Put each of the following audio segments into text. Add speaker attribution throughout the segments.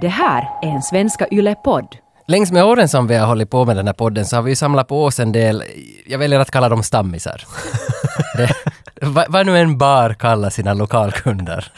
Speaker 1: Det här är en Svenska Yle-podd.
Speaker 2: Längs med åren som vi har hållit på med den här podden så har vi ju samlat på oss en del, jag väljer att kalla dem stammisar. det, vad, vad nu en bar kallar sina lokalkunder.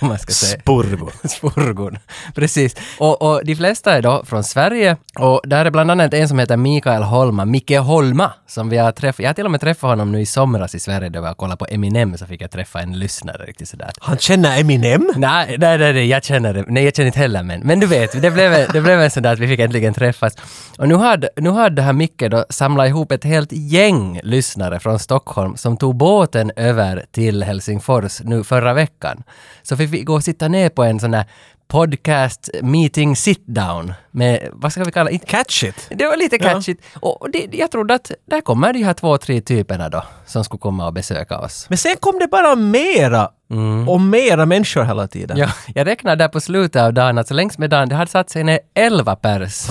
Speaker 2: Om man ska säga.
Speaker 3: Spurgor.
Speaker 2: Spurgon. Precis. Och, och de flesta är då från Sverige och där är bland annat en som heter Mikael Holma, Micke Holma, som vi har träffat. Jag har till och med träffat honom nu i somras i Sverige då vi har kollat på Eminem så fick jag träffa en lyssnare riktigt sådär.
Speaker 3: Han känner Eminem.
Speaker 2: Nej, nej, nej, nej, jag känner det. Nej, jag känner inte heller men. Men du vet, det blev, det blev en sån där att vi fick äntligen träffas. Och nu hade, nu hade det här Micke då samlat ihop ett helt gäng lyssnare från Stockholm som tog båten över till Helsingfors nu förra veckan. Så fick vi gå och sitta ner på en sån där podcast meeting sit down med, vad ska vi kalla det?
Speaker 3: Catch it.
Speaker 2: Det var lite catchigt. Och det, jag trodde att där kommer de här två, tre typerna då som skulle komma och besöka oss.
Speaker 3: Men sen kom det bara mera och mera människor hela tiden.
Speaker 2: Mm. Ja, jag räknar där på slutet av dagen, alltså längs med dagen, det hade satt sig ner 11 pers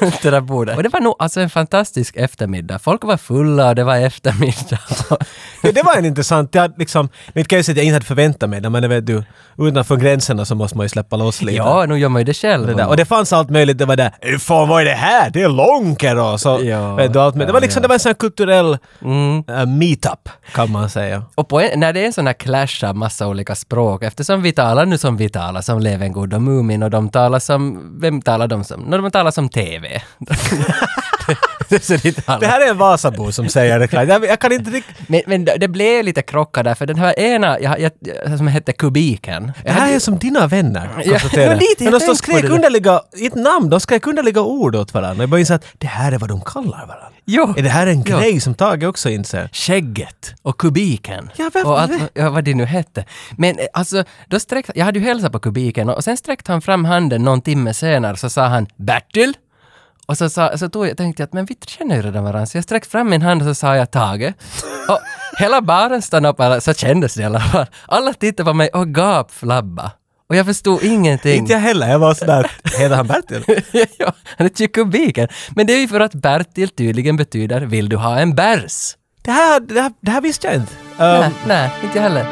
Speaker 2: runt det där bordet. Och det var nog alltså en fantastisk eftermiddag. Folk var fulla och det var eftermiddag.
Speaker 3: Ja, det var en intressant, jag liksom, nu kan jag ju säga att jag inte hade förväntat mig det, men det vet du, utanför gränserna så måste man ju släppa loss lite.
Speaker 2: ja, nu gör man ju det själv.
Speaker 3: Det där. Och det fanns allt möjligt, det var där "Eh, ”Fan vad är det här? Det är lonker” och så.
Speaker 2: Ja,
Speaker 3: vet du, allt möjligt. Det var
Speaker 2: ja,
Speaker 3: liksom,
Speaker 2: ja. Mm.
Speaker 3: det var en sån här kulturell eh, meetup, kan man säga.
Speaker 2: Och på en, när det är en sån här clash av massa olika språk, eftersom vi talar nu som vi talar, som Levengood och Mumin och de talar som, vem talar de som? No, de talar som TV. det, är så de talar.
Speaker 3: Det här är en Vasabo som säger det klart. Jag, jag kan inte riktigt...
Speaker 2: Men, men det blev lite krockar där, för den här ena, jag, jag, jag- som hette Kubiken.
Speaker 3: Det
Speaker 2: Jag
Speaker 3: här
Speaker 2: hade,
Speaker 3: är som dina vänner,
Speaker 2: Ja,
Speaker 3: konstaterar
Speaker 2: men
Speaker 3: jag.
Speaker 2: dit, jag
Speaker 3: Men de står
Speaker 2: tänkte på
Speaker 3: skrek
Speaker 2: det där.
Speaker 3: underliga, i ett namn, de skrek underliga ord åt varandra. Jag bara insåg att det här är vad de kallar varandra.
Speaker 2: jo,
Speaker 3: Är det här en
Speaker 2: Ja.
Speaker 3: grej som Tage också inser?
Speaker 2: Skägget och Kubiken.
Speaker 3: Ja, varför
Speaker 2: och allt,
Speaker 3: det?
Speaker 2: ja, vad det nu hette. Men eh, alltså, då sträckte, jag hade ju hälsat på Kubiken och, och sen sträckte han fram handen någon timme senare så sa han Bertil. Och så, sa, så tog jag, tänkte jag att men vi känner ju redan varandra. Så jag sträckte fram min hand och så sa jag Tage. Och hela baren stannade upp, eller så kändes det i alla fall. Alla tittade på mig och gapflabba. Och jag förstod ingenting.
Speaker 3: Inte jag heller, jag var sådär, heter han Bertil?
Speaker 2: ja, han heter ju Kubiken. Men det är ju för att Bertil tydligen betyder vill du ha en bärs?
Speaker 3: Det här, det här, det här visste jag inte. Um,
Speaker 2: nej, nej, inte jag heller.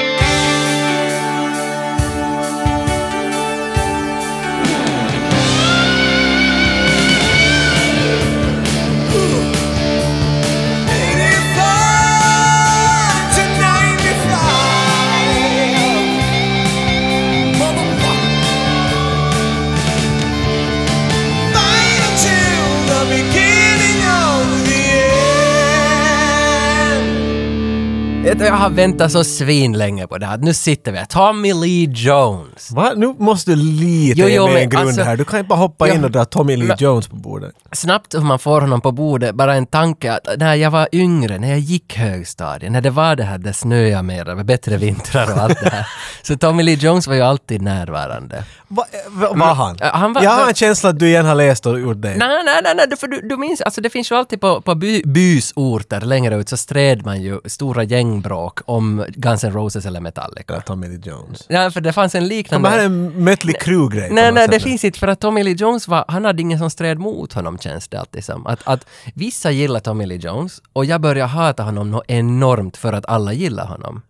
Speaker 2: Vet du, Jag har väntat så svinlänge på det här. Nu sitter vi här. Tommy Lee Jones.
Speaker 3: Va? Nu måste du lite
Speaker 2: Jo,
Speaker 3: ge
Speaker 2: jo,
Speaker 3: mig
Speaker 2: men
Speaker 3: en grund
Speaker 2: alltså-
Speaker 3: här. Du kan inte bara hoppa
Speaker 2: Ja.
Speaker 3: in och dra Tommy Lee
Speaker 2: Men-
Speaker 3: Jones på bordet.
Speaker 2: Snabbt hur man får honom på bordet, bara en tanke att när jag var yngre, när jag gick högstadiet, när det var det här, det snöade mer, det var bättre vintrar och allt det här. Så Tommy Lee Jones var ju alltid närvarande.
Speaker 3: Va, eh, va, var han?
Speaker 2: Ja, han var-
Speaker 3: jag har en känsla att du igen har läst och gjort det.
Speaker 2: Nej, nej, nej, nej, du- för du, du minns, alltså det finns ju alltid på, på by, bysorter längre ut så stred man ju stora gängbråk om Guns N' Roses eller Metallica.
Speaker 3: Tommy Lee Jones.
Speaker 2: Nej, för det fanns en liknande...
Speaker 3: Det här är en Mötley Crüe-grej. på
Speaker 2: Nej,
Speaker 3: något
Speaker 2: nej, det
Speaker 3: sätt.
Speaker 2: finns inte, för att Tommy Lee Jones var, han hade ingen som stred mot honom känns det alltid som. Att, att vissa gillar Tommy Lee Jones och jag börjar hata honom något enormt för att alla gillar honom.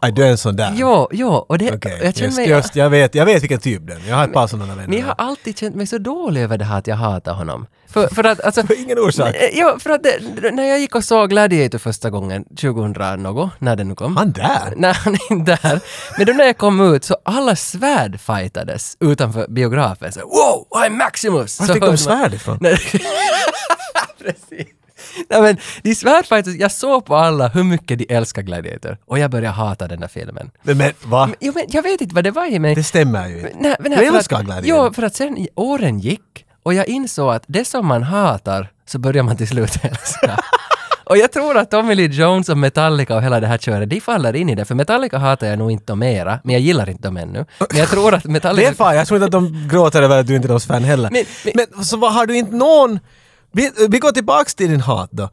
Speaker 3: Aj, du är en sån där.
Speaker 2: Jo, jo, och det,
Speaker 3: Okej,
Speaker 2: jag känner
Speaker 3: just,
Speaker 2: mig...
Speaker 3: just, jag vet, jag vet vilken typ den. Jag har ett par sådana
Speaker 2: Men
Speaker 3: vänner.
Speaker 2: jag har alltid känt mig så dålig över det här att jag hatar honom. För, för att alltså...
Speaker 3: För ingen orsak.
Speaker 2: Nej, Ja, för att det, när jag gick och såg Gladiator första gången, 2000 något, när den nu kom.
Speaker 3: Han där?
Speaker 2: Nej, han är inte där. Men då när jag kom ut så alla svärd fightades utanför biografen. Så, wow, I'm Maximus!
Speaker 3: Var
Speaker 2: så
Speaker 3: fick
Speaker 2: hörde man-
Speaker 3: de svärd ifrån?
Speaker 2: Nej. Precis. Nej men, de svärd fightades, jag såg på alla hur mycket de älskar Gladiator. Och jag började hata den där filmen.
Speaker 3: Men, men va?
Speaker 2: Jo men jag vet inte vad det var i mig.
Speaker 3: Det stämmer ju inte.
Speaker 2: Nej, men
Speaker 3: Du
Speaker 2: för
Speaker 3: älskar
Speaker 2: att-
Speaker 3: Gladiator.
Speaker 2: Ja, för att sen i- åren gick och jag insåg att det som man hatar så börjar man till slut älska. och jag tror att Tommy Lee Jones och Metallica och hela det här köret, de faller in i det. För Metallica hatar jag nog inte dem mera, men jag gillar inte dem ännu. Men jag tror att
Speaker 3: Det är
Speaker 2: Metallica...
Speaker 3: fan, jag tror inte att de gråter över att du inte är deras fan heller.
Speaker 2: Men-
Speaker 3: Men,
Speaker 2: men-
Speaker 3: så vad, har du inte någon Vi, vi går tillbaks till din hat då.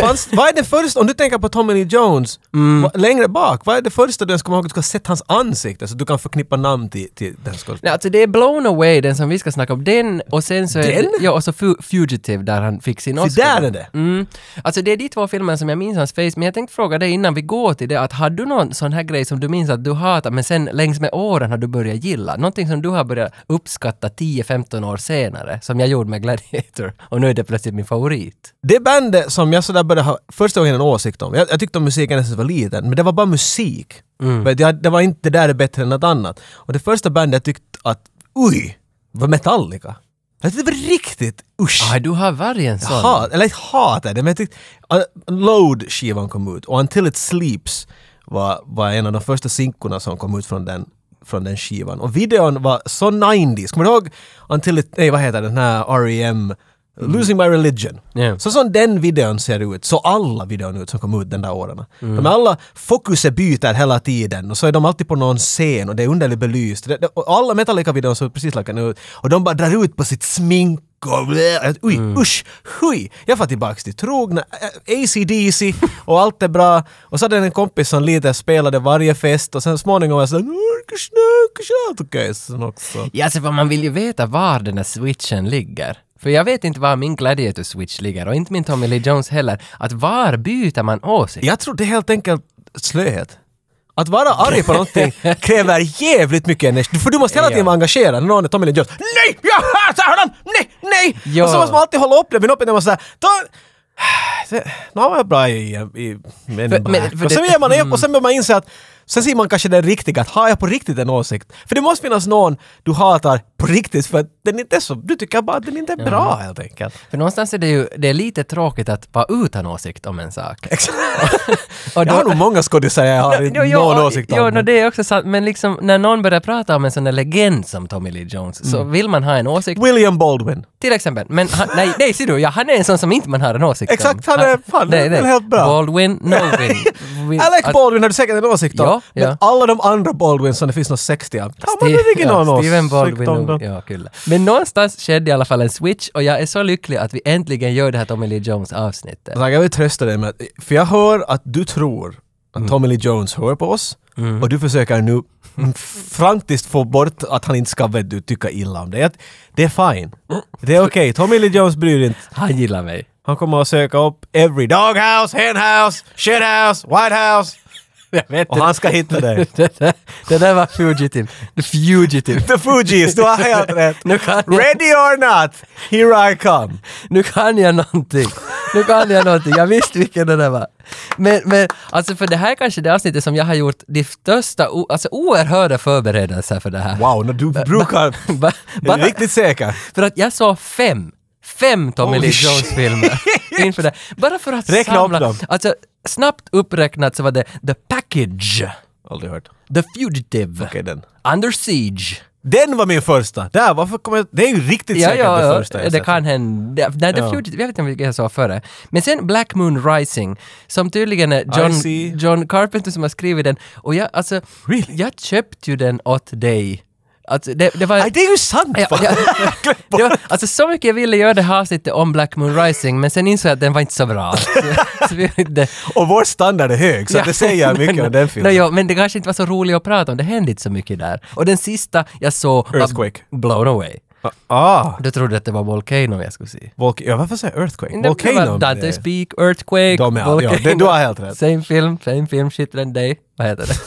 Speaker 3: Fanns, vad är det första, om du tänker på Tommy Lee Jones,
Speaker 2: Mm.
Speaker 3: va- längre bak, vad är det första du ens kommer ihåg att du ska ha sett hans ansikte så du kan förknippa namn till, till den skådespelaren?
Speaker 2: Nej, alltså det är Blown Away, den som vi ska snacka om. Den och sen så är
Speaker 3: Den?
Speaker 2: Det, ja, och så Fu- Fugitive där han fick sin
Speaker 3: Se
Speaker 2: Oscar.
Speaker 3: där är det!
Speaker 2: Mm. Alltså det är de två filmerna som jag minns hans face, men jag tänkte fråga dig innan vi går till det att har du någon sån här grej som du minns att du hatar men sen längs med åren har du börjat gilla? Någonting som du har börjat uppskatta 10-15 år senare, som jag gjorde med Gladiator och nu är det plötsligt min favorit.
Speaker 3: Det bandet som jag sådär började ha första gången en åsikt om, jag, jag tyckte om musiken nästan var liten, men det var bara musik. Vet du, jag, det var inte det där är bättre än något annat. Och det första bandet jag tyckte att, oj, var Metallica. Jag tyckte det var riktigt, usch!
Speaker 2: Ah, du har varje en sån.
Speaker 3: Jag hat, eller jag hatar det, men jag tyckte... Uh, Load-skivan kom ut och Until It Sleeps var, var en av de första sinkorna som kom ut från den, från den skivan. Och videon var så 90s. Kommer du ihåg Until It... Nej, vad heter den här R.E.M. Losing My Religion.
Speaker 2: Ja.
Speaker 3: Så som den videon ser ut, så alla videon ut som kom ut den där åren. De är alla, fokuset byter hela tiden och så är de alltid på någon scen och det är underligt belyst. Det, det, och alla Metallica-videon såg precis likadana ut och de bara drar ut på sitt smink och blä, oj, usch, hui. Jag får tillbaks till trogna, ACDC och allt är bra. Och så hade jag en kompis som lite spelade varje fest och sen småningom var jag såhär “Orkar snöka tjatukejsen också”.
Speaker 2: Ja, alltså, för man vill ju veta var den här switchen ligger. För jag vet inte var min Gladiator-switch ligger och inte min Tommy Lee Jones heller. Att var byter man åsikt?
Speaker 3: Jag tror det är helt enkelt slöhet. Att vara arg på någonting kräver jävligt mycket energi. För du måste hela tiden vara engagerad. Någon är Tommy Lee Jones. Nej! Jag hatar honom! Nej! Nej!
Speaker 2: Ja.
Speaker 3: Och så måste man alltid hålla upp det. Men uppe när man säger ta... Det- Nu var jag bra i, i men,
Speaker 2: För- men- för
Speaker 3: och sen
Speaker 2: det- Mm.
Speaker 3: ger man upp och sen börjar man inse att Sen ser man kanske den riktiga, att har jag på riktigt en åsikt? För det måste finnas någon du hatar på riktigt för att den inte är så, du tycker bara att den inte är bra helt enkelt.
Speaker 2: För någonstans är det ju det är lite tråkigt att vara utan åsikt om en sak.
Speaker 3: Exakt.
Speaker 2: Och
Speaker 3: Jag har nog många skådisar jag har
Speaker 2: Jo,
Speaker 3: någon
Speaker 2: jo, och-
Speaker 3: åsikt om.
Speaker 2: Jo, no, det är också sant. Men liksom när någon börjar prata om en sån där legend som Tommy Lee Jones så
Speaker 3: Mm.
Speaker 2: vill man ha en åsikt.
Speaker 3: William Baldwin.
Speaker 2: Till exempel. Men han, nej, nej, ser du, ja, han är en sån som inte man har en åsikt
Speaker 3: Exakt,
Speaker 2: om.
Speaker 3: han är- fan,
Speaker 2: det-
Speaker 3: han är
Speaker 2: det-
Speaker 3: väl helt bra.
Speaker 2: Baldwin, no win. Win-
Speaker 3: Alec
Speaker 2: Mm. att-
Speaker 3: Baldwin har du säkert en åsikt om.
Speaker 2: Ja,
Speaker 3: men
Speaker 2: ja.
Speaker 3: alla de andra Baldwin som det finns något 60 av. Har man
Speaker 2: Steve-
Speaker 3: inte någon
Speaker 2: ja,
Speaker 3: åsikt
Speaker 2: Steven Baldwin,
Speaker 3: om
Speaker 2: och-
Speaker 3: dem?
Speaker 2: ja, kul. Men någonstans skedde i alla fall en switch och jag är så lycklig att vi äntligen gör det här Tommy Lee Jones avsnittet.
Speaker 3: Så Jag vill trösta dig med att, för jag hör att du tror
Speaker 2: Mm.
Speaker 3: att Tommy Lee Jones hör på oss och du försöker nu franktiskt få bort att han inte ska vet du, tycka illa om dig. Att Det är fine. Det är okej. Tommy Lee Jones bryr inte.
Speaker 2: Han gillar mig.
Speaker 3: Han kommer att söka upp every doghouse, henhouse, shithouse, whitehouse
Speaker 2: Jag vet
Speaker 3: och han ska hitta dig.
Speaker 2: det, där, det där var fugitive. The fugitive.
Speaker 3: The Fugees, du har helt rätt.
Speaker 2: Nu kan jag-
Speaker 3: Ready or not, here I come.
Speaker 2: Nu kan jag någonting. Nu kan jag någonting. Jag visste vilken det där var. Men, men alltså för det här är kanske det avsnittet som jag har gjort de största, o- alltså oerhörda förberedelser för det här.
Speaker 3: Wow, no, du brukar...
Speaker 2: Ba-
Speaker 3: Jag är
Speaker 2: bara-
Speaker 3: riktigt säker.
Speaker 2: För att jag sa fem, fem Tommy
Speaker 3: Holy
Speaker 2: Lee Jones-filmer inför det. Bara för att
Speaker 3: Räkna upp
Speaker 2: samla.
Speaker 3: dem.
Speaker 2: Alltså, snabbt uppräknat så var det The Package,
Speaker 3: Aldrig hört.
Speaker 2: The Fugitive,
Speaker 3: Okej, den.
Speaker 2: Under Siege.
Speaker 3: Den var min första. Där, varför kommer jag... Det är ju riktigt
Speaker 2: Ja,
Speaker 3: säkert
Speaker 2: ja,
Speaker 3: det
Speaker 2: ja,
Speaker 3: första jag
Speaker 2: det
Speaker 3: sett.
Speaker 2: kan hända. Nej, The
Speaker 3: Ja.
Speaker 2: Fugitive, jag vet inte vilken jag sa före. Men sen Black Moon Rising, som tydligen är John,
Speaker 3: see.
Speaker 2: John Carpenter som har skrivit den. Och jag, alltså,
Speaker 3: Really?
Speaker 2: jag köpte ju den åt dig. Alltså, det, det var...
Speaker 3: Nej, det är ju sant!
Speaker 2: Ja,
Speaker 3: fan.
Speaker 2: ja. Det var, alltså så mycket jag ville göra det här avsnittet om Black Moon Rising, men sen insåg jag att den var inte så bra. Så, så vi, det,
Speaker 3: Och vår standard är hög, så
Speaker 2: Ja.
Speaker 3: det säger mycket om den filmen.
Speaker 2: no, jo, men det kanske inte var så roligt att prata om, det hände inte så mycket där. Och den sista jag såg var
Speaker 3: Earthquake.
Speaker 2: Blown Away.
Speaker 3: Ah!
Speaker 2: Då trodde jag att det var Volcano jag skulle se.
Speaker 3: Volk- ja, varför säger jag Earthquake?
Speaker 2: Det- det var
Speaker 3: Volcano?
Speaker 2: Dante's Peak, Earthquake,
Speaker 3: De är- ja, det- du har helt rätt.
Speaker 2: Same film, same film, Shitren Day. Vad heter det?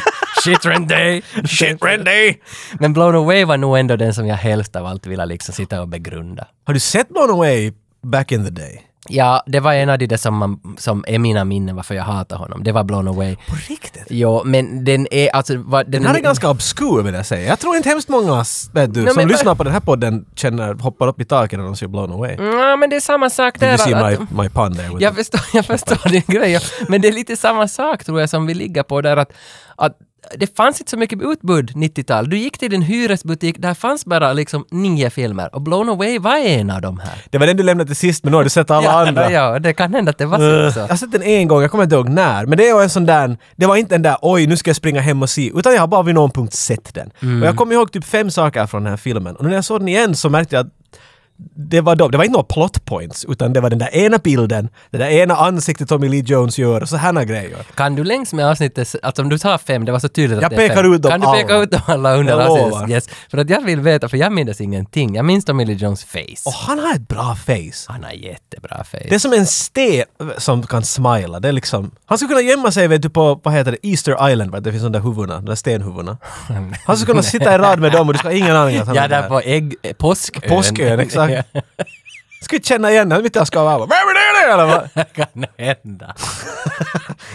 Speaker 2: Shitren Day!
Speaker 3: Shit, Randy!
Speaker 2: Men Blown Away var nog ändå den som jag helst av allt ville liksom sitta och begrunda.
Speaker 3: Har du sett Blown Away back in the day?
Speaker 2: Ja, det var en av de där som, man, som är mina minnen varför jag hatar honom. Det var Blown Away.
Speaker 3: På riktigt?
Speaker 2: Jo, men den är alltså... Vad, den,
Speaker 3: Den här är ganska obskur vill jag säga. Jag tror inte hemskt många vet du,
Speaker 2: Nej,
Speaker 3: som
Speaker 2: men-
Speaker 3: lyssnar på den här podden känner, hoppar upp i taket när de ser blown away. Did
Speaker 2: Ja, men Mm. det är samma sak där.
Speaker 3: you see
Speaker 2: att-
Speaker 3: my, my pun there? With
Speaker 2: jag, förstår, jag förstår din grej, men det är lite samma sak tror jag som vi ligger på där att, att det fanns inte så mycket utbud 90-tal. Du gick till din hyresbutik, där fanns bara liksom nio filmer och Blown Away var en av de här.
Speaker 3: det var den du lämnade till sist men nu har du sett alla andra.
Speaker 2: Ja, ja, det kan hända att det var
Speaker 3: Ugh.
Speaker 2: så.
Speaker 3: Jag har sett den en gång, jag kommer inte ihåg när. Men det är ju en sån där, det var inte en där oj nu ska jag springa hem och se, utan jag har bara vid
Speaker 2: Mm.
Speaker 3: någon punkt sett den. Och jag kommer ihåg typ fem saker från den här filmen. Och när jag såg den igen så märkte jag att det var de. Det var inte några plot points, utan det var den där ena bilden, det där ena ansiktet Tommy Lee Jones gör och så här grejer.
Speaker 2: Kan du längs med avsnittet, alltså om du tar fem, det var så tydligt att
Speaker 3: Jag
Speaker 2: det är
Speaker 3: pekar
Speaker 2: fem.
Speaker 3: ut dem
Speaker 2: Kan du peka
Speaker 3: alla.
Speaker 2: ut dem alla under
Speaker 3: Jag
Speaker 2: avsnittet?
Speaker 3: lovar.
Speaker 2: Yes. För att jag vill veta, för jag minns ingenting. Jag minns Tommy Lee Jones face.
Speaker 3: Och han har ett bra face.
Speaker 2: Han har jättebra face.
Speaker 3: Det är som en sten som kan smila. Det är liksom... Han skulle kunna gömma sig vet du, på, vad heter det, Easter Island, vet du, det finns de där huvudena, de där stenhuvudena. Han skulle kunna sitta i rad med dem och du ska ha ingen aning att han
Speaker 2: ja,
Speaker 3: är
Speaker 2: där på ägg, eh, påskön.
Speaker 3: Påskön, exakt.
Speaker 2: Ja,
Speaker 3: Skulle känna igen honom, inte jag ska vara Vem är det? Eller vad?
Speaker 2: det kan hända.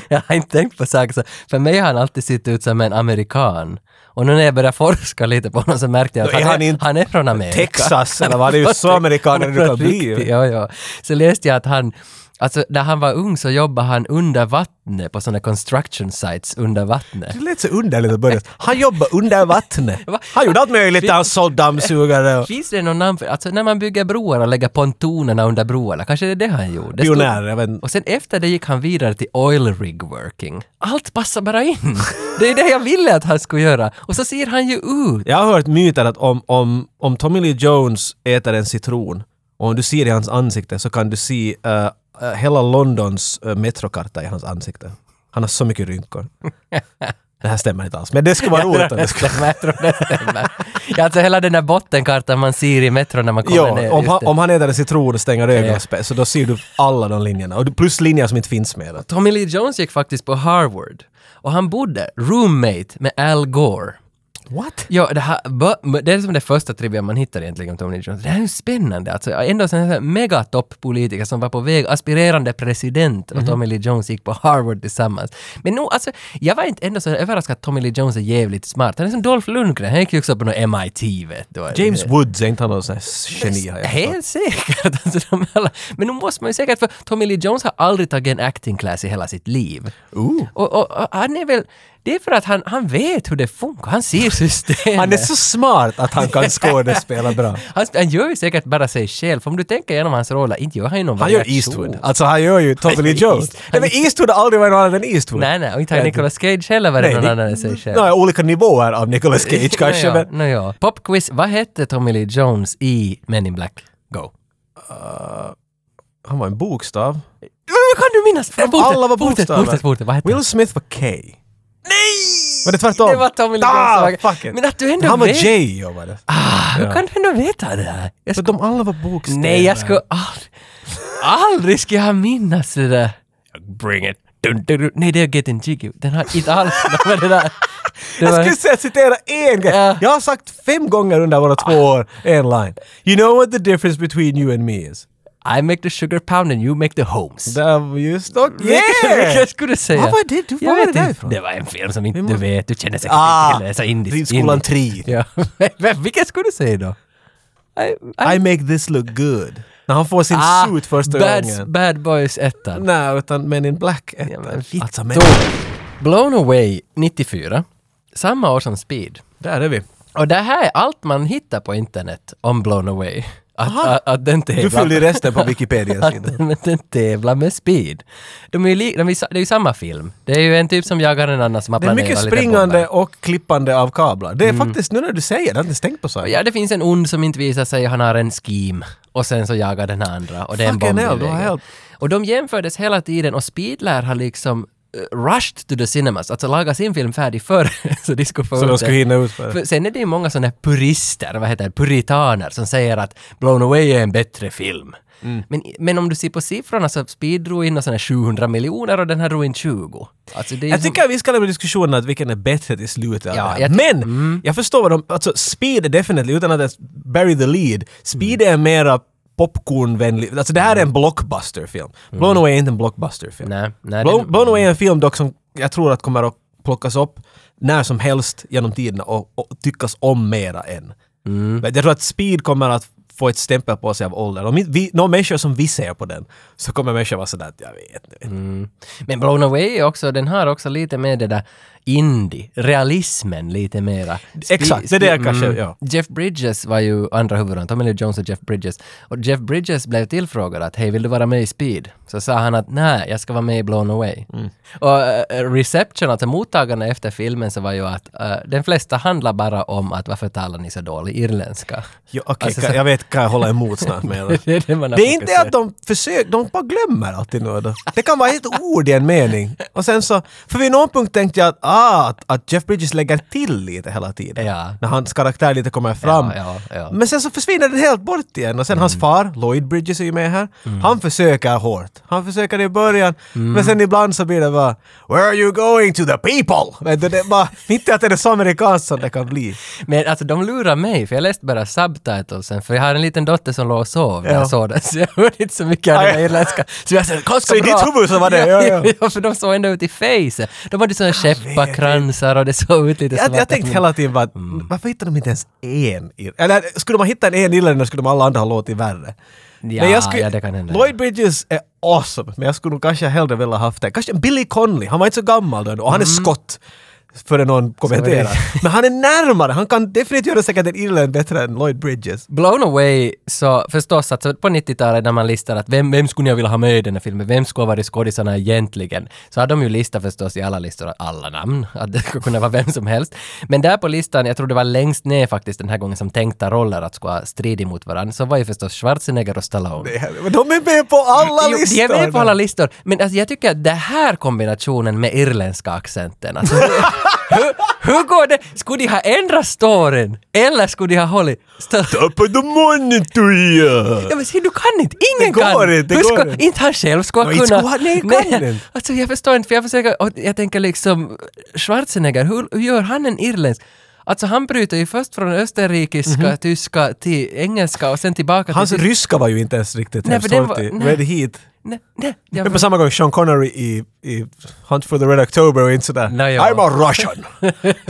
Speaker 2: jag har inte tänkt på saker så. För mig har han alltid sett ut som en amerikan. Och nu när jag började forska lite på honom så märkte jag
Speaker 3: Då
Speaker 2: att
Speaker 3: är
Speaker 2: han,
Speaker 3: han
Speaker 2: är,
Speaker 3: inte
Speaker 2: han är från Amerika.
Speaker 3: Texas eller vad? Det är ju så amerikaner du kan bli. ju.
Speaker 2: Riktigt, Ja, ja. Så läste jag att han, alltså när han var ung så jobbade han under vattnet på sådana construction sites under vattnet.
Speaker 3: Det lät så underligt att börja. Han jobbar under vattnet.
Speaker 2: Va?
Speaker 3: Han gjorde allt möjligt. Han sålde dammsugare och
Speaker 2: Finns det någon namn för, alltså när man bygger broar och lägger pontonerna under broarna, kanske det är det han gjorde? Det stod-
Speaker 3: pionjärer. jag vet inte.
Speaker 2: Och sen efter det gick han vidare till oil rig working. Allt passar bara in. Det är det jag ville att han skulle göra. Och så ser han ju ut.
Speaker 3: Jag har hört myter att om, om, om Tommy Lee Jones äter en citron och om du ser i hans ansikte så kan du se eh, eh, hela Londons eh, metrokarta i hans ansikte. Han har så mycket rynkor. Det här stämmer inte alls, men det skulle vara roligt om det skulle...
Speaker 2: stämmer, jag tror det stämmer. Ja, alltså hela den där bottenkartan man ser i metron när man kommer
Speaker 3: Ja,
Speaker 2: ner.
Speaker 3: om
Speaker 2: just
Speaker 3: han,
Speaker 2: det.
Speaker 3: om han äter en citron och stänger ögonen spä- så då ser du alla de linjerna. Och du- plus linjer som inte finns med.
Speaker 2: Tommy Lee Jones gick faktiskt på Harvard och han bodde roommate med Al Gore.
Speaker 3: What?
Speaker 2: Ja, det, här, bu- det är som det första trivia man hittar egentligen om Tommy Lee Jones. Det här är ju spännande. Alltså, ändå en här megatoppolitiker som var på väg, aspirerande president
Speaker 3: Mhm.
Speaker 2: och Tommy Lee Jones gick på Harvard tillsammans. Men nog, alltså, jag var inte ändå så överraskad att Tommy Lee Jones är jävligt smart. Han är som Dolph Lundgren, han gick ju också på något MIT vet du.
Speaker 3: James Woods, är inte han någon sån här geni? har jag förstått?
Speaker 2: Helt säkert. Alltså, de alla. Men nu måste man ju säkert, för Tommy Lee Jones har aldrig tagit en acting class i hela sitt liv.
Speaker 3: Ooh.
Speaker 2: Och, och, och han är väl, det är för att han, han vet hur det funkar, han ser systemet.
Speaker 3: Han är så smart att han kan skådespela bra.
Speaker 2: Han, han gör ju säkert bara sig själv, för om du tänker igenom hans roller, inte gör han ju någon
Speaker 3: Han gör
Speaker 2: variation.
Speaker 3: Eastwood. Alltså han gör ju Tommy Lee Jones. Nej men Eastwood har aldrig varit någon annan än Eastwood.
Speaker 2: Nej, nej, och inte har
Speaker 3: Nej,
Speaker 2: Nicolas Cage heller varit
Speaker 3: Nej,
Speaker 2: någon
Speaker 3: det-
Speaker 2: annan än sig själv.
Speaker 3: Nej, olika nivåer av Nicolas Cage kanske
Speaker 2: Nåja,
Speaker 3: men...
Speaker 2: nåja. Popquiz, vad hette Tommy Lee Jones i Men in Black? Go.
Speaker 3: Eh, Han var en bokstav.
Speaker 2: Hur kan du minnas?
Speaker 3: alla var bokstäver.
Speaker 2: Bortet, bortet, vad hette han?
Speaker 3: Will Smith var K.
Speaker 2: Nej!
Speaker 3: Var det tvärtom?
Speaker 2: Det var Tommy Lee
Speaker 3: Ah,
Speaker 2: Jones.
Speaker 3: fuck it.
Speaker 2: Men att du ändå
Speaker 3: Han var
Speaker 2: vet.
Speaker 3: J ja, var det.
Speaker 2: Ah, hur kan du ändå veta det här? Jag
Speaker 3: För
Speaker 2: skulle...
Speaker 3: de alla var bokstäver.
Speaker 2: Nej, jag skulle aldrig... Aldrig ska jag minnas det där. Bring it. Dun, dun, dun. Nej, det är Getting Jiggy. Den har inte alls med det där. Det
Speaker 3: Jag
Speaker 2: var-
Speaker 3: skulle säga citera en grej.
Speaker 2: Ja.
Speaker 3: Jag har sagt fem gånger under våra två år, en line. You know what the difference between you and me is?
Speaker 2: I make the sugar pound and you make the homes.
Speaker 3: Där var just och
Speaker 2: Vilket-
Speaker 3: yeah!
Speaker 2: Vilket skulle du säga?
Speaker 3: Vad var det? Du-
Speaker 2: Jag
Speaker 3: var var
Speaker 2: vet
Speaker 3: det
Speaker 2: inte.
Speaker 3: därifrån?
Speaker 2: Det var en film som inte du vet. Du känner säkert
Speaker 3: Ah,
Speaker 2: inte till det. Så indisk.
Speaker 3: Ridskolan
Speaker 2: indisk.
Speaker 3: 3.
Speaker 2: Ja. Men Vilket skulle du säga då? I,
Speaker 3: I make this look good. När han får sin
Speaker 2: Ah,
Speaker 3: suit första
Speaker 2: bad,
Speaker 3: gången.
Speaker 2: Bad Boys 1.
Speaker 3: Nej, utan Men in Black ettan.
Speaker 2: Ja, men
Speaker 3: alltså,
Speaker 2: men...
Speaker 3: men,
Speaker 2: Blown Away 94, samma år som Speed.
Speaker 3: där är vi.
Speaker 2: Och det här är allt man hittar på internet om Blown Away. Att, att, att den
Speaker 3: Du
Speaker 2: tävlar
Speaker 3: fyllde i resten på Wikipedia sidan.
Speaker 2: att men den tävlar med Speed. De är ju li, de är, sa- det är ju samma film. Det är ju en typ som jagar en annan som har
Speaker 3: Det är
Speaker 2: planerat
Speaker 3: mycket
Speaker 2: lite
Speaker 3: springande
Speaker 2: bomber.
Speaker 3: och klippande av kablar. Det är faktiskt, nu när du säger det, Mm. jag har inte tänkt på så.
Speaker 2: Ja, det finns en ond som inte visar sig, han har en scheme. Och sen så jagar den andra och det är en
Speaker 3: Fucking
Speaker 2: bomb i
Speaker 3: hell, du har
Speaker 2: vägen.
Speaker 3: helt-
Speaker 2: Och de jämfördes hela tiden och Speed lär ha liksom eh, rushed to the cinemas, alltså lagat sin film färdig förr så de skulle få
Speaker 3: Så
Speaker 2: ut
Speaker 3: de
Speaker 2: den.
Speaker 3: skulle hinna ut för det.
Speaker 2: För sen är det ju många sådana här purister, vad heter det, puritaner som säger att Blown Away är en bättre film.
Speaker 3: Mm.
Speaker 2: Men, men om du ser på siffrorna så Speed drog in några sådana här 700 miljoner och den här drog in 20. Alltså det är
Speaker 3: Jag
Speaker 2: som-
Speaker 3: tycker vi ska lämna diskussionen att vilken är bättre till slutet. av
Speaker 2: Ja,
Speaker 3: det här.
Speaker 2: jag ty-
Speaker 3: Men! Jag Mm. förstår vad de... Alltså, speed är definitivt, utan att ens bury the lead, speed är mera popcornvänlig. Alltså det här är en blockbusterfilm. Blown Away är inte en blockbusterfilm.
Speaker 2: Nej, nej.
Speaker 3: Blown,
Speaker 2: det-
Speaker 3: Blown Away är en film dock som jag tror att kommer att plockas upp när som helst genom tiderna och, och tyckas om mera än.
Speaker 2: Mm.
Speaker 3: Men Jag tror att Speed kommer att få ett stämpel på sig av åldern. Om inte vi, några människor som vi ser på den
Speaker 2: Mm.
Speaker 3: så kommer människor vara sådär att jag vet inte.
Speaker 2: Men Blown Away är också, den har också lite med det där indie, realismen lite mera. Spi-
Speaker 3: Exakt, det är det jag
Speaker 2: spi-
Speaker 3: kanske- ja.
Speaker 2: Jeff Bridges var ju andra huvudrollen, Tommy Lee Jones och Jeff Bridges. Och Jeff Bridges blev tillfrågad att hej, vill du vara med i Speed? Så sa han att nej, jag ska vara med i Blown Away.
Speaker 3: Mm.
Speaker 2: Och eh, reception, alltså mottagarna efter filmen, så var ju att eh, den flesta handlar bara om att varför talar ni så dålig irländska?
Speaker 3: Jo, okej,
Speaker 2: Alltså,
Speaker 3: kan-
Speaker 2: så-
Speaker 3: jag vet, kan jag hålla emot snart men jag-
Speaker 2: Det är det man har
Speaker 3: Det är inte
Speaker 2: fokuserat.
Speaker 3: att de försöker, de bara glömmer alltid något. Det kan vara ett ord i en mening. Och sen så, för vid någon punkt tänkte jag att, ah, att, att Jeff Bridges lägger till lite hela tiden.
Speaker 2: Ja.
Speaker 3: När hans karaktär lite kommer fram.
Speaker 2: Ja, ja, Mm. ja.
Speaker 3: Men sen så försvinner den helt bort igen. Och sen hans far, Lloyd Bridges är ju med här.
Speaker 2: Mm.
Speaker 3: Han försöker hårt. Han försöker i början. Men sen ibland så blir det bara “Where are you going to the people?” Vet du, det är bara, inte att det är så amerikanskt som det kan bli.
Speaker 2: Men alltså de lurar mig, för jag läste bara subtitlesen, för jag har en liten dotter som låg och sov när
Speaker 3: Ja.
Speaker 2: jag såg den, så jag hörde inte så mycket av
Speaker 3: Aj.
Speaker 2: den här irländska. Så jag sa
Speaker 3: Så i
Speaker 2: bra.
Speaker 3: ditt huvud så var det, ja, ja.
Speaker 2: för de såg ända ut i face. De hade såna skepparkransar och det såg ut lite
Speaker 3: Jag,
Speaker 2: svarta
Speaker 3: jag tänkte
Speaker 2: som- Mm.
Speaker 3: hela tiden bara, varför hittar de inte ens en? ir- Eller skulle man hitta en en irländare skulle de alla andra ha låtit värre.
Speaker 2: Ja,
Speaker 3: Men jag skulle-
Speaker 2: ja, det kan hända.
Speaker 3: Lloyd Bridges är awesome, men jag skulle nog kanske hellre vilja haft en. Kanske en Billy Connolly, han var inte så gammal då ännu, och han är
Speaker 2: Mm.
Speaker 3: skott. Före någon kommenterar. Men han är närmare, han kan definitivt göra säkert en Irland bättre än Lloyd Bridges.
Speaker 2: Blown Away, så förstås att så på 90-talet när man listar att vem, vem skulle jag vilja ha med i den här filmen, vem skulle ha varit skådisarna egentligen? Så har de ju listat förstås i alla listor att alla namn, att det skulle kunna vara vem som helst. Men där på listan, jag tror det var längst ner faktiskt den här gången som tänkta roller att skulle ha strid mot varandra, så var ju förstås Schwarzenegger och Stallone.
Speaker 3: Men De är med på alla
Speaker 2: Jo,
Speaker 3: listor!
Speaker 2: de är med på alla listor. Men alltså, jag tycker att den här kombinationen med irländska accenten, alltså, hur, hur går det? Skulle de ha ändrat storyn? Eller skulle de ha hållit... Stö-
Speaker 3: Tappa the money to you!
Speaker 2: Ja, men se, du kan inte, ingen
Speaker 3: Det går
Speaker 2: kan!
Speaker 3: inte, det
Speaker 2: Hur
Speaker 3: går
Speaker 2: ska,
Speaker 3: inte.
Speaker 2: inte han själv skulle
Speaker 3: Nej,
Speaker 2: kunna...
Speaker 3: inte skulle han- nej, kan inte.
Speaker 2: Alltså jag förstår inte, för jag försöker, och jag tänker liksom, Schwarzenegger, hur, hur gör han en irländsk? Alltså han bryter ju först från österrikiska, tyska till engelska och sen tillbaka
Speaker 3: Mhm. Hans
Speaker 2: till...
Speaker 3: ryska var ju inte ens riktigt
Speaker 2: Nej,
Speaker 3: hemskt
Speaker 2: för den var-
Speaker 3: torftig.
Speaker 2: nej.
Speaker 3: Red Heat.
Speaker 2: Nej, nej, jag-
Speaker 3: Men på samma gång Sean Connery i, i Hunt for the Red October och inte sådär
Speaker 2: Nej, ja.
Speaker 3: I'm a Russian.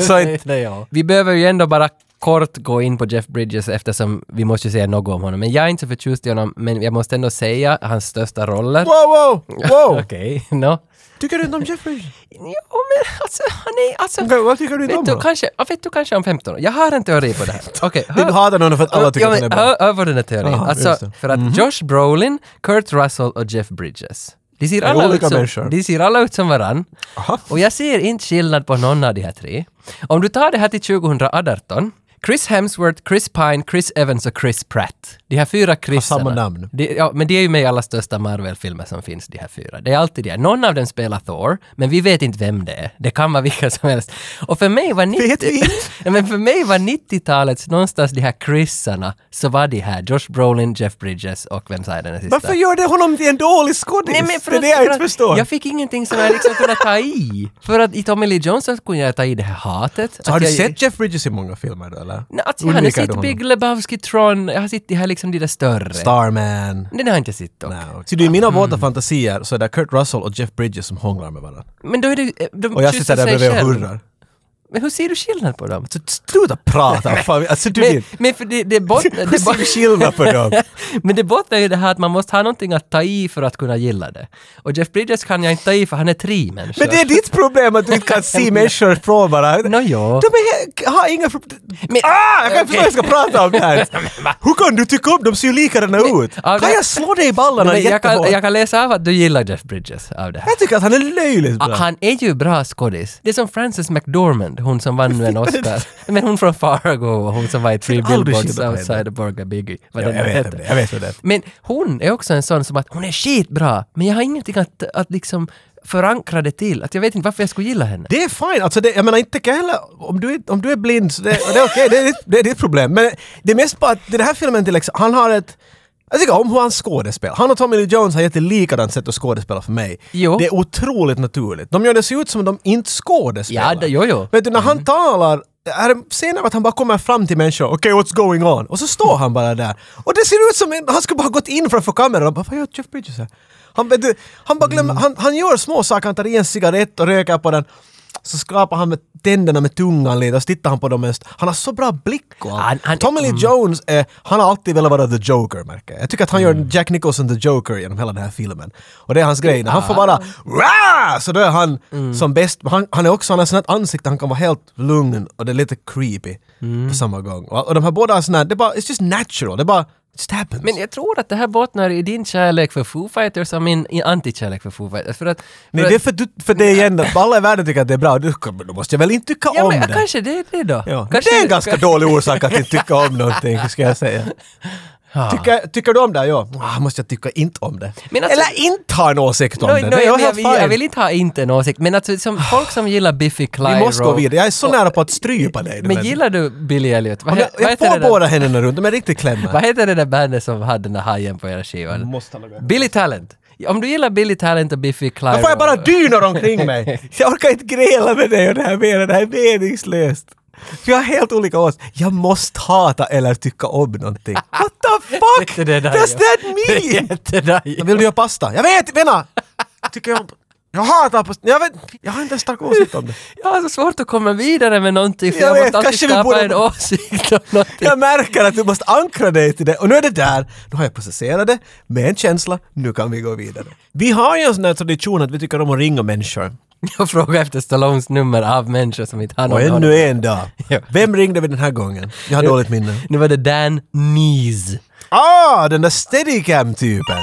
Speaker 3: Så inte,
Speaker 2: Nej, ja. Vi behöver ju ändå bara kort gå in på Jeff Bridges eftersom vi måste ju säga något om honom. Men jag är inte så förtjust i honom, men jag måste ändå säga hans största roller.
Speaker 3: wow, wow, wow.
Speaker 2: Okej, nå.
Speaker 3: Tycker du inte om Jeffrey?
Speaker 2: Jo, men alltså, han är alltså...
Speaker 3: Okej, Vad tycker du inte om
Speaker 2: Vet du,
Speaker 3: honom?
Speaker 2: kanske, ja, vet du kanske om 15 år? Jag har en teori på det här. Okej,
Speaker 3: Du
Speaker 2: hör-
Speaker 3: hatar honom för att alla tycker
Speaker 2: ja,
Speaker 3: att han är
Speaker 2: men
Speaker 3: bra.
Speaker 2: hör- Hör på den här teorin.
Speaker 3: Aha,
Speaker 2: alltså,
Speaker 3: just det. Mhm.
Speaker 2: för att Josh Brolin, Kurt Russell och Jeff Bridges. De ser,
Speaker 3: är
Speaker 2: alla
Speaker 3: olika
Speaker 2: ut
Speaker 3: människor.
Speaker 2: som, de ser alla ut som varann.
Speaker 3: Aha.
Speaker 2: Och jag ser inte skillnad på någon av de här tre. Om du tar det här till 2018, Chris Hemsworth, Chris Pine, Chris Evans och Chris Pratt. De här fyra Chrisarna.
Speaker 3: samma namn.
Speaker 2: De, ja, men det är ju med i alla största Marvel-filmer som finns, de här fyra. Det är alltid det. Någon av dem spelar Thor, men vi vet inte vem det är. Det kan vara vilka som helst. Och för mig var 90...
Speaker 3: Vet vi inte?
Speaker 2: Ja, men för mig var 90-talets någonstans de här Chrisarna, så var de här Josh Brolin, Jeff Bridges och vem sa jag den här sista?
Speaker 3: Varför gör det honom till en dålig skådis?
Speaker 2: Nej, men för
Speaker 3: det är
Speaker 2: att-
Speaker 3: det jag
Speaker 2: för
Speaker 3: inte
Speaker 2: att
Speaker 3: förstår.
Speaker 2: Jag fick ingenting som jag liksom kunde ta i. För att i Tommy Lee Johnson kunde jag ta i det här hatet.
Speaker 3: så har
Speaker 2: Att
Speaker 3: du
Speaker 2: jag,
Speaker 3: sett Jeff Bridges i många filmer då eller?
Speaker 2: Nej, alltså, jag har nu
Speaker 3: Undviker du
Speaker 2: sett
Speaker 3: honom?
Speaker 2: Big Lebowski, Tron, jag har sett de här liksom de där större.
Speaker 3: Starman.
Speaker 2: Den har jag inte sett dock.
Speaker 3: Nej, okej. Så du, i mina
Speaker 2: Mm.
Speaker 3: våta fantasier så är det Kurt Russell och Jeff Bridges som hånglar med varandra.
Speaker 2: Men då är det... eh, De
Speaker 3: Och jag
Speaker 2: kysser
Speaker 3: sitter där
Speaker 2: sig
Speaker 3: bredvid och
Speaker 2: själv.
Speaker 3: hurrar.
Speaker 2: Men hur ser du skillnad på dem?
Speaker 3: Så sluta prata! Fan, alltså du
Speaker 2: Men,
Speaker 3: vet.
Speaker 2: men för det, det, bottnar,
Speaker 3: Hur
Speaker 2: det,
Speaker 3: ser
Speaker 2: bot,
Speaker 3: du skillnad på dem?
Speaker 2: men det bottnar ju i det här att man måste ha någonting att ta i för att kunna gilla det. Och Jeff Bridges kan jag inte ta i för han är tri människor.
Speaker 3: Men det är ditt problem att du inte kan se människor från varandra.
Speaker 2: Nå, ja.
Speaker 3: De är, har inga problem.
Speaker 2: Men-
Speaker 3: Ah, jag kan inte förstå vad jag ska prata om det här. Hur kan du tycka om dem? De ser ju likadana ut.
Speaker 2: ja,
Speaker 3: Kan
Speaker 2: det-
Speaker 3: jag slå dig i ballarna
Speaker 2: Men jag,
Speaker 3: jättehårt?
Speaker 2: kan, jag kan läsa av att du gillar Jeff Bridges av det här.
Speaker 3: Jag tycker att han är löjligt
Speaker 2: Ah,
Speaker 3: bra.
Speaker 2: Han är ju bra skådis. Det är som Frances McDormand, hon som vann nu en Oscar. Men hon från Fargo och hon som var i Three
Speaker 3: aldrig
Speaker 2: Billboards
Speaker 3: skillnad på
Speaker 2: outside Borga Biggie. Vad
Speaker 3: Ja,
Speaker 2: den
Speaker 3: jag
Speaker 2: nu
Speaker 3: vet
Speaker 2: heter.
Speaker 3: det, jag vet vad det är.
Speaker 2: Men hon är också en sån som att hon är skitbra, men jag har ingenting att, att liksom förankra det till. Att jag vet inte varför jag skulle gilla henne.
Speaker 3: Det är fine, alltså det, jag menar inte kan jag heller, om du, är- om du är blind så det, det är okej, det, är ditt- det är ditt problem. Men det är mest bara att den här filmen till exempel, han har ett jag tycker om hur han skådespelar. Han och Tommy Lee Jones har gett ett likadant sätt att skådespela för mig.
Speaker 2: Jo.
Speaker 3: Det är otroligt naturligt. De gör det se ut som de inte skådespelar.
Speaker 2: Ja, det- jo, jo.
Speaker 3: Vet du, när han talar, är det scener av att han bara kommer fram till människor, okej what's going on? Och så står han bara där. Och det ser ut som en, han skulle bara ha gått in framför kameran och bara, vad gör Jeff
Speaker 2: Mm.
Speaker 3: Bridges här? Han, vet du, han bara glömmer, han, han gör små saker, han tar i en cigarett och röker på den. så skrapar han med tänderna med tungan lite och så tittar han på dem mest. Han har så bra blick och allt.
Speaker 2: Han- han-
Speaker 3: Tommy Lee Jones, eh, han har alltid velat vara the Joker märker jag. Jag tycker att han
Speaker 2: Mm.
Speaker 3: gör Jack Nicholson the Joker genom hela den här filmen. Och det är hans grej. När han får
Speaker 2: Ah.
Speaker 3: bara Rah! Så då är han
Speaker 2: Mm.
Speaker 3: som bäst. Men Han, han är också, han har sånt här ansikte, han kan vara helt lugn och det är lite creepy
Speaker 2: Mm.
Speaker 3: på samma gång. Och, och de här båda har sån här, det är bara, it's just natural. Det är bara, it happens.
Speaker 2: Men jag tror att det här bottnar i din kärlek för Foo Fighters och min i- antikärlek för Foo Fighters. För att, för
Speaker 3: Nej,
Speaker 2: att,
Speaker 3: det är för, du, för det är igen, att alla i världen tycker att det är bra. Du, men då måste jag väl inte tycka
Speaker 2: ja,
Speaker 3: om
Speaker 2: men,
Speaker 3: det?
Speaker 2: Kanske det är det då.
Speaker 3: Ja. Men
Speaker 2: Kanske
Speaker 3: det är en ganska dålig orsak att inte tycka om någonting, ska jag säga.
Speaker 2: Ja.
Speaker 3: Tycker, tycker du om det? Ja. Ah, måste jag tycka inte om det?
Speaker 2: Men alltså-
Speaker 3: Eller inte ha en åsikt om
Speaker 2: No,
Speaker 3: det?
Speaker 2: no,
Speaker 3: det är
Speaker 2: jag, jag,
Speaker 3: helt
Speaker 2: vill,
Speaker 3: fine.
Speaker 2: jag vill inte ha inte en åsikt, men alltså, som folk som gillar Biffy Clyro...
Speaker 3: Ah. Vi måste gå vidare. Jag är så nära på att strypa dig. du
Speaker 2: Men
Speaker 3: vet.
Speaker 2: gillar du Billy Elliot? Vad,
Speaker 3: Om
Speaker 2: he-
Speaker 3: jag,
Speaker 2: vad,
Speaker 3: jag
Speaker 2: heter
Speaker 3: får
Speaker 2: det där-
Speaker 3: båda händerna runt, de är riktigt klämda.
Speaker 2: vad heter det där bandet som hade den där hajen på era skivan?
Speaker 3: Måste alla gå.
Speaker 2: Billy Talent. Om du gillar Billy Talent och Biffy Clyro...
Speaker 3: Då får jag bara dynor omkring mig. Jag orkar inte gräla med dig och det här mer. Det här är meningslöst. Vi har helt olika åsikter. Jag måste hata eller tycka om någonting. What the fuck?
Speaker 2: Det är det där,
Speaker 3: Does
Speaker 2: ja.
Speaker 3: that
Speaker 2: Det
Speaker 3: mean?
Speaker 2: är jättedajigt.
Speaker 3: Vill du göra pasta? Jag vet! Vänta! Tycker jag om... Jag hatar pasta. Jag, vet, jag har inte en stark åsikt om det.
Speaker 2: Jag har så svårt att komma vidare med någonting för
Speaker 3: Jag
Speaker 2: jag,
Speaker 3: vet,
Speaker 2: måste alltid
Speaker 3: kanske vi
Speaker 2: skapa
Speaker 3: borde-
Speaker 2: en åsikt om någonting.
Speaker 3: Jag märker att du måste ankra dig till det. Och nu är det där. Nu har jag processerat det med en känsla. Nu kan vi gå vidare. Vi har ju en sån här tradition att vi tycker om att ringa människor.
Speaker 2: Jag frågar efter Stallones nummer av människor som inte har någon
Speaker 3: Och
Speaker 2: aning.
Speaker 3: ännu en dag.
Speaker 2: Ja.
Speaker 3: Vem ringde vi den här gången? Jag har dåligt minne.
Speaker 2: Nu var det Dan Nees.
Speaker 3: Ah, den där steadicam-typen!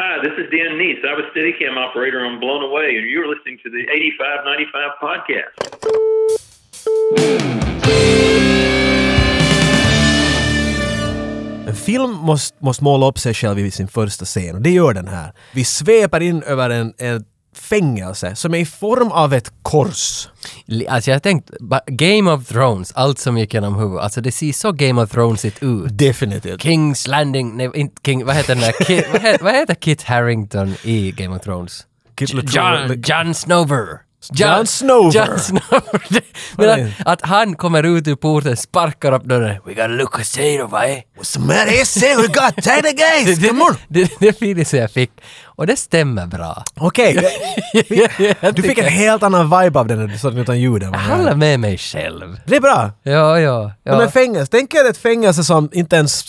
Speaker 4: Hi, this is Dan Neese. I was Steadicam operator on Blown Away, and you're listening to the 8595 podcast.
Speaker 3: En film måste, måste måla upp sig själv i sin första scen och det gör den här. Vi sveper in över en, en fängelse som är i form av ett kors.
Speaker 2: Li- Alltså jag har tänkt, ba- Game of Thrones, allt som gick genom huvudet. Alltså det ser så Game of Thronesigt ut.
Speaker 3: Definitivt.
Speaker 2: Kings Landing, nej inte King, vad heter den där, Ki, vad, heter, vad heter Kit Harington i Game of Thrones?
Speaker 3: Kit
Speaker 2: J-
Speaker 3: Latrell-
Speaker 2: John, John Snover.
Speaker 3: Jon Snover.
Speaker 2: John Snover.
Speaker 3: Vad
Speaker 2: Men
Speaker 3: är
Speaker 2: att, att han kommer ut ur porten, sparkar upp dörren. We got Lucas Sadov, eh?
Speaker 3: What's the matter? Say we got tighter guys! Come on!
Speaker 2: Det, det är finusen jag fick. Och det stämmer bra.
Speaker 3: Okej, du fick en helt annan vibe av den när du sa den utan ljuden.
Speaker 2: Jag håller med mig själv.
Speaker 3: Det är bra!
Speaker 2: Ja, ja,
Speaker 3: Ja. Men
Speaker 2: ja.
Speaker 3: fängelse, tänk er ett fängelse som inte ens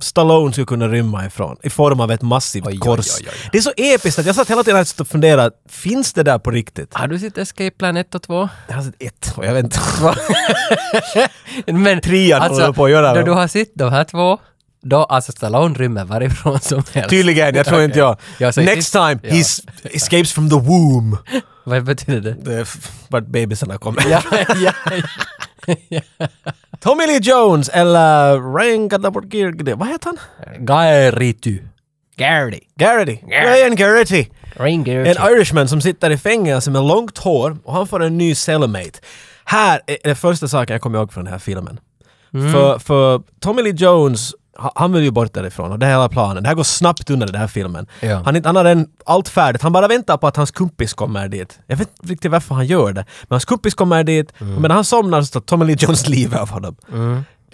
Speaker 3: Stallone skulle kunna rymma ifrån i form av ett massivt
Speaker 2: oj,
Speaker 3: kors.
Speaker 2: oj, oj.
Speaker 3: Det är så episkt att jag satt hela tiden och funderade, finns det där på riktigt?
Speaker 2: Har du sett Escape Plan 1 och 2?
Speaker 3: Jag har sett alltså ett och jag vet inte.
Speaker 2: Men,
Speaker 3: Trean håller på att göra
Speaker 2: Då
Speaker 3: det.
Speaker 2: du har sett de här två, då alltså Stallone rymmer varifrån som helst.
Speaker 3: Tydligen, jag tror inte jag.
Speaker 2: Ja, så-
Speaker 3: Next time,
Speaker 2: Ja.
Speaker 3: he escapes from the womb.
Speaker 2: Vad betyder det?
Speaker 3: Det är f- vart bebisarna kommer.
Speaker 2: ja, ja,
Speaker 3: Tommy Lee Jones eller Ryan Gaddaborgir, vad heter han?
Speaker 2: Gairitu. Garity.
Speaker 3: Garrity. Ryan Garrity.
Speaker 2: Rain Garity.
Speaker 3: En irishman som sitter i fängelse med långt hår och han får en ny cellmate. Här är den första saken jag kommer ihåg från den här filmen.
Speaker 2: Mm.
Speaker 3: För, för Tommy Lee Jones, ha- han vill ju bort därifrån och det här är hela planen. Det här går snabbt under den här filmen.
Speaker 2: Ja.
Speaker 3: Han, inte- han har en, allt färdigt, han bara väntar på att hans kumpis kommer dit. Jag vet inte riktigt varför han gör det. Men hans kumpis kommer dit
Speaker 2: Mm.
Speaker 3: och medan han somnar så tar Tommy Lee Jones livet av honom.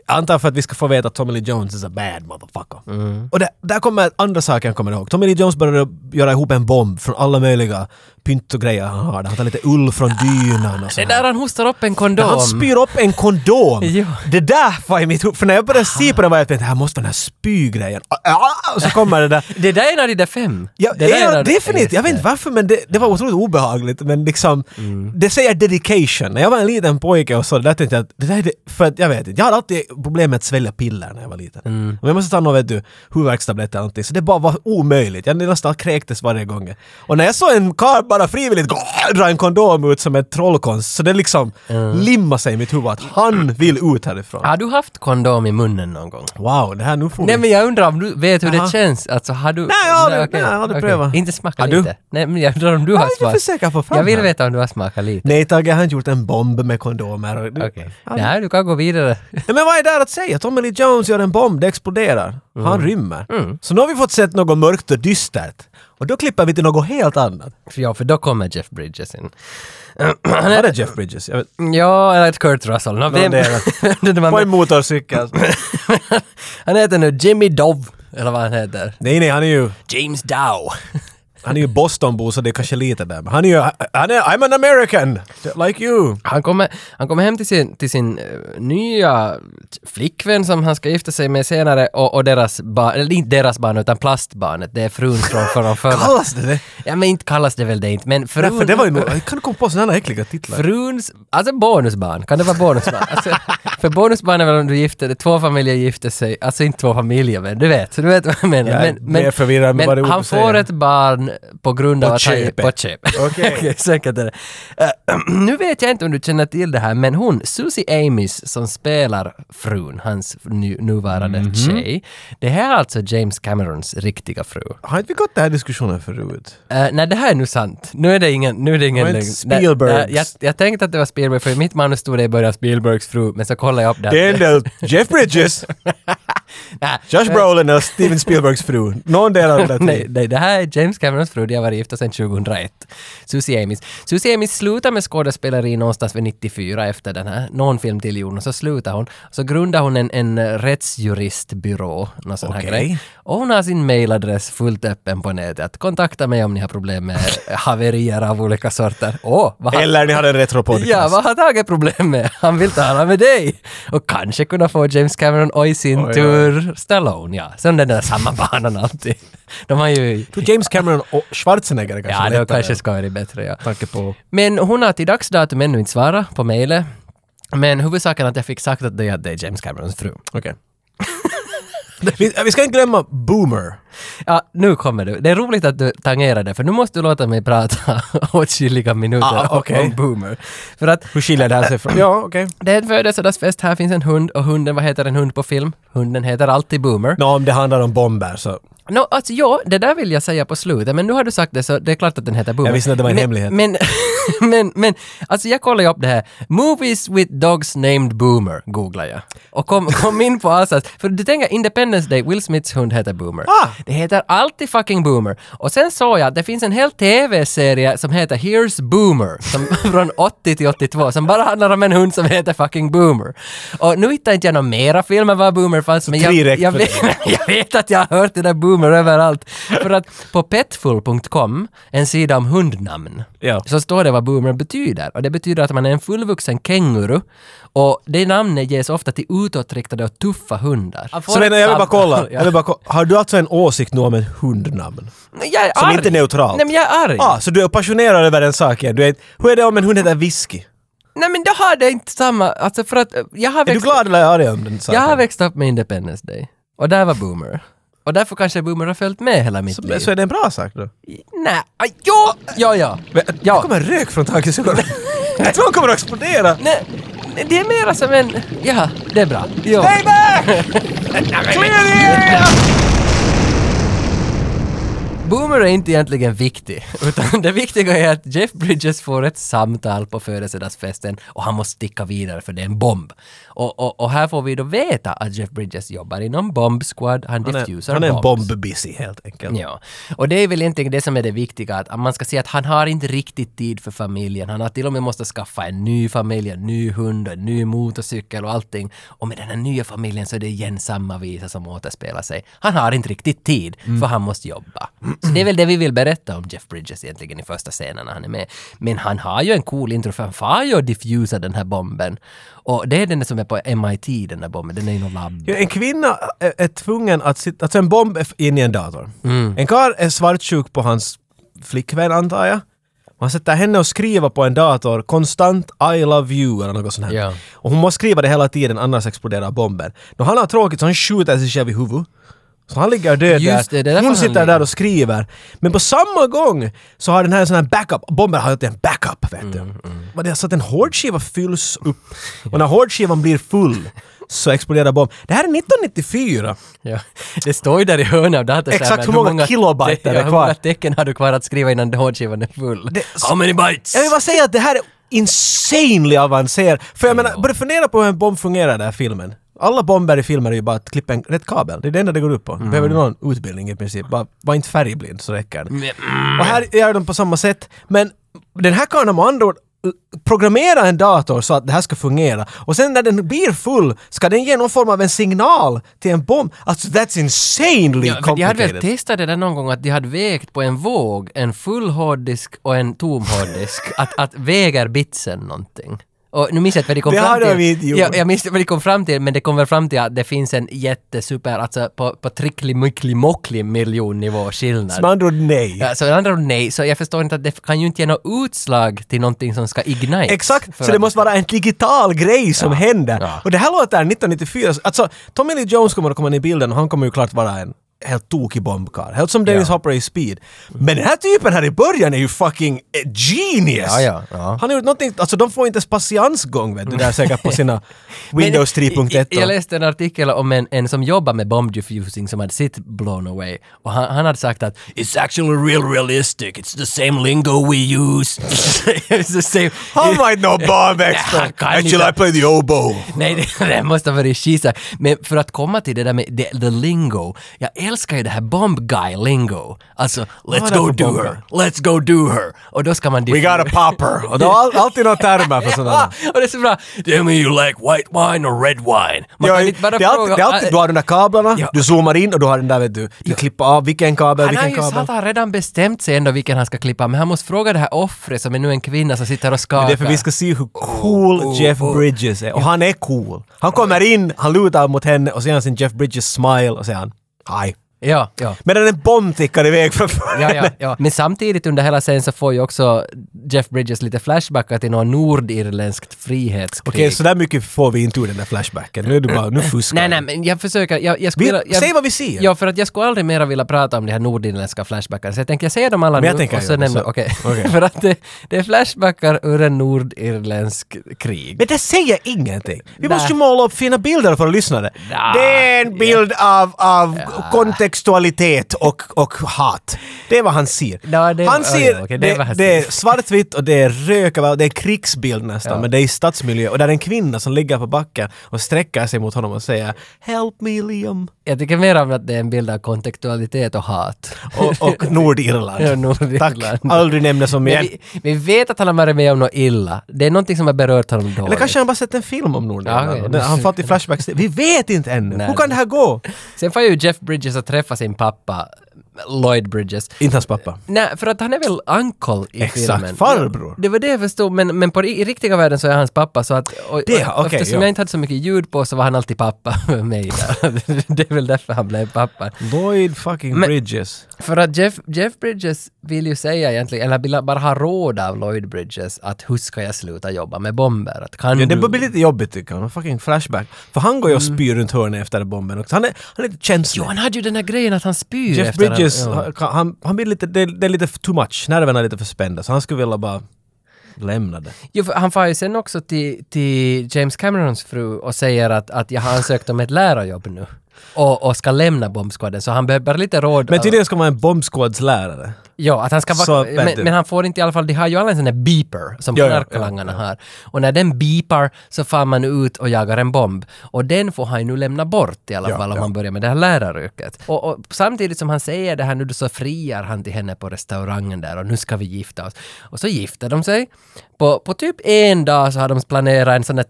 Speaker 3: Jag antar för att vi ska få veta att Tommy Lee Jones is a bad motherfucker.
Speaker 2: Mm.
Speaker 3: Och det, där kommer andra saker jag kommer ihåg. Tommy Lee Jones började göra ihop en bomb från alla möjliga pynt och grejer han har. Han tar lite ull från dynan och
Speaker 2: det
Speaker 3: sånt.
Speaker 2: där han hostar upp en kondom.
Speaker 3: Han spyr upp en kondom!
Speaker 2: Jo.
Speaker 3: Det där var i mitt huvud. För när jag började se på den var jag tänkte, här måste vara den här spygrejen. Ah, ah, Och så kommer det där.
Speaker 2: Det där är en av de där fem.
Speaker 3: Ja,
Speaker 2: det där
Speaker 3: ja,
Speaker 2: en av de-
Speaker 3: definitivt. Jag vet inte varför men det, det var otroligt obehagligt. Men liksom,
Speaker 2: Mm.
Speaker 3: det säger dedication. När jag var en liten pojke och så, det där tänkte jag att det där är det, för att jag vet inte. Jag hade alltid problem med att svälja piller när jag var liten.
Speaker 2: Mm.
Speaker 3: Om jag måste ta någon, vet du, huvudvärkstabletter eller någonting. Så det bara var omöjligt. Jag nästan kräktes varje gång. Och när jag såg en karl bara frivilligt dra en kondom ut som en trollkonst, så det liksom
Speaker 2: Mm.
Speaker 3: limmade sig i mitt huvud att han vill ut härifrån.
Speaker 2: Har du haft kondom i munnen någon gång?
Speaker 3: Wow, det här nu får vi-
Speaker 2: Ah. Nej men jag undrar om du vet hur
Speaker 3: Jaha.
Speaker 2: det känns? Alltså har du...
Speaker 3: Nej, jag har aldrig-
Speaker 2: okej,
Speaker 3: nej, jag har aldrig
Speaker 2: okej.
Speaker 3: prövat.
Speaker 2: Inte smakat
Speaker 3: Har du?
Speaker 2: lite? Nej men jag undrar om du
Speaker 3: Jag
Speaker 2: har
Speaker 3: är inte för
Speaker 2: smakat.
Speaker 3: säker på fram
Speaker 2: Jag vill
Speaker 3: här.
Speaker 2: veta om du har smakat lite.
Speaker 3: Nej Tage, jag har inte gjort en bomb med kondomer. Och-
Speaker 2: Okej. Nej, du kan gå vidare.
Speaker 3: Nej, men vad är där att säga? Tommy Lee Jones gör en bomb, det exploderar. Han rymmer. Så nu har vi fått sett något mörkt och dystert. Och då klipper vi till något helt annat.
Speaker 2: För ja, för då kommer Jeff Bridges in.
Speaker 3: Var det Jeff Bridges? Jag vet.
Speaker 2: Ja, eller ett Kurt Russell. Nå, vem,
Speaker 3: det är det.
Speaker 2: vem det var
Speaker 3: På en
Speaker 2: med.
Speaker 3: motorcykel.
Speaker 2: han heter nu Jimmy Dove, eller vad han heter.
Speaker 3: nej, nej, han är ju...
Speaker 2: James Dow.
Speaker 3: Han är ju Bostonbo så det är kanske lite där. Men han är ju... Han är, I'm an American! Like you!
Speaker 2: Han kommer, han kommer hem till sin, till sin eh, nya flickvän som han ska gifta sig med senare och, och deras barn, eller inte deras barn utan plastbarnet, det är frun från från förra.
Speaker 3: Kallas det det?
Speaker 2: Ja men inte kallas det väl det inte, men frun...
Speaker 3: Därför det var ju nog... Kan du komma på sådana här äckliga titlar?
Speaker 2: Fruns, alltså bonusbarn, kan det vara bonusbarn? Alltså, för bonusbarn är väl om du gifter dig, två familjer gifter sig, alltså inte två familjer men du vet, du vet vad jag menar.
Speaker 3: Jag är
Speaker 2: men men,
Speaker 3: mer förvirrad med
Speaker 2: men
Speaker 3: vad det är
Speaker 2: han
Speaker 3: du säger.
Speaker 2: får ett barn på grund av
Speaker 3: På
Speaker 2: att han är
Speaker 3: köpet.
Speaker 2: på köpet.
Speaker 3: Okej.
Speaker 2: Säkert är det. Eh, nu vet jag inte om du känner till det här men hon, Susie Amis som spelar frun, hans nu, nuvarande
Speaker 3: Mhm.
Speaker 2: tjej, det här är alltså James Camerons riktiga fru.
Speaker 3: Har inte vi gått den här diskussionen förut?
Speaker 2: Eh, nej, det här är nu sant. Nu är det ingen, nu är det ingen
Speaker 3: Var det
Speaker 2: lögn.
Speaker 3: inte Spielbergs?
Speaker 2: Nej, nej, jag, jag tänkte att det var Spielberg, för i mitt manus stod det i början Spielbergs fru, men så kollade jag upp det.
Speaker 3: Det är en del Jeff Bridges,
Speaker 2: Nej,
Speaker 3: Josh Brolin och Steven Spielbergs fru. Någon del av det.
Speaker 2: nej,
Speaker 3: Nej.
Speaker 2: nej, det här är James Camerons fru, de har varit gifta sedan 2001. Susie Amis. Susie Amis slutade med skådespeleri någonstans vid 94 efter den här, någon film till gjorde hon, och så slutade hon. Så grundade hon en, en eh, rättsjuristbyrå, någon sån här
Speaker 3: Okej.
Speaker 2: grej. Och hon har sin mailadress fullt öppen på nätet. Att Kontakta mig om ni har problem med haverier av olika sorter. Åh, vad har-
Speaker 3: Eller ni hade en retropodcast.
Speaker 2: Ja, vad har Tage problem med? Han vill tala med dig! Och kanske kunna få James Cameron och i sin
Speaker 3: Oj, oj.
Speaker 2: tur Stallone, ja. Sen den där samma banan alltid. De har ju...
Speaker 3: Jag tror James Cameron och Schwarzenegger är kanske
Speaker 2: Ja, det
Speaker 3: lättare.
Speaker 2: kanske ska vara det bättre, ja.
Speaker 3: Tanke på...
Speaker 2: Men hon har till dags datum ännu inte svarat på mejlet. Men huvudsaken är att jag fick sagt att det är- att det är James Camerons fru.
Speaker 3: Okej. vi, vi ska inte glömma Boomer.
Speaker 2: Ja, nu kommer du. Det är roligt att du tangerar det, för nu måste du låta mig prata åtskilliga minuter
Speaker 3: Ah,
Speaker 2: om-
Speaker 3: okej.
Speaker 2: om Boomer. För att
Speaker 3: Hur skiljer det här sig från... Ja, okej.
Speaker 2: det är en födelsedagsfest, här finns en hund och hunden, vad heter en hund på film? Hunden heter alltid Boomer.
Speaker 3: Nå, om det handlar om bomber så...
Speaker 2: No, alltså ja, det där vill jag säga på slutet, men nu har du sagt det så det är klart att den heter Boomer.
Speaker 3: Jag visste inte att det var en
Speaker 2: men,
Speaker 3: hemlighet.
Speaker 2: Men, men, men, alltså jag kollade ju upp det här. Movies with dogs named Boomer, googlade jag. Och kom, kom in på Asas. För du tänker Independence Day, Will Smiths hund heter Boomer.
Speaker 3: Ah!
Speaker 2: Det heter alltid fucking Boomer. Och sen såg jag att det finns en hel TV-serie som heter Here's Boomer, som, från 80 till 82, som bara handlar om en hund som heter fucking Boomer. Och nu hittar inte jag några mera filmer var Boomer fanns, men
Speaker 3: tre
Speaker 2: jag,
Speaker 3: räcker
Speaker 2: jag,
Speaker 3: för
Speaker 2: vet, jag vet att jag har hört det där Boomer överallt. För att på petfull.com, en sida om hundnamn,
Speaker 3: Ja.
Speaker 2: så står det vad Boomer betyder. Och det betyder att man är en fullvuxen känguru. Och det namnet ges ofta till utåtriktade och tuffa hundar.
Speaker 3: Så Reine, jag vill bara kolla. Jag
Speaker 2: Ja.
Speaker 3: vill bara kolla. Har du alltså en åsikt nu om ett hundnamn?
Speaker 2: Jag är
Speaker 3: Som
Speaker 2: arg.
Speaker 3: inte är neutralt?
Speaker 2: Nej men jag är arg.
Speaker 3: Ah, så du är passionerad över en sak igen. Du är, hur är det om en hund heter Whisky?
Speaker 2: Nej men då har det inte samma, alltså för att eh, jag har
Speaker 3: Är du
Speaker 2: växt,
Speaker 3: glad eller arg om den
Speaker 2: jag
Speaker 3: saken?
Speaker 2: har växt upp med Independence Day. Och där var Boomer. Och därför kanske Boomer har följt med hela mitt liv.
Speaker 3: så, så är det en bra sak då?
Speaker 2: Nej, aj, ja, ja, ja.
Speaker 3: Det
Speaker 2: ja.
Speaker 3: kommer rök från Tages ögon. Jag tror han kommer att explodera.
Speaker 2: Nej, nej, det är mera som en... Ja, det är bra. Ja.
Speaker 3: Stay back! Clear the area!
Speaker 2: Boomer är inte egentligen viktig, utan det viktiga är att Jeff Bridges får ett samtal på födelsedagsfesten och han måste sticka vidare för det är en bomb. Och, och, och här får vi då veta att Jeff Bridges jobbar inom Bomb Squad, han,
Speaker 3: Han är,
Speaker 2: diffuser
Speaker 3: han är en
Speaker 2: bombs.
Speaker 3: bomb-busy helt enkelt.
Speaker 2: Ja, och det är väl egentligen det som är det viktiga, att man ska se att han har inte riktigt tid för familjen. Han har till och med måste skaffa en ny familj, en ny hund, en ny motorcykel och allting. Och med den här nya familjen så är det igen samma visa som återspelar sig. Han har inte riktigt tid, för han måste jobba. Så det är väl det vi vill berätta om Jeff Bridges egentligen i första scenen när han är med. Men han har ju en cool intro, för han far ju och diffusar den här bomben. Och det är den som är på MIT, den där bomben, den är i något labb.
Speaker 3: Ja, En kvinna är, är tvungen att sitta... Alltså en bomb är f- in i en dator. En karl är svartsjuk på hans flickvän antar jag. Man sätter henne och skriver på en dator konstant I love you eller något sånt här.
Speaker 2: Ja.
Speaker 3: Och hon måste skriva det hela tiden annars exploderar bomben. När han har tråkigt så han skjuter sig själv i huvudet. Så han ligger död
Speaker 2: Just
Speaker 3: där.
Speaker 2: det, det är därför
Speaker 3: hon
Speaker 2: han
Speaker 3: sitter
Speaker 2: ligger.
Speaker 3: där och skriver. Men på samma gång så har den här en sån här backup. Bomben har alltid en backup vet du.
Speaker 2: Mm,
Speaker 3: Men det är så att en hårdskiva fylls upp. Och när hårdskivan blir full så exploderar bomben. Det här är 1994.
Speaker 2: Ja. Det står ju där i hörnet av datorskärmen.
Speaker 3: Exakt hur många kilobyte
Speaker 2: te-
Speaker 3: är det
Speaker 2: Hur
Speaker 3: kvar?
Speaker 2: många tecken har du kvar att skriva innan hårdskivan är full?
Speaker 3: Det-
Speaker 2: How many bytes?
Speaker 3: Jag vill bara säga att det här är insanely avancerat. För jag menar, börja fundera på hur en bomb fungerar i den här filmen. Alla bomber i filmer är ju bara att klippa en rätt kabel. Det är det enda det går ut på.
Speaker 2: Mm.
Speaker 3: Behöver du någon utbildning i princip? Bara, var inte färgblind så räcker det.
Speaker 2: Mm.
Speaker 3: Och här gör de på samma sätt. Men den här karln har med andra ord programmera en dator så att det här ska fungera. Och sen när den blir full ska den ge någon form av en signal till en bomb. Alltså that's insanely
Speaker 2: Ja, men jag hade väl
Speaker 3: complicated.
Speaker 2: testat det där någon gång att de hade vägt på en våg, en full hårddisk och en tom hårddisk, att, att väger bitsen någonting? Och nu minns jag inte vad de kom
Speaker 3: Det
Speaker 2: fram
Speaker 3: hade
Speaker 2: till.
Speaker 3: vi inte gjort.
Speaker 2: Ja, jag minns inte vad de kom fram till, men det kom väl fram till att det finns en jättesuper, alltså på, på trickli-myckli-mockli miljonnivå skillnad.
Speaker 3: Så med andra ord, nej.
Speaker 2: Ja, så med andra ord nej, så jag förstår inte att det kan ju inte ge något utslag till någonting som ska ignite.
Speaker 3: Exakt,
Speaker 2: För
Speaker 3: så
Speaker 2: att-
Speaker 3: det måste vara en digital grej som händer.
Speaker 2: Ja.
Speaker 3: Och det här låter 1994, alltså Tommy Lee Jones kommer att komma in i bilden och han kommer ju klart vara en helt tokig bombkarl. Helt som Dennis
Speaker 2: Ja.
Speaker 3: Hopper i Speed. Men den här typen här i början är ju fucking eh, genius!
Speaker 2: Ja, ja, ja.
Speaker 3: Han har gjort någonting, alltså de får inte ens patiensgång vet du, där säkert på sina Windows
Speaker 2: Men, jag-
Speaker 3: 3.1.
Speaker 2: Jag
Speaker 3: och-
Speaker 2: läste en artikel om en, en som jobbar med bomb diffusing som hade sitt blown away. Och han, han hade sagt att “It's actually real realistic, it's the same lingo we use”. it's the same.
Speaker 3: How am I no bomb
Speaker 2: han
Speaker 3: expert?
Speaker 2: kan
Speaker 3: Actually
Speaker 2: inte.
Speaker 3: I play the oboe.
Speaker 2: Nej, det, det måste ha varit skisa. Men för att komma till det där med the, the lingo. Jag älskar ju det här bomb guy lingo. Alltså,
Speaker 3: är
Speaker 2: let's
Speaker 3: det
Speaker 2: go
Speaker 3: för
Speaker 2: do
Speaker 3: bomb
Speaker 2: her, let's go do her. Och då ska man...
Speaker 3: We got a popper. Och det var all, alltid några termer för sådana.
Speaker 2: Ja, och det är så bra. “Do you like white wine or red wine?” Man Ah,
Speaker 3: Ja,
Speaker 2: kan
Speaker 3: det,
Speaker 2: inte bara
Speaker 3: är alltid, det är alltid, du har de där kablarna,
Speaker 2: Ja.
Speaker 3: du zoomar in och du har den där vet du, du klipper av vilken kabel,
Speaker 2: Han har
Speaker 3: vilken
Speaker 2: ju sagt
Speaker 3: kabel.
Speaker 2: att han redan bestämt sig ändå vilken han ska klippa, men han måste fråga det här offret som är nu en kvinna som sitter och skakar.
Speaker 3: Det är för vi ska se hur cool
Speaker 2: oh,
Speaker 3: Jeff
Speaker 2: oh.
Speaker 3: Bridges är. Och han är cool. Han kommer in, han lutar mot henne och ser han sin Jeff Bridges smile och säger han Hi.
Speaker 2: Ja, ja.
Speaker 3: Medan en bomb tickar iväg framför
Speaker 2: Ja, ja,
Speaker 3: henne.
Speaker 2: ja. Men samtidigt under hela scenen så får ju också Jeff Bridges lite flashbackar till något nordirländskt frihetskrig.
Speaker 3: Okej, så där mycket får vi inte ur den där flashbacken. Nu är du bara, nu fuskar
Speaker 2: Nej,
Speaker 3: du.
Speaker 2: nej, men jag försöker... Jag, jag
Speaker 3: Vi-
Speaker 2: skulle, jag,
Speaker 3: säg vad vi ser.
Speaker 2: Ja, för att jag skulle aldrig mera vilja prata om de här nordirländska flashbackarna. Så jag tänker, jag säger dem alla
Speaker 3: Men jag
Speaker 2: nu
Speaker 3: tänker
Speaker 2: och så
Speaker 3: göra det,
Speaker 2: nämner...
Speaker 3: så-
Speaker 2: Okej.
Speaker 3: okej.
Speaker 2: för att det, det är flashbackar ur en nordirländsk krig.
Speaker 3: Men det säger ingenting. Vi
Speaker 2: Nä.
Speaker 3: måste ju måla upp fina bilder för lyssnare.
Speaker 2: Nä.
Speaker 3: Det är en bild av, av kontextualitet och, och hat. Det är vad han ser.
Speaker 2: Ja, det-
Speaker 3: han
Speaker 2: ja,
Speaker 3: ser,
Speaker 2: ja, okej, det
Speaker 3: det,
Speaker 2: är
Speaker 3: det,
Speaker 2: vad han
Speaker 3: är
Speaker 2: ser.
Speaker 3: svartvitt och det är rök överallt. det är krigsbild nästan, men det är i stadsmiljö. Och där är en kvinna som ligger på backen och sträcker sig mot honom och säger “Help me Liam”
Speaker 2: Jag tycker mer om att det är en bild av kontextualitet och hat.
Speaker 3: och, och Nordirland.
Speaker 2: Ja, Nordirland.
Speaker 3: Tack, aldrig nämnas om
Speaker 2: Men
Speaker 3: igen.
Speaker 2: vi, vi vet att han har varit med om något illa. Det är någonting som har berört honom dåligt.
Speaker 3: Eller kanske han bara sett en film om Nordirland.
Speaker 2: Ja, okej.
Speaker 3: och den- Han fått i flashbacks. Vi vet inte ännu.
Speaker 2: Nej.
Speaker 3: Hur kan det här gå?
Speaker 2: Sen får ju Jeff Bridges att träffa sin pappa, Lloyd Bridges.
Speaker 3: Inte hans pappa.
Speaker 2: Nej, för att han är väl uncle i
Speaker 3: Exakt,
Speaker 2: filmen.
Speaker 3: farbror.
Speaker 2: Det var det jag förstod, men, men på, i, i riktiga världen så är hans pappa så att... Och,
Speaker 3: Det,
Speaker 2: och-
Speaker 3: okej,
Speaker 2: eftersom
Speaker 3: ja.
Speaker 2: jag inte hade så mycket ljud på så var han alltid pappa för mig där. det är väl därför han blev pappa.
Speaker 3: Lloyd fucking
Speaker 2: Men-
Speaker 3: Bridges.
Speaker 2: För att Jeff, Jeff Bridges vill ju säga egentligen, eller vill bara ha råd av Lloyd Bridges att hur ska jag sluta jobba med bomber? Att kan
Speaker 3: Ja, det
Speaker 2: du-
Speaker 3: börjar bli lite jobbigt tycker jag. Han har Fucking flashback. För han går ju och
Speaker 2: Mm.
Speaker 3: spyr runt hörnet efter bomben också. Han är, han är lite känslig.
Speaker 2: Jo, han hade ju den här grejen att han spyr
Speaker 3: Jeff
Speaker 2: efter
Speaker 3: Bridges,
Speaker 2: Han, ja.
Speaker 3: han, han, han blir lite, det, det är lite too much. Nerverna är lite för spända. Så han skulle vilja bara lämna det.
Speaker 2: Jo, för han far ju sen också till, till James Camerons fru och säger att, att jag har ansökt om ett lärarjobb nu. Och, och ska lämna bombskåden, så han behöver bara lite råd.
Speaker 3: Men tydligen ska man vara en bombskådslärare.
Speaker 2: Ja, att han ska
Speaker 3: Så,
Speaker 2: vara...
Speaker 3: vet du.
Speaker 2: Men, men han får inte i alla fall... De har ju alla en sån där beeper som
Speaker 3: Ja, ja,
Speaker 2: knarklangarna har. Och när den beepar så far man ut och jagar en bomb. Och den får han ju nu lämna bort i alla
Speaker 3: Ja,
Speaker 2: fall om
Speaker 3: ja.
Speaker 2: han börjar med det här läraryrket. Och, och samtidigt som han säger det här nu så friar han till henne på restaurangen där och nu ska vi gifta oss. Och så gifter de sig. På, på typ en dag så har de planerat en sån där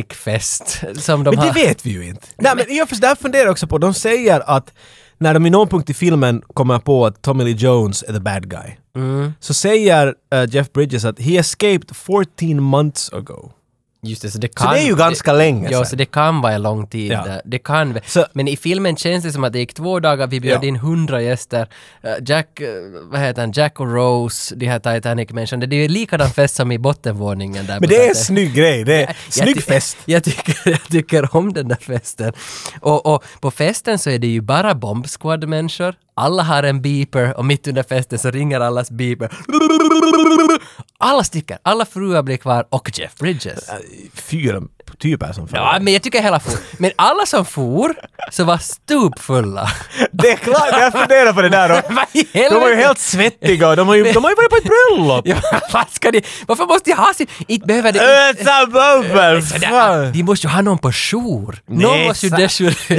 Speaker 2: Titanic-fest som de
Speaker 3: Men det
Speaker 2: har...
Speaker 3: vet vi ju inte. Nej men jag för, där funderar jag också på, de säger att när de i någon punkt i filmen kommer på att Tommy Lee Jones är the bad guy.
Speaker 2: Mm.
Speaker 3: Så säger eh, Jeff Bridges att he escaped 14 months ago.
Speaker 2: Just det, så det
Speaker 3: Så
Speaker 2: kan...
Speaker 3: det är ju ganska länge
Speaker 2: Ja,
Speaker 3: sedan.
Speaker 2: så det kan vara en lång tid.
Speaker 3: Ja.
Speaker 2: där. Det kan. vä-
Speaker 3: Så-
Speaker 2: men i filmen känns det som att det gick två dagar, vi bjöd
Speaker 3: Ja.
Speaker 2: in hundra gäster. Eh, Jack, eh, vad heter han, Jack och Rose, de här Titanic-människorna. Det är ju likadan fest som i bottenvåningen där. på
Speaker 3: Men det är en
Speaker 2: Titanic.
Speaker 3: snygg grej. Det är
Speaker 2: Jag
Speaker 3: snygg
Speaker 2: ty-
Speaker 3: fest.
Speaker 2: Jag tycker, jag tycker om den där festen. Och, och på festen så är det ju bara Bomb Squad-människor. Alla har en beeper och mitt under festen så ringer allas beeper. Alla sticker, alla fruar blir kvar och Jeff Bridges.
Speaker 3: Fyra typer som fan.
Speaker 2: Ja, men jag tycker hela for. Men alla som for, så var stupfulla.
Speaker 3: Det är klart, jag funderar på det där också.
Speaker 2: Vad i
Speaker 3: De
Speaker 2: helvete?
Speaker 3: var ju helt svettiga och de har ju, de har ju varit på ett bröllop!
Speaker 2: Ja, vad ska de... Varför måste de ha sin... Inte behöver de...
Speaker 3: Ösa bubbel!
Speaker 2: Sådär,
Speaker 3: Äh, fan.
Speaker 2: De måste ju ha någon på jour. Någon
Speaker 3: Nej,
Speaker 2: måste ju
Speaker 3: sa-
Speaker 2: dessutom...
Speaker 3: Jag,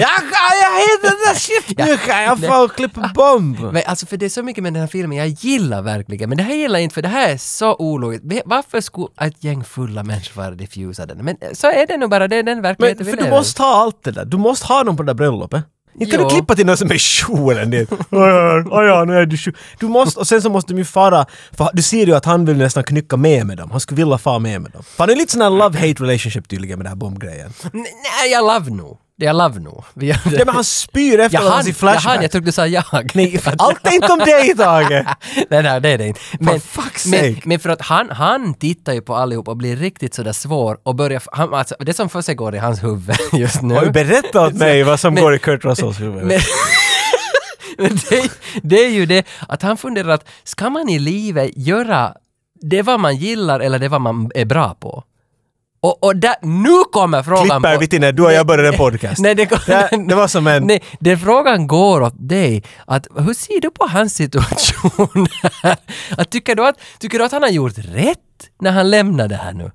Speaker 3: jag heter den där skiftnyckeln! Jag får klippa bomb!
Speaker 2: Men alltså för det är så mycket med den här filmen jag gillar verkligen, men det här gillar jag inte för det här är så ologiskt. Men Varför skulle ett gäng fulla människor vara diffusade? Men eh, så är det nu bara, det är den verkligheten
Speaker 3: Men
Speaker 2: vi
Speaker 3: för du
Speaker 2: lever i.
Speaker 3: måste ha allt det där. Du måste ha någon på det där bröllopet. Inte kan
Speaker 2: Jo.
Speaker 3: du klippa till någon som är kjolen dit. Oj, oj, oj, oj, nu är du tjo. Du måste, och sen så måste de ju fara, för du ser ju att han vill nästan knycka med med dem. Han skulle vilja fara med med dem. För han är lite sån här love-hate relationship tydligen med den här bombgrejen.
Speaker 2: N- Nej, jag love nu. Det är jag love nu. Vi gör det.
Speaker 3: Ja men han spyr efter
Speaker 2: jag
Speaker 3: honom
Speaker 2: hann,
Speaker 3: i
Speaker 2: jag hann, jag
Speaker 3: Flashback.
Speaker 2: trodde du sa jag.
Speaker 3: Nej, allt är inte om dig Tage!
Speaker 2: nej, nej, det är det inte. Men,
Speaker 3: fuck's
Speaker 2: men,
Speaker 3: sake.
Speaker 2: men för att han, han tittar ju på allihop och blir riktigt sådär svår och börjar, han, alltså, det som försiggår i hans huvud just nu.
Speaker 3: Oj, berätta åt mig vad som
Speaker 2: Men-
Speaker 3: går i Kurt Russells huvud.
Speaker 2: Men, men det, det är ju det att han funderar att ska man i livet göra det vad man gillar eller det vad man är bra på? Och, och där, nu kommer frågan
Speaker 3: Klipper
Speaker 2: på...
Speaker 3: vi till när du och jag började en podcast.
Speaker 2: Nej, det, kom-
Speaker 3: Det- det var som en-
Speaker 2: Nej, den frågan går åt dig. Att, hur ser du på hans situation? här? att, tycker, du att, tycker du att han har gjort rätt när han lämnar det här nu?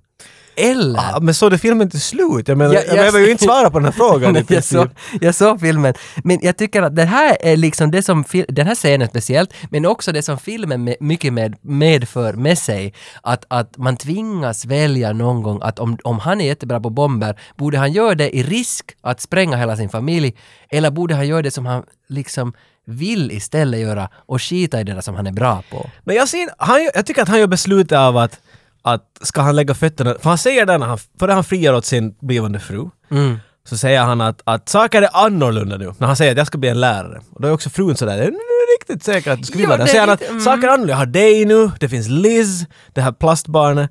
Speaker 2: Eller?
Speaker 3: Ah, men såg du filmen till slut? Jag menar,
Speaker 2: Jag-
Speaker 3: jag,
Speaker 2: jag-
Speaker 3: behöver ju inte svara på den här frågan. i
Speaker 2: Nej, jag,
Speaker 3: princip.
Speaker 2: såg, jag såg filmen. Men jag tycker att det här är liksom det som, fil- den här scenen speciellt, men också det som filmen med, mycket med, medför med sig, att, att man tvingas välja någon gång att om, om han är jättebra på bomber, borde han göra det i risk att spränga hela sin familj, eller borde han göra det som han liksom vill istället göra och skita i det där som han är bra på?
Speaker 3: Men jag, ser, han, jag tycker att han gör beslutet av att, att ska han lägga fötterna... För han säger det när han, före han friar åt sin blivande fru.
Speaker 2: Mm.
Speaker 3: Så säger han att, att saker är annorlunda nu. När han säger att jag ska bli en lärare. Och då är också frun sådär, är du riktigt säker att du ska bli
Speaker 2: Ja, det
Speaker 3: lärare?
Speaker 2: är
Speaker 3: säger han att
Speaker 2: lite- mm.
Speaker 3: saker är annorlunda. Jag har dig nu, det finns Liz, det här plastbarnet.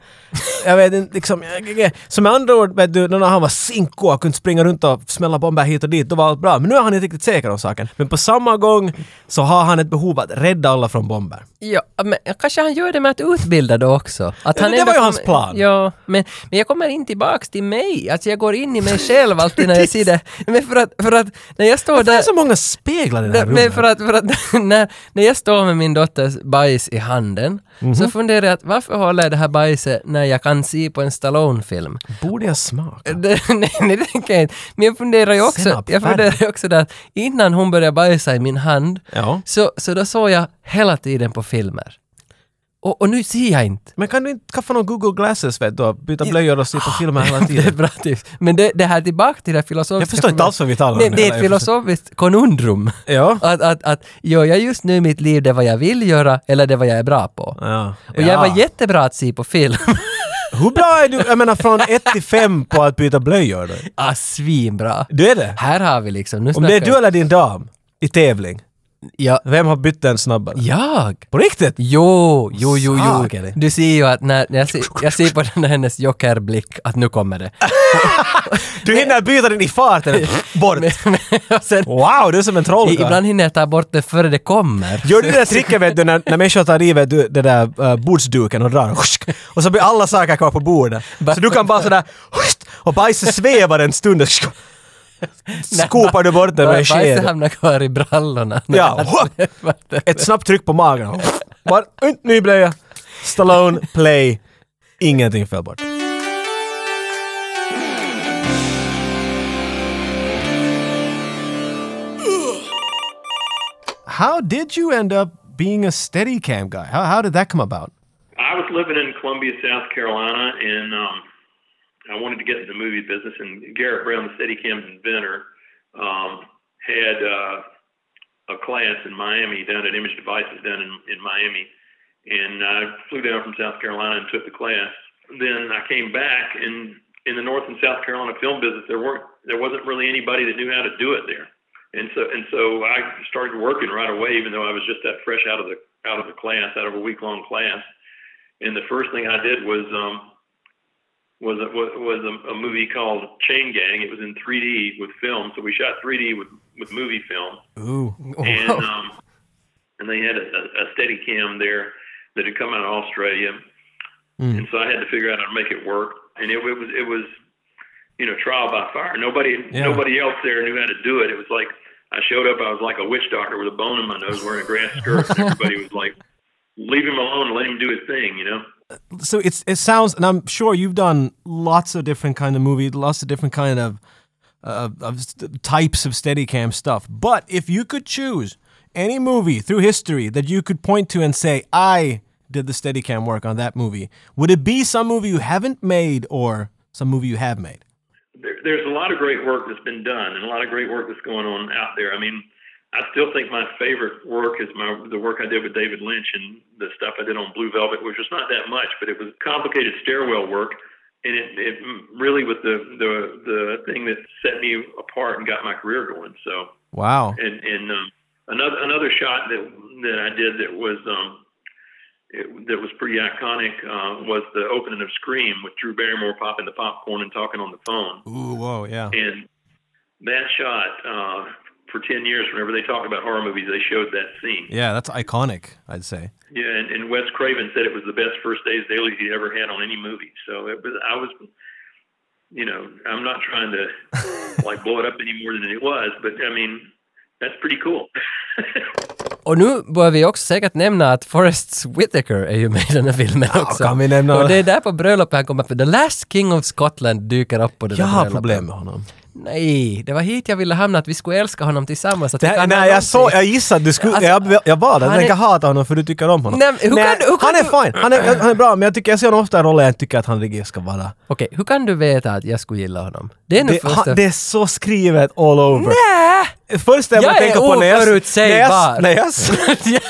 Speaker 3: jag vet inte, liksom... jag- jag- jag- Så med andra ord, vet du, när han var sinko och kunde springa runt och smälla bomber hit och dit, då var allt bra. Men nu är han inte riktigt säker om saken. Men på samma gång så har han ett behov att rädda alla från bomber.
Speaker 2: Ja, men kanske han gör det med att utbilda då också. Att
Speaker 3: Ja,
Speaker 2: han
Speaker 3: det
Speaker 2: ändå
Speaker 3: var ju hans
Speaker 2: kommer-
Speaker 3: plan.
Speaker 2: Ja, men, men jag kommer in tillbaks till mig. Alltså jag går in i mig själv alltid när jag ser det. Men för att, för att när jag står
Speaker 3: Det
Speaker 2: där...
Speaker 3: är så många speglar i det här
Speaker 2: Nej, men
Speaker 3: rummet.
Speaker 2: för att, för att när, när jag står med min dotters bajs i handen så
Speaker 3: Mhm.
Speaker 2: funderar jag att varför håller jag det här bajset när jag kan se på en Stallone-film?
Speaker 3: Borde jag smaka?
Speaker 2: Det, nej, nej, det tänker jag inte. Men jag funderar ju också,
Speaker 3: Senap,
Speaker 2: jag funderar ju också där, att innan hon började bajsa i min hand
Speaker 3: Ja.
Speaker 2: så, så då såg jag hela tiden på filmer. Och, och nu ser jag inte.
Speaker 3: Men kan du inte skaffa någon Google Glasses vet du och byta blöjor och se på filmer hela
Speaker 2: Det är
Speaker 3: tiden?
Speaker 2: bra tips. Men det, det här tillbaka till det här filosofiska...
Speaker 3: Jag förstår inte
Speaker 2: problemet.
Speaker 3: alls vad vi talar om.
Speaker 2: Nej, det är ett
Speaker 3: hela-
Speaker 2: filosofiskt konundrum.
Speaker 3: Ja.
Speaker 2: Att, att, att gör jag just nu i mitt liv det vad jag vill göra eller det vad jag är bra på?
Speaker 3: Ja.
Speaker 2: Och jag var jättebra att se på film.
Speaker 3: Hur bra är du, jag menar från 1 till 5 på att byta blöjor då?
Speaker 2: ah, svinbra.
Speaker 3: Du är det?
Speaker 2: Här har vi liksom, nu
Speaker 3: Om det är
Speaker 2: snackar
Speaker 3: du
Speaker 2: vi-
Speaker 3: eller din dam i tävling,
Speaker 2: Ja,
Speaker 3: vem har bytt den snabbare?
Speaker 2: jag.
Speaker 3: På riktigt?
Speaker 2: Jo, jo, jo, jo.
Speaker 3: Saker det.
Speaker 2: Du ser ju att när, när jag, ser, jag ser på den här hennes jokerblick att nu kommer det.
Speaker 3: Du hinner byta den i farten. Bort!
Speaker 2: Och sen,
Speaker 3: Wow, du är som en
Speaker 2: i-
Speaker 3: trollkarl.
Speaker 2: ibland hinner jag ta bort det före det kommer.
Speaker 3: Gör du det där tricket vet du när, när människor tar i vet du, det där uh, bordsduken och drar och så blir alla saker kvar på bordet. Så du kan bara sådär och bajset svävar en stund och skopar du bort det med en
Speaker 2: Bajset
Speaker 3: sked.
Speaker 2: hamnar kvar i brallorna.
Speaker 3: Ja, Ett snabbt tryck på magen. Bara ut, ny blöja. Stallone, play. Ingenting föll bort. How did you end up being a steady cam guy? How, how did that come about?
Speaker 4: I was living in Columbia, South Carolina, and um, I wanted to get into the movie business. And Garrett Brown, the Steadicam's inventor, um, had uh, a class in Miami down at Image Devices down in, in Miami, and I flew down from South Carolina and took the class. Then I came back, and in the North and South Carolina film business, there weren't there wasn't really anybody that knew how to do it there, and so and so I started working right away, even though I was just that fresh out of the out of the class, out of a week long class. And the first thing I did was um, was a, was was a, a movie called Chain Gang. It was in 3D with film, so we shot 3D with with movie film,
Speaker 3: Ooh.
Speaker 4: and um, and they had a, a steady cam there that had come out of Australia,
Speaker 3: Hmm.
Speaker 4: and so I had to figure out how to make it work. And it, it was it was you know trial by fire. Nobody
Speaker 3: Yeah.
Speaker 4: nobody else there knew how to do it. It was like I showed up. I was like a witch doctor with a bone in my nose, wearing a grass skirt. And everybody was like, "Leave him alone. Let him do his thing." You know.
Speaker 3: so it's it sounds and i'm sure you've done lots of different kind of movies lots of different kind of uh, of st- types of steadicam stuff but if you could choose any movie through history that you could point to and say, I did the Steadicam work on that movie, would it be some movie you haven't made or some movie you have made?
Speaker 4: there, there's a lot of great work that's been done and a lot of great work that's going on out there. I mean, I still think my favorite work is my the work I did with David Lynch and the stuff I did on Blue Velvet, which was not that much, but it was complicated stairwell work, and it, it really was the the the thing that set me apart and got my career going. So
Speaker 3: Wow.
Speaker 4: and and um, another another shot that that I did that was um it, that was pretty iconic uh, was the opening of Scream with Drew Barrymore popping the popcorn and talking on the phone.
Speaker 3: Ooh, whoa, yeah.
Speaker 4: And that shot, uh, for 10 years, whenever they talked about horror movies, they showed that scene.
Speaker 3: Yeah, that's iconic, I'd say.
Speaker 4: Yeah, and, and Wes Craven said it was the best first days daily he ever had on any movie. So it was, I was, you know, I'm not trying to like blow it up any more than it was, but I mean, that's pretty cool.
Speaker 2: Och nu bör vi också säkert nämna att Forrest Whitaker är ju med i den här filmen också.
Speaker 3: kan vi nämna-
Speaker 2: Och det är där på bröllopet han kommer, för The Last King of Scotland dyker upp på det
Speaker 3: Jag
Speaker 2: där
Speaker 3: har
Speaker 2: bröllopet.
Speaker 3: problem med honom.
Speaker 2: Nej, det var hit jag ville hamna, att vi skulle älska honom tillsammans. Att vi
Speaker 3: Det,
Speaker 2: kan
Speaker 3: nej,
Speaker 2: ha
Speaker 3: jag, såg,
Speaker 2: någonting.
Speaker 3: jag gissade att du skulle...
Speaker 2: Alltså,
Speaker 3: jag, jag bad
Speaker 2: han
Speaker 3: att
Speaker 2: är-
Speaker 3: jag hata honom för du tycker om honom.
Speaker 2: Nej, men hur kan du- hur kan
Speaker 3: han är
Speaker 2: du-
Speaker 3: fine. Han är, han är bra, men jag, tycker, jag ser honom ofta i roller jag tycker att han riktigt ska vara.
Speaker 2: Okej, hur kan du veta att jag skulle gilla honom? Det är nu
Speaker 3: Det,
Speaker 2: första...
Speaker 3: han, det är så skrivet all over.
Speaker 2: Nä!
Speaker 3: Först det
Speaker 2: Jag
Speaker 3: man
Speaker 2: är
Speaker 3: tänker på när jag...
Speaker 2: oförutsägbar.
Speaker 3: När jag, när jag,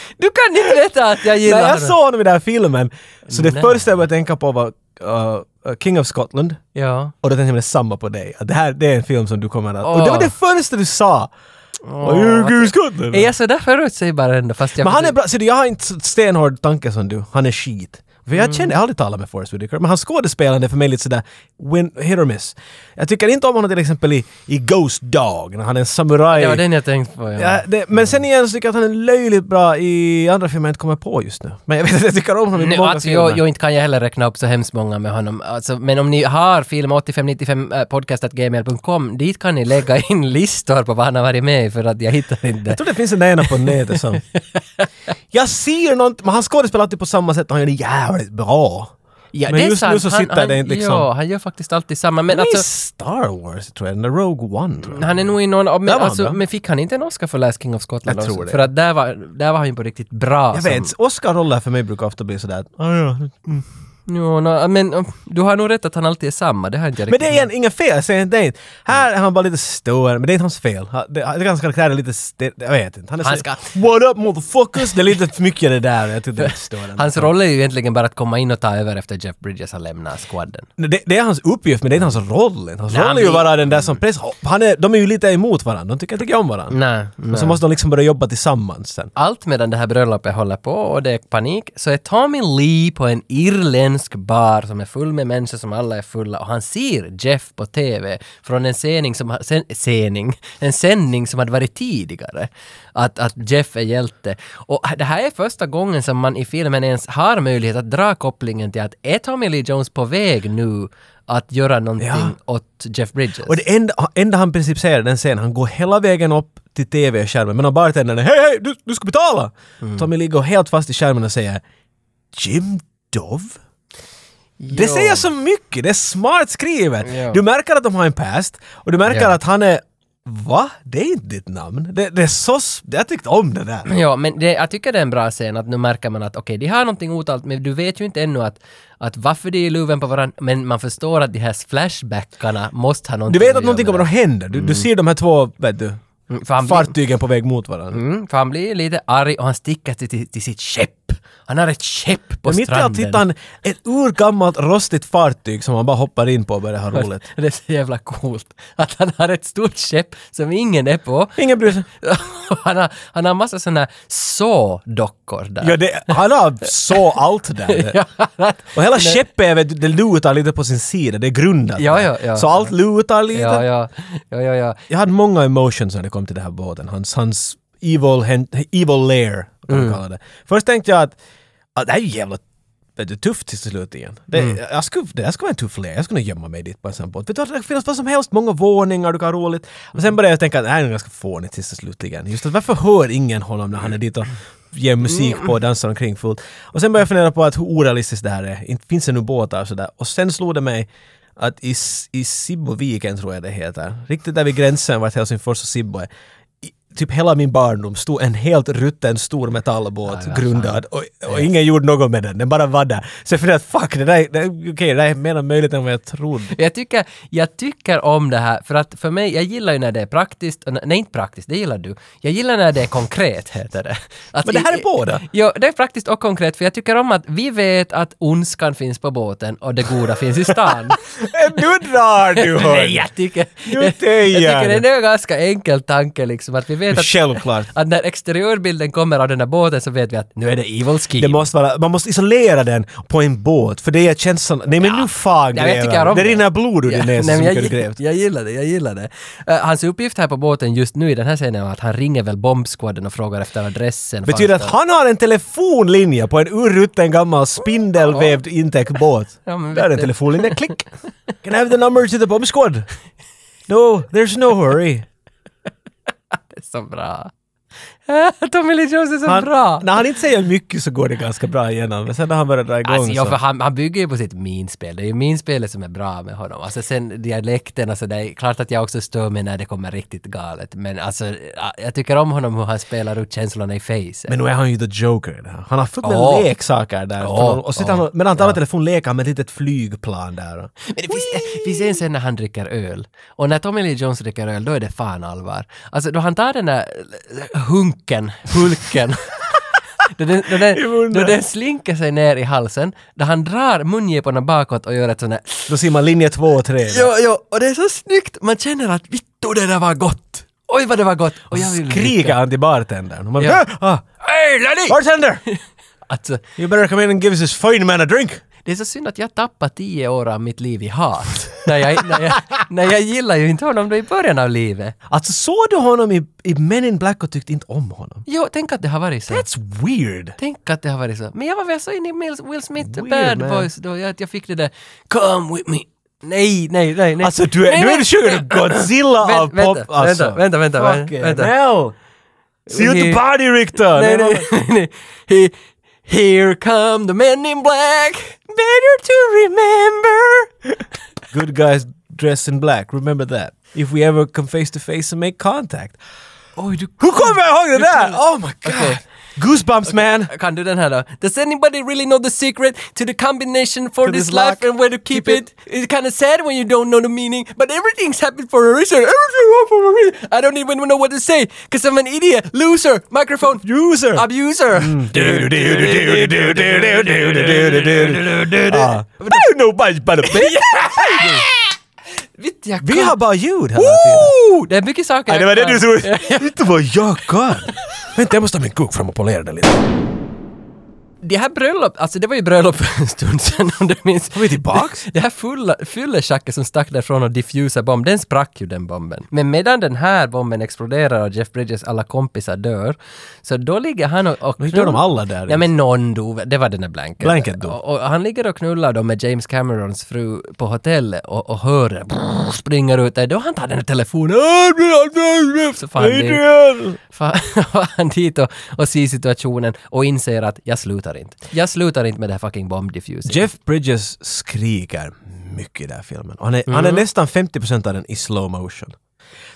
Speaker 2: du kan inte veta att jag gillar
Speaker 3: när jag
Speaker 2: honom.
Speaker 3: såg honom i den här filmen, så det
Speaker 2: Nej.
Speaker 3: första jag började tänka på var uh, King of Scotland.
Speaker 2: Ja.
Speaker 3: Och då tänkte jag "Men samma på dig. Att det här det är en film som du kommer att... Och
Speaker 2: Åh.
Speaker 3: det var det första du sa! Oh, King of Scotland!
Speaker 2: Är jag sådär förutsägbar ändå? Fast jag
Speaker 3: Men han är bra, ser du jag har inte så stenhård tanke som du, han är skit. För
Speaker 2: Mm.
Speaker 3: jag känner, jag har aldrig talat med Forrest Whitaker, men hans skådespelande är för mig lite sådär win, hit or miss. Jag tycker inte om honom till exempel i, i Ghost Dog, när han är en samuraj.
Speaker 2: Det var den jag tänkte på, ja.
Speaker 3: Ja, det, men sen igen så tycker jag att han är löjligt bra i andra filmer jag inte kommer på just nu. Men jag vet att jag tycker om honom i
Speaker 2: Nu,
Speaker 3: många
Speaker 2: alltså,
Speaker 3: filmer.
Speaker 2: jag, jag inte kan jag heller räkna upp så hemskt många med honom. Alltså, men om ni har film 8595 äh, podcast.gmail.com, dit kan ni lägga in listor på vad han har varit med i för att jag hittar inte.
Speaker 3: Jag tror det finns en ena på nätet som... jag ser nånt men han skådespelar alltid på samma sätt och han gör det jävligt bra.
Speaker 2: Ja,
Speaker 3: men
Speaker 2: det är
Speaker 3: just nu
Speaker 2: sant.
Speaker 3: så
Speaker 2: Han-
Speaker 3: sitter
Speaker 2: han,
Speaker 3: det inte liksom...
Speaker 2: Ja, han gör faktiskt alltid samma. Men
Speaker 3: Men
Speaker 2: alltså,
Speaker 3: Star Wars tror jag, den där Rogue One tror jag.
Speaker 2: han är nog i någon... Men,
Speaker 3: var han
Speaker 2: alltså,
Speaker 3: bra.
Speaker 2: men fick han inte en Oscar för Last King of Scotland
Speaker 3: Jag tror
Speaker 2: också?
Speaker 3: det.
Speaker 2: För att där var, där var han ju på riktigt bra.
Speaker 3: Jag
Speaker 2: som-
Speaker 3: vet, Oscar-roller för mig brukar ofta bli sådär att, "Ah, ja.
Speaker 2: Jo, nå, men uh, du har nog rätt att han alltid är samma. Det har inte jag
Speaker 3: Men
Speaker 2: riktigt
Speaker 3: det är igen, inget fel, jag säger inte det. inte. Här är han bara lite större, men det är inte hans fel. Han- Det det är hans karaktär är lite, st- jag vet inte. Han är
Speaker 2: Han
Speaker 3: så,
Speaker 2: ska-
Speaker 3: What up motherfuckers! Det är lite för mycket det där, jag tycker det är lite störande.
Speaker 2: Hans roll är ju egentligen bara att komma in och ta över efter Jeff Bridges har lämnat squaden.
Speaker 3: Det, det är hans uppgift, men det är inte hans roll. Hans
Speaker 2: Nej,
Speaker 3: roll är
Speaker 2: men-
Speaker 3: ju bara den där som press. Han är, de är ju lite emot varandra, de tycker inte om varandra.
Speaker 2: Nej,
Speaker 3: Och så måste de liksom börja jobba tillsammans sen.
Speaker 2: Allt medan det här bröllopet håller på och det är panik så är Tommy Lee på en irländsk bar som är full med människor som alla är fulla och han ser Jeff på TV från en sändning som, ha- sen, sändning, en sändning som hade varit tidigare. Att, att Jeff är hjälte. Och det här är första gången som man i filmen ens har möjlighet att dra kopplingen till att är Tommy Lee Jones på väg nu att göra någonting åt Jeff Bridges?
Speaker 3: Och det enda, enda han i princip säger i den scenen, han går hela vägen upp till TV-skärmen men bartendern är hej hej du, du ska betala!
Speaker 2: Mm.
Speaker 3: Tommy Lee går helt fast i skärmen och säger Jim Dove? Det
Speaker 2: Jo.
Speaker 3: säger så mycket, det är smart skrivet!
Speaker 2: Ja.
Speaker 3: Du märker att de har en past och du märker
Speaker 2: Ja.
Speaker 3: att han är Va? Det är inte ditt namn. Det, det är så... s- Jag tyckte om det där.
Speaker 2: Ja, men det, jag tycker det är en bra scen att nu märker man att okej, de har någonting otalt, men du vet ju inte ännu att, att varför de är i luven på varandra, men man förstår att de här flashbackarna måste ha
Speaker 3: Du
Speaker 2: någonting
Speaker 3: vet
Speaker 2: göra
Speaker 3: att någonting
Speaker 2: med
Speaker 3: kommer att hända. Du, du ser de här två, vet du,
Speaker 2: Mm, för han blir-
Speaker 3: fartygen på väg mot varandra.
Speaker 2: det. Mm, för han blir lite arg och han sticker till, till, till sitt skepp. Han har ett skepp på
Speaker 3: Men mitt i allt
Speaker 2: stranden.
Speaker 3: hittar han ett urgammalt rostigt fartyg som han bara hoppar in på och börjar ha roligt.
Speaker 2: Det är så jävla coolt att han har ett stort skepp som ingen är på.
Speaker 3: Ingen bryr sig.
Speaker 2: han, har, han har massa sådana här sådockor där.
Speaker 3: Ja, det, han har så allt där. Och hela skeppet, jag vet, det lutar lite på sin sida, det är grundat.
Speaker 2: Ja,
Speaker 3: där.
Speaker 2: ja, ja.
Speaker 3: så allt lutar lite.
Speaker 2: ja, ja, ja, ja, ja.
Speaker 3: Jag hade många emotions när det kom till den här båten. Hans, hans evil, hen, evil lair, kan
Speaker 2: Mm.
Speaker 3: man kalla det. Först tänkte jag att ah, det här är ju jävla vet du, tufft till slut igen. Det, jag skulle, det här skulle vara en tuff lair, jag skulle nog gömma mig dit på en sån båt. Vet du, vad, det finns vad som helst, många våningar, du kan ha roligt. Och sen började jag tänka att det här är nog ganska fånigt sist och slutligen. Just att varför hör ingen honom när han är dit och ger musik på och dansar omkring fullt. Och sen började jag fundera på att hur orealistiskt det här är. Inte finns det nu båtar och sådär. Och sen slog det mig att i, S- i Sibboviken tror jag det heter, riktigt där vid gränsen vart Helsingfors och Sibbo är, i- typ hela min barndom stod en helt rutten stor metallbåt
Speaker 2: Aj, vad
Speaker 3: grundad och, och ingen gjorde något med den. Den bara var där. Så jag funderade att fuck, det där, är- det, okej, det där är mer möjligt än vad jag trodde.
Speaker 2: Jag tycker, jag tycker om det här, för att för mig, jag gillar ju när det är praktiskt, och n- nej inte praktiskt, det gillar du. Jag gillar när det är konkret, heter det. Att
Speaker 3: Men det här är båda.
Speaker 2: Jo, det är praktiskt och konkret, för jag tycker om att vi vet att ondskan finns på båten och det goda finns i stan.
Speaker 3: nu drar du
Speaker 2: nej,
Speaker 3: hörni!
Speaker 2: jag tycker...
Speaker 3: Nu
Speaker 2: jag
Speaker 3: tejar
Speaker 2: tycker
Speaker 3: du.
Speaker 2: det är en ganska enkel tanke liksom, att vi vet att...
Speaker 3: Självklart.
Speaker 2: Att när exteriörbilden kommer av den där båten så vet vi att nu är det Evil Scheme.
Speaker 3: Det måste vara, man måste isolera den på en båt, för det är känslan... Nej men nu fan
Speaker 2: Ja, jag tycker
Speaker 3: greven!
Speaker 2: om
Speaker 3: Det rinner blod ur
Speaker 2: Ja,
Speaker 3: din näsa
Speaker 2: nej,
Speaker 3: så
Speaker 2: men
Speaker 3: mycket du
Speaker 2: jag,
Speaker 3: grävt.
Speaker 2: jag gillar det, jag gillar det. Eh, hans uppgift här på båten just nu i den här scenen var att han ringer väl bombskvadden och frågar efter adressen.
Speaker 3: Betyder att
Speaker 2: fast-
Speaker 3: han har en telefonlinje på en urrutten gammal spindelvävd intäktbåt.
Speaker 2: Ja, men
Speaker 3: Där
Speaker 2: vet
Speaker 3: är en
Speaker 2: du.
Speaker 3: telefonlinje, klick! Can I have the number to the bomb squad? No, there's no hurry.
Speaker 2: Så bra. Eh, Tommy Lee Jones är så
Speaker 3: Han,
Speaker 2: bra!
Speaker 3: när han inte säger mycket så går det ganska bra igenom, men sen när han börjar dra igång
Speaker 2: Alltså, ja, för
Speaker 3: så...
Speaker 2: han, han bygger ju på sitt minspel. Det är ju minspelet som är bra med honom. Alltså sen dialekten och sådär. Klart att jag också stör mig när det kommer riktigt galet. Men alltså, ja, jag tycker om honom hur han spelar ut känslorna i face.
Speaker 3: Men nu är han ju the joker. där. Han har fullt med
Speaker 2: Åh.
Speaker 3: leksaker där.
Speaker 2: Åh,
Speaker 3: och sitter han, medan han tar med telefon leker han med ett litet flygplan där.
Speaker 2: Men det finns, finns en scen när han dricker öl. Och när Tommy Lee Jones dricker öl, då är det fan allvar. Alltså då han tar den där eh, hunken, hulken. Då den, då, den, då den slinker sig ner i halsen, då han drar mungiporna bakåt och gör ett sånt där...
Speaker 3: Då ser man linje två och tre.
Speaker 2: Jo, jo, och det är så snyggt! Man känner att vittu det där var gott! Oj vad det var gott! Och jag vill
Speaker 3: Skriker han till bartendern. Och man
Speaker 2: Ja.
Speaker 3: ah, ah,
Speaker 2: Hej Lenny!
Speaker 3: bartender!
Speaker 2: Alltså,
Speaker 3: You better come in and give this fine man a drink!
Speaker 2: det är så synd att jag tappar tio år av mitt liv i hat. när, jag, när, jag, när jag gillar ju inte honom då i början av livet.
Speaker 3: Alltså såg du honom i, i Men in Black och tyckte inte om honom?
Speaker 2: Jo, tänk att det har varit så.
Speaker 3: That's weird!
Speaker 2: Tänk att det har varit så. Men jag var väl så inne i Mills- Will Smith
Speaker 3: Weird,
Speaker 2: Bad
Speaker 3: man.
Speaker 2: Boys då, jag, att jag fick det där “Come with me”. Nej, nej, nej, nej.
Speaker 3: Alltså du är,
Speaker 2: nej,
Speaker 3: nu är
Speaker 2: vä-
Speaker 3: du sugen Godzilla
Speaker 2: Vänt-
Speaker 3: av
Speaker 2: vänta,
Speaker 3: pop... Alltså.
Speaker 2: vänta, vänta, vänta,
Speaker 3: Fucking
Speaker 2: vänta.
Speaker 3: hell! See you at the
Speaker 2: He-
Speaker 3: party Richter!
Speaker 2: Nej, nej, nej. He- Here come the men in black, better to remember.
Speaker 3: Good guys dress in black, remember that. If we ever come face to face and make contact.
Speaker 2: Oj, du...
Speaker 3: Hur kommer jag ihåg det där? Oh my god!
Speaker 2: Okej.
Speaker 3: Goosebumps man!
Speaker 2: Kan du den här då? Does anybody really know the secret to the combination for
Speaker 3: To
Speaker 2: this
Speaker 3: this
Speaker 2: life
Speaker 3: lock?
Speaker 2: and where to keep,
Speaker 3: Keep
Speaker 2: it? It's kind of sad when you don't know the meaning, but everything's happened for a reason. Everything happened for a reason. I don't even know what to say, because I'm an idiot, loser, microphone,
Speaker 3: User!
Speaker 2: abuser.
Speaker 3: Ah. I don't know much but a bit.
Speaker 2: Vitt jag
Speaker 3: Vi
Speaker 2: kan.
Speaker 3: har bara ljud hela tiden.
Speaker 2: Woo! Det är mycket saker
Speaker 3: Nej, det
Speaker 2: jag
Speaker 3: var det
Speaker 2: kan.
Speaker 3: du trodde. Inte vad jag kan. Vänta, jag måste ta min kuk fram och polera den lite.
Speaker 2: Det här bröllop, alltså det var ju bröllop för en stund sedan om du minns.
Speaker 3: Var vi tillbaks?
Speaker 2: Det, det här fulla, fyllechacket som stack därifrån och diffusa bomb, den sprack ju den bomben. Men medan den här bomben exploderar och Jeff Bridges alla kompisar dör, så då ligger han och... och
Speaker 3: Men dör de alla där?
Speaker 2: Ja men någon dog, det var den där Blanket.
Speaker 3: Blanket dog.
Speaker 2: Och, och han ligger och knullar då med James Camerons fru på hotellet och, och hör det, brrr, springer ut där, då han tar den här telefonen. Så fan, det-
Speaker 3: Adrian!
Speaker 2: Fan, fan dit och, och ser situationen och inser att jag slutar inte. Jag slutar inte med det här fucking bomb diffusing.
Speaker 3: Jeff Bridges skriker mycket i den här filmen. Och Han är, han är nästan 50% av den i slow motion.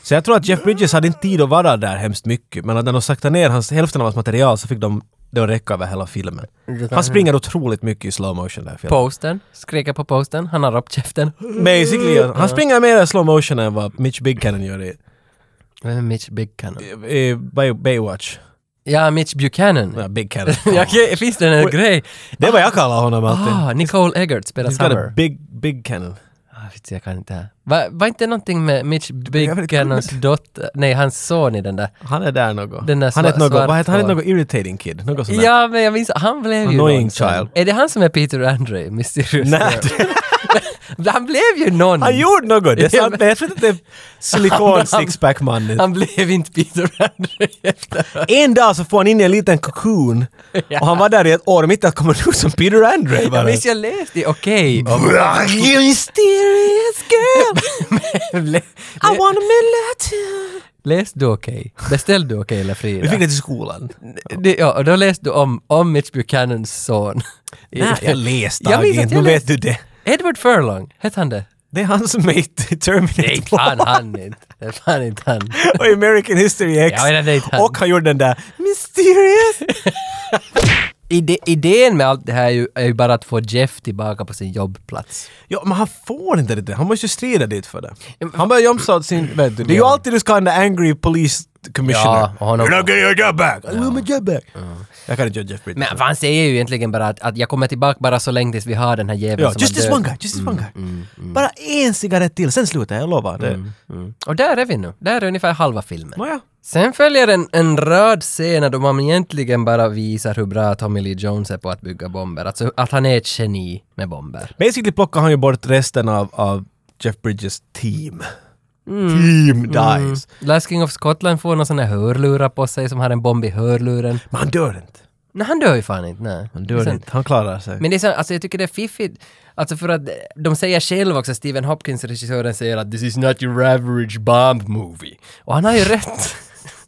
Speaker 3: Så jag tror att Jeff Bridges hade inte tid att vara där hemskt mycket, men att när de saktade ner hans, hälften av hans material så fick de det att räcka över hela filmen. Han springer otroligt mycket i slow motion i den här filmen.
Speaker 2: posten, skriker på posten, han har upp käften.
Speaker 3: Basically, han springer mer i slow motion än vad Mitch Big Cannon gör i,
Speaker 2: Vem är Mitch Big Cannon?
Speaker 3: i, i Bay- Baywatch.
Speaker 2: Ja, Mitch Buchanan.
Speaker 3: Ja, Big Cannon.
Speaker 2: Ja, okej, finns det en grej?
Speaker 3: Det är vad jag kallar honom alltid.
Speaker 2: Ah, Nicole Eggert spelar
Speaker 3: He's got a
Speaker 2: Summer.
Speaker 3: big, big cannon.
Speaker 2: Ah, vet du, jag kan inte. Va- Var inte någonting med Mitch
Speaker 3: Jag vet
Speaker 2: Big
Speaker 3: inte.
Speaker 2: Cannons dotter, nej hans son i den där?
Speaker 3: Han är där något.
Speaker 2: Den där
Speaker 3: han är
Speaker 2: sva-
Speaker 3: ett något,
Speaker 2: svart
Speaker 3: vad heter han? Han är
Speaker 2: hår.
Speaker 3: ett något irritating kid. Något sånt där.
Speaker 2: Ja, men jag minns, han blev ju
Speaker 3: Annoying
Speaker 2: någon sån.
Speaker 3: child.
Speaker 2: Är det han som är Peter Andre, Mysterious
Speaker 3: Nej,
Speaker 2: Han blev ju någon!
Speaker 3: han gjorde något! Det är
Speaker 2: Ja,
Speaker 3: sant, men jag tror inte det är silikon sixpack mannen.
Speaker 2: Han blev inte Peter Andre efteråt.
Speaker 3: En dag så får han in i en liten cocoon och han var där i ett år och mitt i allt kommer han ut som Peter Andre
Speaker 2: Jag
Speaker 3: bara.
Speaker 2: minns jag läste det, okej. om-
Speaker 3: Bra, you Mysterious girl,
Speaker 2: Lä-
Speaker 3: I wanna meet you.
Speaker 2: Läs du okej? Beställ du okej eller
Speaker 3: Vi fick
Speaker 2: Frida?
Speaker 3: det till skolan.
Speaker 2: Det, ja, och då läste du om, om Mitch Buchanans son.
Speaker 3: Nej, jag läste
Speaker 2: Jag minns
Speaker 3: Agent,
Speaker 2: att
Speaker 3: nu
Speaker 2: jag
Speaker 3: vet
Speaker 2: läste.
Speaker 3: du det.
Speaker 2: Edward Furlong, hette han det?
Speaker 3: Det är han som är i Terminator.
Speaker 2: Fan han inte. Det är fan inte han.
Speaker 3: Och i American History X.
Speaker 2: Ja, men det är inte han.
Speaker 3: och han gjorde den där Mysterious!
Speaker 2: Ide, idén med allt det här är ju, är ju bara att få Jeff tillbaka på sin jobbplats.
Speaker 3: Ja, men han får inte det. Han måste ju strida dit för det. Han börjar jamsa åt sin... Vet du, Mm. det är ju
Speaker 2: Ja.
Speaker 3: alltid du ska ha den där angry police commissioner.
Speaker 2: Ja, och honom-
Speaker 3: You're not getting your job back! I will my job back! Jag kan inte göra Jeff Bridges.
Speaker 2: Men vad han säger ju egentligen bara att, att jag kommer tillbaka bara så länge tills vi har den här jäveln
Speaker 3: Ja,
Speaker 2: som
Speaker 3: just
Speaker 2: har
Speaker 3: this
Speaker 2: död.
Speaker 3: one guy, just this one guy. Bara en cigarett till, sen slutar jag, jag lovar. Det.
Speaker 2: Mm. Och där är vi nu. Där är ungefär halva filmen.
Speaker 3: Nåja.
Speaker 2: Sen följer en, en rad scener då man egentligen bara visar hur bra Tommy Lee Jones är på att bygga bomber. Alltså att han är ett geni med bomber.
Speaker 3: Basically plockar han ju bort resten av, av Jeff Bridges team. Mm. Team dies.
Speaker 2: Last King of Scotland får någon sån här hörlura på sig som har en bomb i hörluren.
Speaker 3: Men han dör inte.
Speaker 2: Nej, han dör ju fan inte. Nej.
Speaker 3: Han
Speaker 2: Det är
Speaker 3: dör
Speaker 2: sant.
Speaker 3: inte. Han klarar sig.
Speaker 2: Men det är så, alltså jag tycker det är fiffigt, alltså för att de säger själv också, Stephen Hopkins, regissören, säger att this is not your average bomb movie. Och han har ju rätt.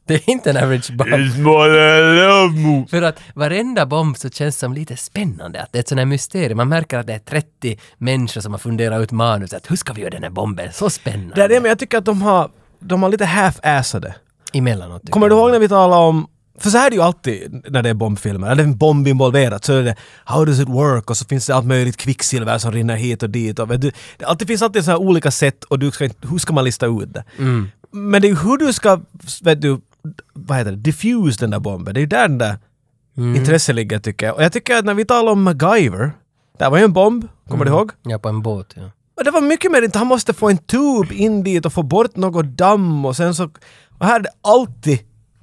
Speaker 2: Det är inte en average bomb.
Speaker 3: It's more than a love move.
Speaker 2: För att varenda bomb så känns som lite spännande, att det är ett sånt här mysterium. Man märker att det är 30 människor som har funderat ut manuset. Hur ska vi göra den här bomben så spännande?
Speaker 3: Det är det, men jag tycker att de har, de har lite half-assade.
Speaker 2: Emellanåt. tycker
Speaker 3: Kommer du
Speaker 2: jag.
Speaker 3: ihåg när vi talade om för så här är det ju alltid när det är bombfilmer, när det är en bomb involverat så är det “How does it work?” och så finns det allt möjligt kvicksilver som rinner hit och dit. Och, vet du, det alltid finns alltid så här olika sätt och du ska, inte- hur ska man lista ut det? Men det är ju hur du ska, vet du, vad heter det, diffuse den där bomben. Det är ju där den där intresset ligger tycker jag. Och jag tycker att när vi talar om MacGyver, där var ju en bomb, kommer du ihåg?
Speaker 2: Ja, på en båt, ja.
Speaker 3: Och det var mycket mer inte, han måste få en tub in dit och få bort något damm och sen så... Och här är det alltid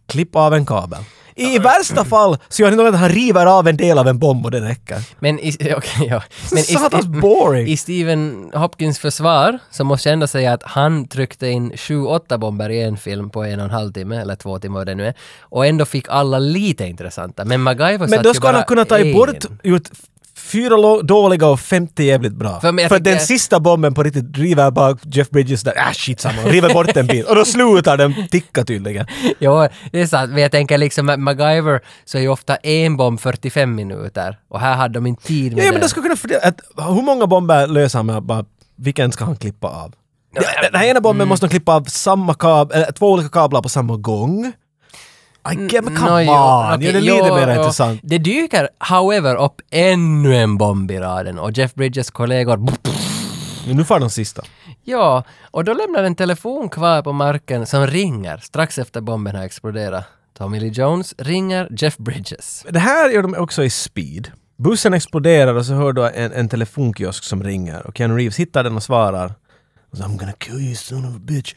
Speaker 3: klipp av en kabel. I värsta fall så gör det nog att han river av en del av en bomb och det räcker.
Speaker 2: Men i, okej, ja. Men i,
Speaker 3: Satans
Speaker 2: i-
Speaker 3: boring.
Speaker 2: I Stephen Hopkins försvar så måste jag ändå säga att han tryckte in 7-8 bomber i en film på en och en halv timme, eller två timmar vad det nu är, och ändå fick alla lite intressanta. Men MacGyver
Speaker 3: Men
Speaker 2: satt
Speaker 3: då
Speaker 2: ju
Speaker 3: ska han
Speaker 2: bara
Speaker 3: ha kunnat ta
Speaker 2: en.
Speaker 3: bort, gjort fyra lo- dåliga och 50 jävligt bra.
Speaker 2: För mig,
Speaker 3: För,
Speaker 2: jag tycker-
Speaker 3: den sista bomben på riktigt river bara Jeff Bridges där, ah skitsamma, river bort en bit. Och då slutar den ticka tydligen.
Speaker 2: Ja, det är sant. Men jag tänker liksom att MacGyver så är ju ofta en bomb 45 minuter och här hade de inte tid med
Speaker 3: Ja,
Speaker 2: det.
Speaker 3: men då skulle kunna fördela, att, hur många bomber löser han med bara, vilken ska han klippa av? Den- Den här ena
Speaker 2: Mm.
Speaker 3: bomben måste de klippa av samma kabel, eller två olika kablar på samma gång. I get, men come
Speaker 2: Nå, Mm, jo,
Speaker 3: on!
Speaker 2: okej,
Speaker 3: Gör det
Speaker 2: jo,
Speaker 3: lite mer
Speaker 2: jo.
Speaker 3: intressant.
Speaker 2: Det dyker, however, upp ännu en bomb i raden och Jeff Bridges kollegor
Speaker 3: Men nu får de sista.
Speaker 2: Ja, och då lämnar en telefon kvar på marken som ringer strax efter bomben har exploderat. Tommy Lee Jones ringer Jeff Bridges.
Speaker 3: Det här gör de också i Speed. Bussen exploderar och så hör du en, en telefonkiosk som ringer och Keanu Reeves hittar den och svarar Och så, I'm gonna kill you son of a bitch.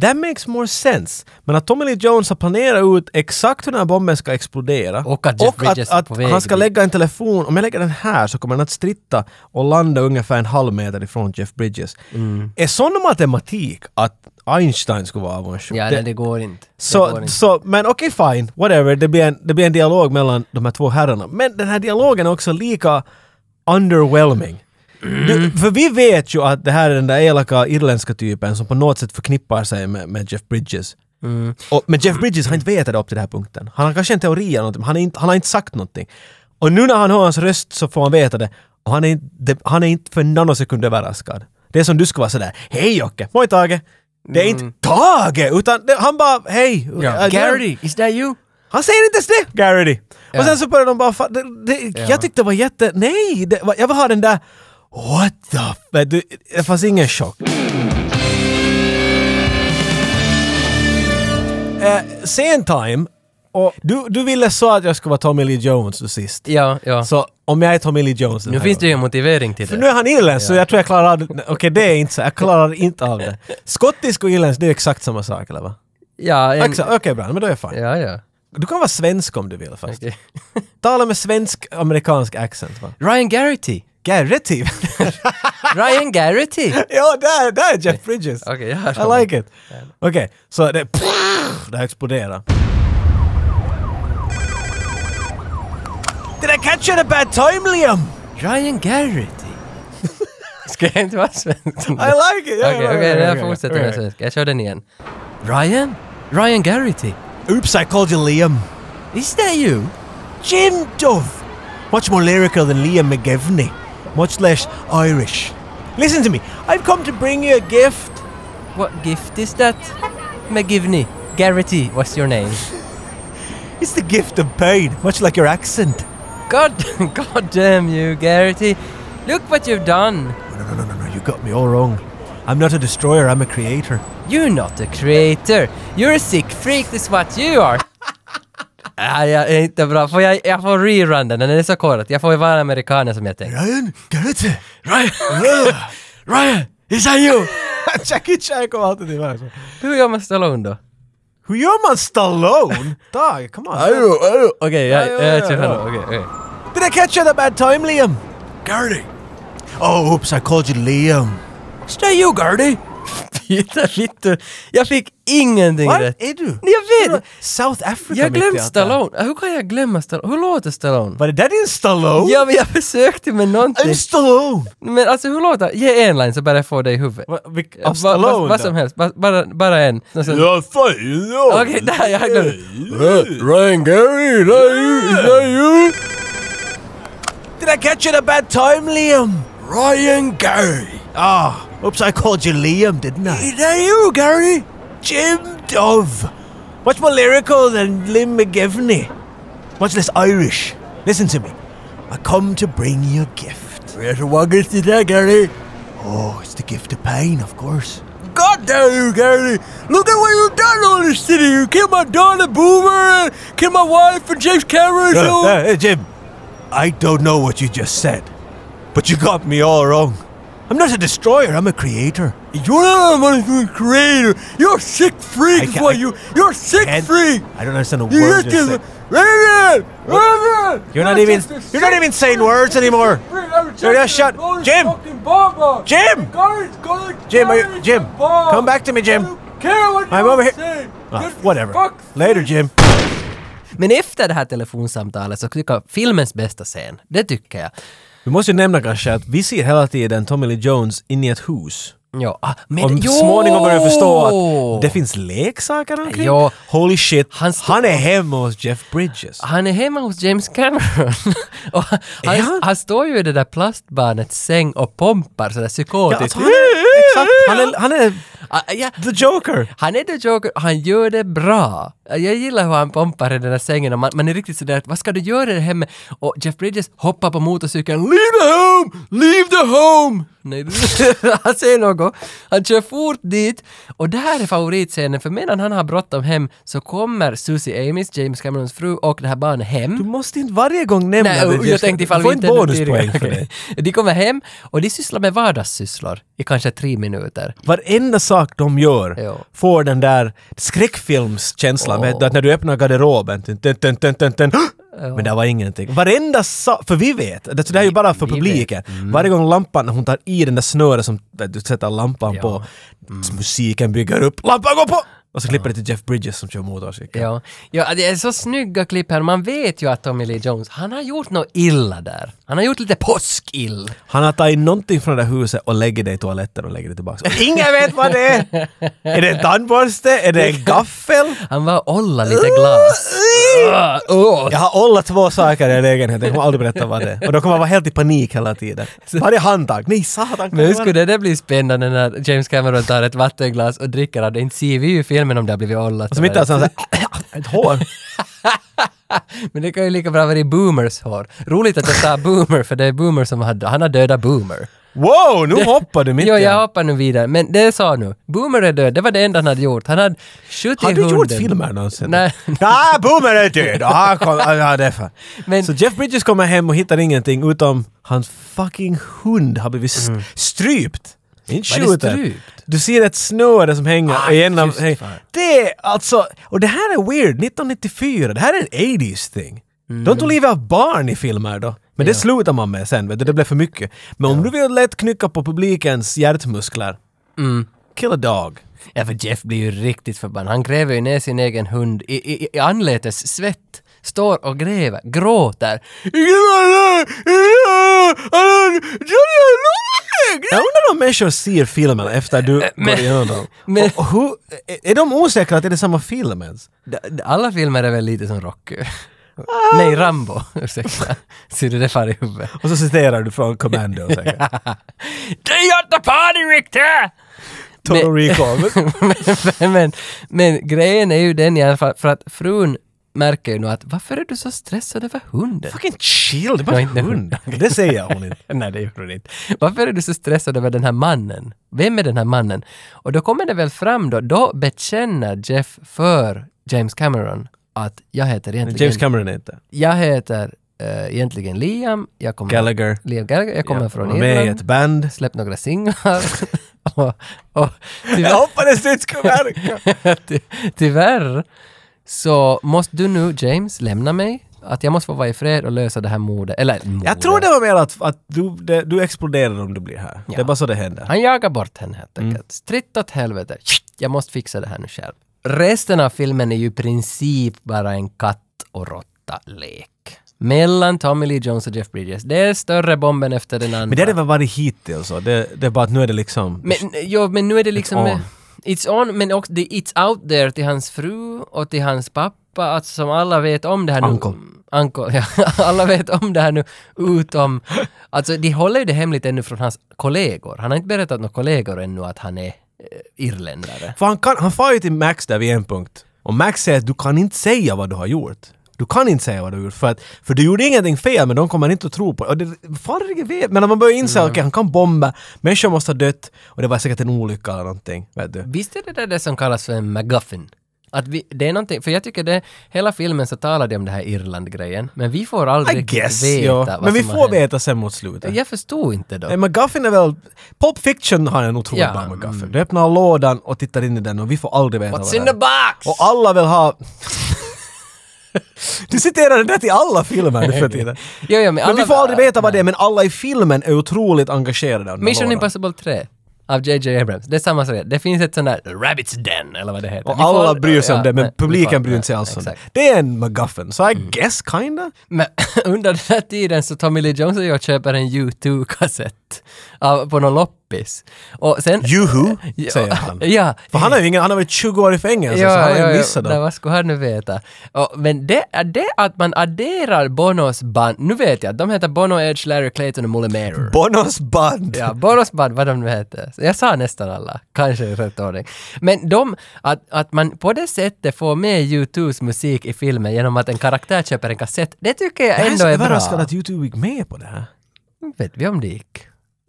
Speaker 3: That makes more sense. Men att Tommy Lee Jones har planerat ut exakt hur den här bomben ska explodera
Speaker 2: Och att Jeff Bridges
Speaker 3: att,
Speaker 2: är
Speaker 3: att
Speaker 2: på väg
Speaker 3: han ska
Speaker 2: dit.
Speaker 3: lägga en telefon, om jag lägger den här så kommer den att stritta och landa ungefär en halv meter ifrån Jeff Bridges.
Speaker 2: Mm.
Speaker 3: Är sån matematik att Einstein skulle vara avundsjuk?
Speaker 2: Ja,
Speaker 3: Det-
Speaker 2: nej, det går inte. Det går
Speaker 3: så,
Speaker 2: inte.
Speaker 3: så, men okej fine, whatever, det blir, en, det blir en dialog mellan de här två herrarna. Men den här dialogen är också lika underwhelming. Du,
Speaker 2: Mm.
Speaker 3: för vi vet ju att det här är den där elaka irländska typen som på något sätt förknippar sig med, med Jeff Bridges.
Speaker 2: Mm.
Speaker 3: Och, men Jeff Bridges har inte vetat det upp till den här punkten. Han har kanske en teori eller någonting, men han, är inte, han har inte sagt någonting. Och nu när han hör hans röst så får han veta det. Och han är, inte- det, han är inte för en nanosekund överraskad. Det är som du skulle vara sådär, hej Jocke, moj Tage. Det är inte Tage, utan det, han bara, hej.
Speaker 2: Mm. Ja.
Speaker 3: Äh,
Speaker 2: Gary, is that you?
Speaker 3: han säger inte ens det, Garrity!
Speaker 2: Ja.
Speaker 3: Och sen så börjar de bara... Fa- det, det, Jag tyckte det var jätte... Nej! Det, var- jag vill ha den där... What the... f- Men du, det fanns ingen chock. Eh, sen time. Och du, du ville så att jag skulle vara Tommy Lee Jones du sist.
Speaker 2: Ja, ja.
Speaker 3: Så om jag är Tommy Lee Jones den
Speaker 2: nu
Speaker 3: här
Speaker 2: finns det
Speaker 3: gången.
Speaker 2: ju en motivering till
Speaker 3: För nu
Speaker 2: det.
Speaker 3: är han irländsk så jag tror jag klarar av det. Okej, det är inte så. Jag klarar inte av det. Skottisk och irländsk, det är exakt samma sak, eller va?
Speaker 2: Ja, en,
Speaker 3: Exakt, Okej, bra. Men då är jag fine.
Speaker 2: ja, ja.
Speaker 3: Du kan vara svensk om du vill fast.
Speaker 2: Okej.
Speaker 3: Tala med svensk-amerikansk accent va?
Speaker 2: Ryan Garrity!
Speaker 3: Garrity!
Speaker 2: Ryan Garrity!
Speaker 3: ja, där, där är Jeff Bridges!
Speaker 2: Okej, jag hör
Speaker 3: I like it! Okej, så det... Det här exploderar. Did I catch you at a bad time Liam?
Speaker 2: Ryan Garrity! Ska jag inte vara svensk? I
Speaker 3: I like it! Ja,
Speaker 2: Okej,
Speaker 3: ja, ja,
Speaker 2: okej,
Speaker 3: ja,
Speaker 2: jag
Speaker 3: ja,
Speaker 2: fortsätter
Speaker 3: ja,
Speaker 2: med
Speaker 3: ja.
Speaker 2: svenska. Jag kör den igen. Ryan? Ryan Garrity?
Speaker 3: Oops, I called you Liam.
Speaker 2: Is that you?
Speaker 3: Jim Dove! Much more lyrical than Liam McGivney. Much less Irish. Listen to me, I've come to bring you a gift.
Speaker 2: What gift is that? McGivney. Garrity was your name.
Speaker 3: It's the gift of pain, much like your accent.
Speaker 2: God, God damn you, Garrity. Look what you've done.
Speaker 3: No, no, no, no, no, you got me all wrong. I'm not a destroyer, I'm a creator.
Speaker 2: You're not a creator. You're a sick freak, this is what you are. Nej, jag är inte bra. Får jag, jag får rerun den, den är så korrekt. Jag får ju vara amerikanen som jag tänker.
Speaker 3: Ryan, get it!
Speaker 2: Ryan! Ryan! Is that you?
Speaker 3: Jackie Chan kom alltid iväg så.
Speaker 2: Hur gör man Stallone då?
Speaker 3: Hur gör man Stallone? Dag, come on.
Speaker 2: Okej, jag,
Speaker 3: Ja,
Speaker 2: jag,
Speaker 3: ja,
Speaker 2: jag
Speaker 3: ja,
Speaker 2: kör
Speaker 3: ja.
Speaker 2: honom. Okej, okej.
Speaker 3: Did I catch you at a bad time, Liam? Gardy. Oh, oops, I called you Liam.
Speaker 2: Stay you, Gardy! Titta, vittu. Jag fick ingenting
Speaker 3: Vad
Speaker 2: rätt.
Speaker 3: är du?
Speaker 2: Jag vet!
Speaker 3: South Africa
Speaker 2: Jag
Speaker 3: mitt i
Speaker 2: glömde
Speaker 3: allt det här.
Speaker 2: Stallone. Hur kan jag glömma Stallone? Hur låter Stallone?
Speaker 3: Var det där din Stallone?
Speaker 2: Ja, men jag försökte med någonting.
Speaker 3: I'm Stallone!
Speaker 2: Men alltså hur låter... Ge en line så bara jag får det i huvudet.
Speaker 3: Va, vilk,
Speaker 2: Va-
Speaker 3: av
Speaker 2: va- Vad
Speaker 3: Stallone?
Speaker 2: som helst, Ba- bara, bara en. Och sen-
Speaker 3: Ja, fan, ja.
Speaker 2: Okej, där, jag glömde.
Speaker 3: glömde.
Speaker 2: Ryan Gary, is that you? Is that you?
Speaker 3: Did I catch you at a bad time, Liam? Ryan Gary. Ah, oops, I called you Liam, didn't I? Is that you, Gary? Jim Dove. Much more lyrical than Lim McGivney. Much less Irish. Listen to me. I come to bring you a gift. Where's what gift is that, Gary? Oh, it's the gift of pain, of course. God damn you, Gary! Look at what you've done on this city! You killed my daughter, Boomer, and killed my wife, and James Cameron. uh, Jim, I don't know what you just said, but you got me all wrong. I'm not a destroyer, I'm a creator. You're not a creator. You're a sick freak
Speaker 5: is what you-
Speaker 3: You're a sick
Speaker 5: freak.
Speaker 3: I don't understand a word
Speaker 5: You
Speaker 3: you're
Speaker 5: just
Speaker 3: saying.
Speaker 5: You're
Speaker 3: You're not even you're not even saying words anymore.
Speaker 5: You're just shut. Jim.
Speaker 3: Jim!
Speaker 5: Jim.
Speaker 3: Jim,
Speaker 5: Jim.
Speaker 3: are you-
Speaker 5: Jim. Come back to me, Jim. I'm over here.
Speaker 3: Ah, whatever. Later, Jim.
Speaker 2: Men efter det här telefonsamtalet så tycker jag filmens bästa scen, det tycker jag.
Speaker 3: Vi måste ju nämna kanske att vi ser hela tiden Tommy Lee Jones inne i ett hus.
Speaker 2: Ja, ah, men
Speaker 3: Och
Speaker 2: jo!
Speaker 3: småningom börjar jag förstå att det finns leksaker omkring.
Speaker 2: Ja.
Speaker 3: Holy shit,
Speaker 2: Han
Speaker 3: han,
Speaker 2: står-
Speaker 3: är hemma hos Jeff Bridges.
Speaker 2: Han är hemma hos James Cameron. och han,
Speaker 3: Är
Speaker 2: han?
Speaker 3: han?
Speaker 2: står ju i det där plastbarnets säng och pompar sådär
Speaker 3: Ja,
Speaker 2: psykotiskt.
Speaker 3: alltså, han, är, exakt, han, är, han är
Speaker 2: Ah, ja.
Speaker 3: the Joker.
Speaker 2: Han är the Joker, han gör det bra. Jag gillar hur han pumpar i den där sängen och man, man är riktigt sådär att vad ska du göra där hemma? Och Jeff Bridges hoppar på motorcykeln Leave the home! Leave the home! Nej, det- han säger något. Han kör fort dit. Och det här är favoritscenen för medan han har bråttom hem så kommer Susie Amis, James Camerons fru och det här barnet hem.
Speaker 3: Du måste inte varje gång nämna
Speaker 2: Nej,
Speaker 3: det.
Speaker 2: och jag
Speaker 3: Jeff-
Speaker 2: tänkte
Speaker 3: Du
Speaker 2: ifall
Speaker 3: får
Speaker 2: vi inte
Speaker 3: en bonuspoäng för det.
Speaker 2: Okej. De kommer hem och de sysslar med vardagssysslor i kanske tre minuter.
Speaker 3: Varenda sak de gör
Speaker 2: Ja.
Speaker 3: får den där skräckfilmskänslan. Vet du, att när du öppnar garderoben, tun, tun, tun, tun, tun, tun, men det var ingenting. Varenda sak, för vi vet, det, det här är ju bara för
Speaker 2: Vi vet. Mm.
Speaker 3: publiken. Varje gång lampan, när hon tar i den där snöret som vet du sätter lampan
Speaker 2: Ja. Mm.
Speaker 3: på, musiken bygger upp, lampan går på! Och så klipper det till Jeff Bridges som kör motorcykel.
Speaker 2: Ja. ja, det är så snygga klipp här. Man vet ju att Tommy Lee Jones, han har gjort något illa där. Han har gjort lite påskill.
Speaker 3: Han har tagit någonting från det där huset och lägger det i toaletten och lägger det tillbaka. Och ingen vet vad det är! Är det en tandborste? Är det en gaffel?
Speaker 2: Han var olla lite glas. Åh, åh.
Speaker 3: Jag har ollat två saker i lägenheten, jag kommer aldrig berätta vad det är. Och då kommer jag vara helt i panik hela tiden. Varje handtag, nej satan!
Speaker 2: Men hur skulle det bli spännande när James Cameron tar ett vattenglas och dricker av det? Inte ser vi ju i filmen om det har blivit ollat.
Speaker 3: Som inte har sån här, ett hår.
Speaker 2: Men det kan ju lika bra vara i Boomers hår. Roligt att jag sa Boomer, för det är Boomer som hade, han har dödat Boomer.
Speaker 3: Wow, nu hoppar du mitt
Speaker 2: Jo,
Speaker 3: i
Speaker 2: jag
Speaker 3: allt.
Speaker 2: hoppar nu vidare. Men det sa jag nu. Boomer är död, det var det enda han hade gjort. Han hade skjutit
Speaker 3: Har du gjort
Speaker 2: hunden.
Speaker 3: filmer någonsin?
Speaker 2: Nej.
Speaker 3: Ah, Boomer är död! Och han kom, ah, ja, det är fan.
Speaker 2: Men-
Speaker 3: Så Jeff Bridges kommer hem och hittar ingenting utom hans fucking hund har blivit s- strypt. Inte
Speaker 2: Var Mm. det
Speaker 3: skjuten.
Speaker 2: strypt?
Speaker 3: Du ser ett snöre som hänger
Speaker 2: Ah,
Speaker 3: igenom.
Speaker 2: just fan.
Speaker 3: Det är alltså, och det här är weird, 1994, det här är en 80s thing. De tog livet av barn i filmer då. Men det
Speaker 2: Mm. Ja.
Speaker 3: slutar man med sen, vet du, det blev för mycket. Men om du vill lätt knycka på publikens hjärtmuskler,
Speaker 2: Mm.
Speaker 3: kill a dog.
Speaker 2: Ja, för Jeff blir ju riktigt förbannad. Han gräver ju ner sin egen hund i, i, i anletes svett. Står och gräver, gråter.
Speaker 3: Jag undrar om människor ser filmen efter du går igenom dem.
Speaker 2: men-
Speaker 3: Och hur, är de osäkra att det är samma film ens?
Speaker 2: Alla filmer är väl lite som Rocky? Nej, Rambo. Ursäkta. Ser du det far i huvudet?
Speaker 3: Och så citerar du från Commando säkert.
Speaker 2: They are the party, Richter!
Speaker 3: Total Recall.
Speaker 2: men, men, men grejen är ju den i alla fall, för att frun märker ju nu att varför är du så stressad över hunden?
Speaker 3: Fucking chill, det är bara
Speaker 2: Nej,
Speaker 3: en
Speaker 2: inte
Speaker 3: hund. Det säger hon inte.
Speaker 2: Nej, det gjorde hon inte. Varför är du så stressad över den här mannen? Vem är den här mannen? Och då kommer det väl fram då, då bekänner Jeff för James Cameron att jag heter egentligen...
Speaker 3: James Cameron är inte.
Speaker 2: Jag heter eh, egentligen Liam, jag kommer...
Speaker 3: Gallagher.
Speaker 2: Liam Gallagher, jag kommer
Speaker 3: Ja,
Speaker 2: från
Speaker 3: han var med i
Speaker 2: Irland,
Speaker 3: ett band.
Speaker 2: släppt några singlar och, och
Speaker 3: Jag
Speaker 2: tyvärr,
Speaker 3: hoppades det inte skulle verka.
Speaker 2: ty, tyvärr så måste du nu James lämna mig, att jag måste få vara i fred och lösa det här mordet, eller
Speaker 3: Jag tror det var mer att, att du, det, du exploderar om du blir här. Det är bara så det händer.
Speaker 2: Han jagar bort henne helt
Speaker 3: Mm.
Speaker 2: enkelt. Stritt åt helvete. Shit, Jag måste fixa det här nu själv. Resten av filmen är ju i princip bara en katt och råtta-lek. Mellan Tommy Lee Jones och Jeff Bridges. Det är större bomben efter den andra.
Speaker 3: Men det har det väl varit hittills. så. Det, det är bara att nu är det liksom...
Speaker 2: Men, jo, men nu är det liksom...
Speaker 3: on.
Speaker 2: eh, It's on, men också det är it's out there till hans fru och till hans pappa, alltså som alla vet om det här nu.
Speaker 3: Uncle.
Speaker 2: Uncle, ja. Alla vet om det här nu, utom... Alltså de håller ju det hemligt ännu från hans kollegor. Han har inte berättat några kollegor ännu att han är eh, irländare.
Speaker 3: För han, kan, han far ju till Max där vid en punkt. Och Max säger att du kan inte säga vad du har gjort. Du kan inte säga vad du har gjort för att för du gjorde ingenting fel men de kommer inte att tro på det. Och det farliga vet, men när man börjar
Speaker 2: Mm.
Speaker 3: inse att okej han kan bomba, människor måste ha dött och det var säkert en olycka eller någonting. Vet du?
Speaker 2: Visst är det där det som kallas för en MacGuffin? Att vi, det är någonting, för jag tycker det, hela filmen så talar de om det här Irland-grejen, men vi får aldrig
Speaker 3: I
Speaker 2: riktigt
Speaker 3: guess.
Speaker 2: veta
Speaker 3: Ja.
Speaker 2: vad
Speaker 3: Men vi
Speaker 2: som har
Speaker 3: får
Speaker 2: hänt.
Speaker 3: veta sen mot slutet.
Speaker 2: Jag förstod inte då.
Speaker 3: Nej, McGuffin är väl... Pulp Fiction har en otroligt
Speaker 2: Ja,
Speaker 3: bra McGuffin. Du öppnar lådan och tittar in i den och vi får aldrig veta
Speaker 2: What's
Speaker 3: vad
Speaker 2: in
Speaker 3: det
Speaker 2: the
Speaker 3: är.
Speaker 2: box?
Speaker 3: Och alla vill ha... du citerar det där till alla filmer nu för tiden.
Speaker 2: Jo, jo, men
Speaker 3: Men
Speaker 2: alla-
Speaker 3: vi får aldrig veta vad det är, men alla i filmen är otroligt engagerade. av den här
Speaker 2: Mission
Speaker 3: lådan.
Speaker 2: Impossible 3 av JJ Abrams. Det är samma sak. Det finns ett sånt där Rabbits Den eller vad det heter.
Speaker 3: Och
Speaker 2: Vi får
Speaker 3: alla
Speaker 2: aldrig-
Speaker 3: bryr sig om
Speaker 2: ja,
Speaker 3: det, men
Speaker 2: nej, vi får-
Speaker 3: publiken bryr
Speaker 2: nej,
Speaker 3: sig alls om det.
Speaker 2: exakt. Mm.
Speaker 3: Det är en McGuffin, så I guess kinda.
Speaker 2: Men under den här tiden så Tommy Lee Jones och jag köper en U2-kassett av- på någon loppis. Och sen...
Speaker 3: Juhu,
Speaker 2: Ja,
Speaker 3: säger han.
Speaker 2: Ja.
Speaker 3: För han har ju ingen, han har varit 20 år i fängelse, så han har ju missat
Speaker 2: där,
Speaker 3: dem.
Speaker 2: vad skulle han nu veta? Och, men det, det att man adderar Bonos band, nu vet jag, de heter Bono, Edge, Larry Clayton och Mulle Mayer.
Speaker 3: Bonos band!
Speaker 2: Ja, Borosband, vad de nu heter. Så Jag sa nästan alla, kanske i rätt ordning. Men de, att, att man på det sättet får med U2s musik i filmen genom att en karaktär köper en kassett, det tycker jag
Speaker 3: Jag är
Speaker 2: ändå
Speaker 3: så
Speaker 2: är bra.
Speaker 3: överraskad att YouTube gick med på det här.
Speaker 2: Vet vi om det gick?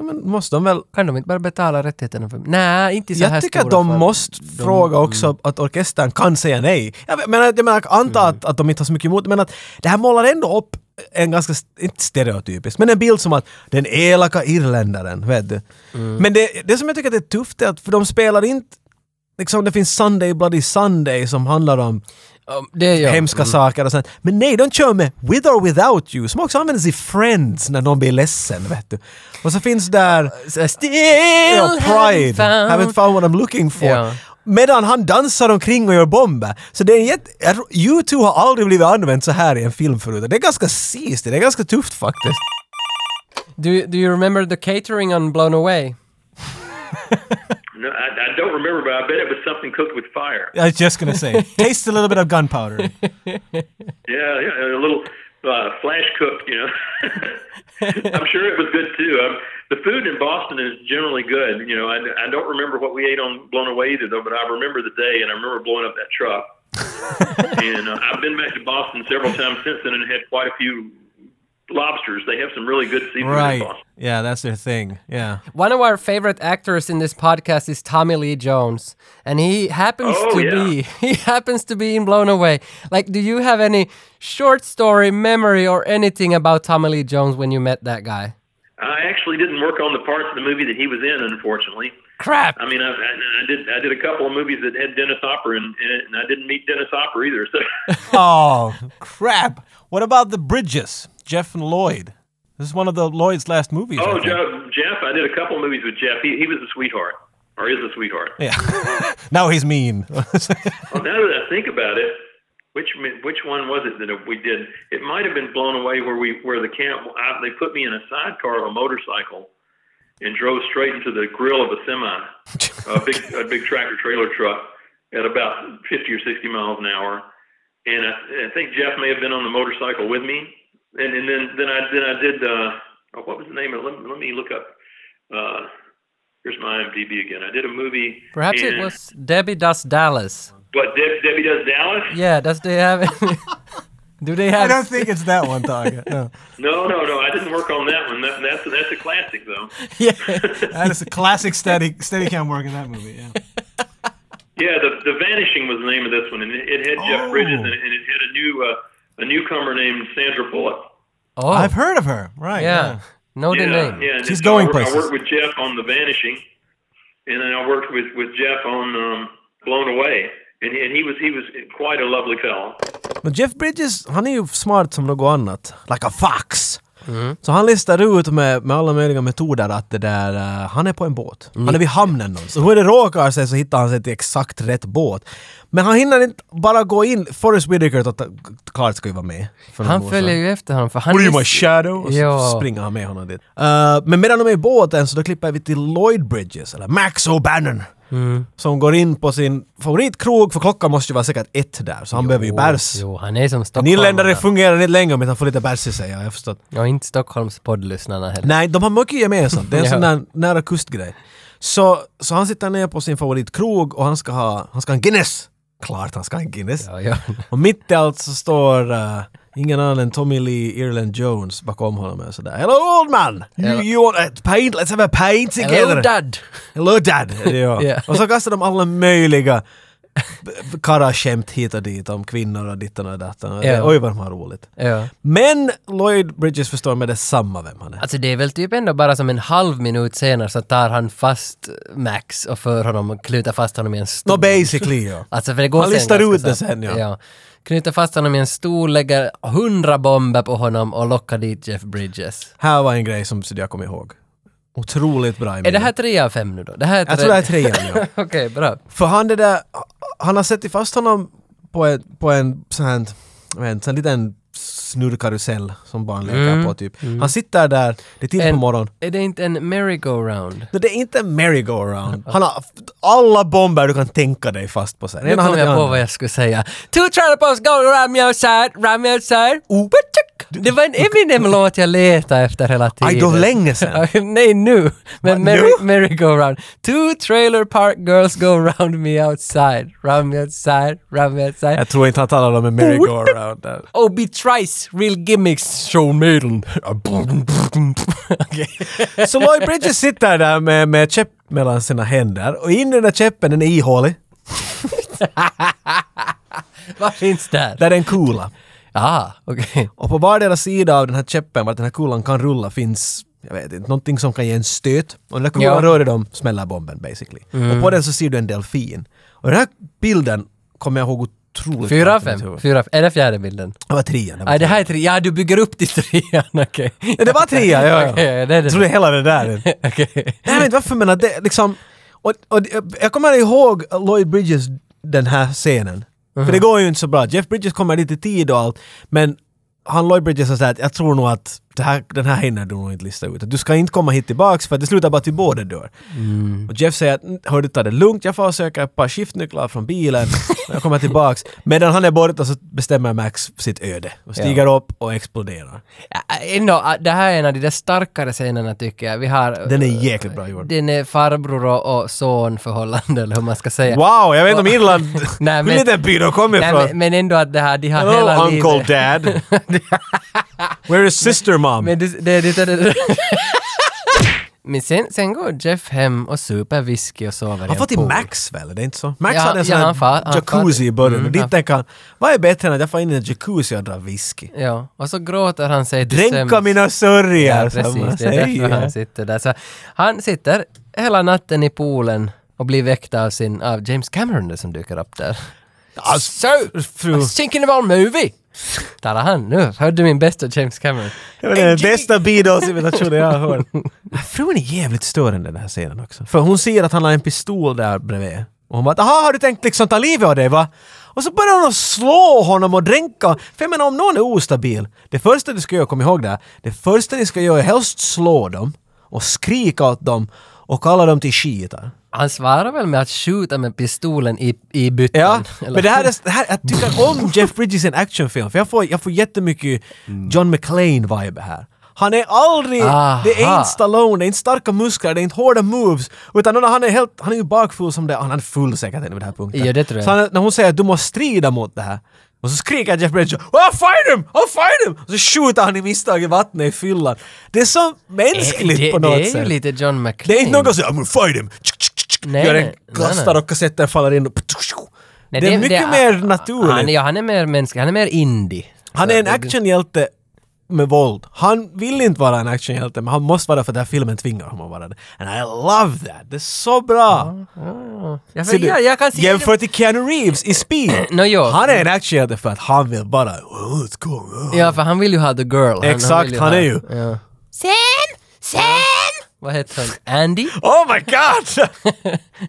Speaker 3: Men måste de väl...
Speaker 2: Kan de inte bara betala rättigheterna för Nej, inte i så här
Speaker 3: Jag tycker att
Speaker 2: stora Mm.
Speaker 3: de
Speaker 2: fall.
Speaker 3: måste fråga också att orkestern kan säga nej. Jag menar, jag menar anta
Speaker 2: Mm.
Speaker 3: att, att de inte har så mycket emot men att det här målar ändå upp en ganska, inte stereotypisk, men en bild som att den elaka irländaren, vet du.
Speaker 2: Mm.
Speaker 3: Men det, det som jag tycker att det är tufft är att, för de spelar inte, liksom det finns Sunday Bloody Sunday som handlar om
Speaker 2: Ja, Det gör
Speaker 3: hemska saker och sånt. Men nej, de kör med With or Without You, som också användes i Friends när någon blir ledsen, vet du. Och så finns där... eh,
Speaker 2: Så Still
Speaker 3: Ja, pride.
Speaker 2: haven't
Speaker 3: Haven't
Speaker 2: found...
Speaker 3: found what I'm looking for.
Speaker 2: Ja.
Speaker 3: Medan han dansar omkring och gör bomber. Så det är en jätte... jag tror- U2 har aldrig blivit använt så här i en film förut. Det är ganska sist, det är ganska tufft faktiskt.
Speaker 2: Do, you- do you remember the catering on Blown Away?
Speaker 4: No, I, I don't remember, but I bet it was something cooked with fire.
Speaker 3: I was just gonna say. Taste a little bit of gunpowder.
Speaker 4: Yeah, yeah, and a little uh, flash cooked, you know. I'm sure it was good too. Um, the food in Boston is generally good. You know, I, I don't remember what we ate on Blown Away either, though, but I remember the day and I remember blowing up that truck. and uh, I've been back to Boston several times since then and had quite a few lobsters. They have some really good seafood in
Speaker 3: right.
Speaker 4: Boston.
Speaker 3: Yeah, that's their thing. Yeah.
Speaker 2: One of our favorite actors in this podcast is Tommy Lee Jones, and he happens
Speaker 4: Oh,
Speaker 2: to
Speaker 4: yeah.
Speaker 2: be he happens to be in Blown Away. Like, do you have any short story memory or anything about Tommy Lee Jones when you met that guy?
Speaker 4: I actually didn't work on the parts of the movie that he was in, unfortunately.
Speaker 2: Crap.
Speaker 4: I mean, I, I, I did I did a couple of movies that had Dennis Hopper in, in it, and I didn't meet Dennis Hopper either. So.
Speaker 3: Oh, crap. What about the Bridges? Jeff and Lloyd. This is one of the Lloyd's last movies. I
Speaker 4: Oh,
Speaker 3: think.
Speaker 4: Jeff, Jeff, I did a couple movies with Jeff. He, he was a sweetheart, or is a sweetheart.
Speaker 3: Yeah. now he's mean.
Speaker 4: Well, now that I think about it, which mi- which one was it that we did? It might have been blown away where we where the camp I, they put me in a sidecar of a motorcycle and drove straight into the grill of a semi, a big a big tractor trailer truck at about fifty or sixty miles an hour. And I, I think Jeff may have been on the motorcycle with me. And and then then I then I did uh, oh, what was the name of it? Let, me- let me look up. Uh, Here's my IMDb again. I did a movie.
Speaker 2: Perhaps it
Speaker 4: in-
Speaker 2: was Debbie Does Dallas.
Speaker 4: But Deb, Debbie Does Dallas?
Speaker 2: Yeah, does they have? do they have?
Speaker 3: I don't think it's that one, Target. No.
Speaker 4: No, no, no. I didn't work on that one. That, that's that's a classic though.
Speaker 2: Yeah.
Speaker 5: That is a classic steady steadicam work in that movie. Yeah.
Speaker 4: Yeah, the the Vanishing was the name of this one, and it, it had Jeff
Speaker 5: Oh.
Speaker 4: Bridges, and it, and it had a new uh, a newcomer named Sandra Bullock.
Speaker 2: Oh,
Speaker 5: I've heard of her. Right.
Speaker 2: yeah. Know the
Speaker 4: yeah,
Speaker 2: name.
Speaker 4: yeah. and
Speaker 5: She's
Speaker 4: so I
Speaker 5: going
Speaker 4: wor-
Speaker 5: places.
Speaker 4: I worked with Jeff on The Vanishing, and then I worked with with Jeff on um, Blown Away, and he, and he was he was quite a lovely fellow.
Speaker 3: Men Jeff Bridges, han är ju smart som något annat. Like a fox!
Speaker 2: Mm.
Speaker 3: Så han listar ut med, med alla möjliga metoder att det där, eh, han är på en båt. Han är vid hamnen någonstans. Hur det råkar sig så hittar han sig till exakt rätt båt. Men han hinner inte bara gå in. Forrest Whitaker då, t- klart ska ju vara med. För några
Speaker 2: Han
Speaker 3: år
Speaker 2: följer
Speaker 3: sedan.
Speaker 2: ju efter honom för han...
Speaker 3: What are you,
Speaker 2: visste-
Speaker 3: my shadow? Och
Speaker 2: Ja.
Speaker 3: så springer han med honom dit. Eh, men medan de är i båten så då klipper vi till Lloyd Bridges, eller Max O'Bannon.
Speaker 2: Mm.
Speaker 3: Som går in på sin favoritkrog, för klockan måste ju vara säkert ett där, så han behöver ju bärs.
Speaker 2: Jo, han är som
Speaker 3: Nederländare
Speaker 2: stockholmare.
Speaker 3: fungerar inte längre om inte han får lite bärs i sig, ja, jag förstår.
Speaker 2: Och inte Stockholms poddlyssnarna heller.
Speaker 3: Nej, de har mycket gemensamt. Det är en
Speaker 2: Ja.
Speaker 3: sån där nära kustgrej. Så, så han sitter ner på sin favoritkrog och han ska ha, han ska ha en Guinness! Klart han ska ha en Guinness.
Speaker 2: Ja, ja.
Speaker 3: Och mitt i allt så står eh, ingen annan än Tommy Lee Ireland Jones bakom honom och sådär. Hello old man! You,
Speaker 2: Hello.
Speaker 3: you want a paint? Let's have a paint together!
Speaker 2: Hello dad!
Speaker 3: Hello dad! Det är jag.
Speaker 2: Ja.
Speaker 3: Och så kastar de alla möjliga b- b- karaskämt hit och dit om kvinnor och ditten och datten.
Speaker 2: Ja.
Speaker 3: Oj vad de har roligt.
Speaker 2: Ja.
Speaker 3: Men Lloyd Bridges förstår med detsamma vem han är.
Speaker 2: Alltså det är väl typ ändå bara som en halv minut senare så tar han fast Max och för honom och knuter fast honom i en stol.
Speaker 3: No, basically ja.
Speaker 2: Alltså för det går
Speaker 3: Han
Speaker 2: sen
Speaker 3: listar
Speaker 2: ganska
Speaker 3: ut det
Speaker 2: snabbt.
Speaker 3: sen, ja.
Speaker 2: Knyter fast honom i en stol, lägger hundra bomber på honom och lockar dit Jeff Bridges.
Speaker 3: Här var en grej som så jag kom ihåg. Otroligt bra
Speaker 2: Är det här tre av fem nu då? Det här är
Speaker 3: Jag tror det här är trean ja.
Speaker 2: Okej, bra.
Speaker 3: För han det där, han har sett fast honom på en, på en sån här, jag vet inte, sån liten snurrkarusell som barn leker på typ. Han sitter där, det är tidigt
Speaker 2: Mm. En-
Speaker 3: på morgonen.
Speaker 2: Är det inte en merry-go-round?
Speaker 3: Nej, Det är inte en merry-go-round. Han har f- alla bomber du kan tänka dig fast på sig.
Speaker 2: Nu kom jag på vad jag skulle säga. Two trolleybus go round me outside, round me outside. Ba-chuck. Det var en Eminem-låt jag letade efter hela tiden.
Speaker 3: Aj, det var länge sedan.
Speaker 2: Nej, nu. Men
Speaker 3: Va,
Speaker 2: Merry,
Speaker 3: nu?
Speaker 2: Merry Go Round. Two trailer park girls go round me outside, round me outside, round me outside.
Speaker 3: Jag tror inte han talar om en merry-go-round där.
Speaker 2: Oh, be thrice, real gimmicks, show maiden. Okej.
Speaker 3: Så Lloyd Bridges sitter där med, med käpp mellan sina händer och in i den där käppen, den är ihålig.
Speaker 2: Vad finns där?
Speaker 3: Där är en kula.
Speaker 2: Ah, okej.
Speaker 3: Och på vardera sida av den här käppen, vart den här kulan kan rulla, finns jag vet inte, någonting som kan ge en stöt. Och när kulan
Speaker 2: Ja.
Speaker 3: rör dem smäller bomben basically. Och på den så ser du en delfin. Och den här bilden kommer jag ihåg otroligt
Speaker 2: Fyra av
Speaker 3: klart i mitt
Speaker 2: fem.
Speaker 3: huvud.
Speaker 2: Fyra av Är det fjärde bilden?
Speaker 3: Det var trean. Det var,
Speaker 2: Nej, det här är tre. Ja, du bygger upp till trean, okej.
Speaker 3: ja, det var trean, ja. ja.
Speaker 2: Okej, det är det.
Speaker 3: Jag trodde hela det där.
Speaker 2: Okej.
Speaker 3: Nej, men varför menar det liksom... Och, och, jag kommer ihåg Lloyd Bridges, den här scenen. För det går ju inte så bra. Jeff Bridges kommer dit i tid och allt, men han Lloyd Bridges har sagt jag tror nog att det här, den här hinner du nog inte lista ut. Du ska inte komma hit tillbaks för det slutar bara att vi båda dör. Och Jeff säger att "Mm, hör du ta det lugnt, jag får söka ett par skiftnycklar från bilen, jag kommer tillbaks. Medan han är borta så bestämmer Max sitt öde och stiger upp och exploderar.
Speaker 2: Ja, Ändå, ah, det här är en av de där starkare scenerna tycker jag. Vi har...
Speaker 3: Den är jäkligt bra gjord.
Speaker 2: Den är farbror och, och son förhållande eller hur man ska säga.
Speaker 3: Wow, jag vet inte om Irland...
Speaker 2: Nej,
Speaker 3: Hur
Speaker 2: men-
Speaker 3: liten by de kommer
Speaker 2: Nej,
Speaker 3: ifrån?
Speaker 2: men, men ändå att det här, de har
Speaker 3: Hello,
Speaker 2: hela
Speaker 3: Uncle
Speaker 2: livet.
Speaker 3: Dad. Where is sister mom?
Speaker 2: Men det, det, det, det, det. Men sen, sen går Jeff hem och super whisky och sover i
Speaker 3: han
Speaker 2: en
Speaker 3: får till
Speaker 2: pool.
Speaker 3: Max väl? Det är inte så? Max
Speaker 2: Ja,
Speaker 3: hade en
Speaker 2: ja,
Speaker 3: sån här
Speaker 2: han far- han
Speaker 3: jacuzzi
Speaker 2: far-
Speaker 3: i början.
Speaker 2: Mm,
Speaker 3: och dit
Speaker 2: han-
Speaker 3: tänker han, vad är bättre än att jag får in i en jacuzzi och drar whisky?
Speaker 2: Ja, och så gråter han sig till
Speaker 3: Dränka
Speaker 2: sömns.
Speaker 3: mina sörjor!
Speaker 2: Ja,
Speaker 3: som man
Speaker 2: precis. Det är därför han sitter där. Så han sitter hela natten i poolen och blir väckt av, sin, av James Cameron det som dyker upp där.
Speaker 3: Alltså,
Speaker 2: So,
Speaker 3: fru-
Speaker 2: I was thinking about a movie! Talar han nu? Hörde du min bästa James Cameron?
Speaker 3: Det var den bästa Beatles-imitationen jag har hört. Frun är jävligt störande i den här scenen också. För hon ser att han har en pistol där bredvid. Och hon bara ”Jaha, har du tänkt liksom ta livet av dig va?” Och så börjar hon att slå honom och dränka. För jag menar om någon är ostabil, det första du ska göra, kom ihåg det här, det första ni ska göra är helst slå dem och skrika åt dem och kalla dem till skitar.
Speaker 2: Han svarar väl med att skjuta med pistolen i, i bytten?
Speaker 3: Ja,
Speaker 2: Eller-
Speaker 3: men det här, är, det här jag tycker om Jeff Bridges i en actionfilm för jag får, jag får jättemycket John McClane vibe här. Han är aldrig...
Speaker 2: Mm. Aha.
Speaker 3: Det är inte Stallone, det är inte starka muskler, det är inte hårda moves. Utan när han är helt... Han är ju bakfull som det... Han är full säkert vid den här punkten.
Speaker 2: Ja, det tror jag.
Speaker 3: Så han, när hon säger att du måste strida mot det här. Och så skriker Jeff Bridges “I'll fight him! I'll fight him!” Och så skjuter han i misstag i vattnet i fyllan. Det är så mänskligt
Speaker 2: Eh, det,
Speaker 3: på något
Speaker 2: det är ju
Speaker 3: sätt.
Speaker 2: lite John McClane.
Speaker 3: Det är inte någon som säger “I'm gonna fight him!” Tsk, tsk, tsk,
Speaker 2: Nej,
Speaker 3: Gör
Speaker 2: nej,
Speaker 3: en
Speaker 2: nej,
Speaker 3: kastar
Speaker 2: nej.
Speaker 3: och kassetten faller in. och-
Speaker 2: Nej,
Speaker 3: det är mycket mer naturligt.
Speaker 2: Han, ja, han är mer mänsklig, han är mer indie.
Speaker 3: Han är en actionhjälte med våld. Han vill inte vara en actionhjälte men han måste vara det för den här filmen tvingar honom att vara det. And I love that! Det är så bra!
Speaker 2: Ja, för,
Speaker 3: Ser du?
Speaker 2: ja, jag kan se
Speaker 3: Jämför till Keanu Reeves i Speed!
Speaker 2: Nå, jo.
Speaker 3: Han är en actionhjälte för att han vill bara "Oh, Let's go! oh."
Speaker 2: Ja, för han vill ju ha the girl. Han,
Speaker 3: Exakt,
Speaker 2: vill
Speaker 3: han
Speaker 2: ha-
Speaker 3: är ju-
Speaker 2: Ja.
Speaker 6: Sam! Sam!
Speaker 2: Vad heter han? Andy?
Speaker 3: Oh my god!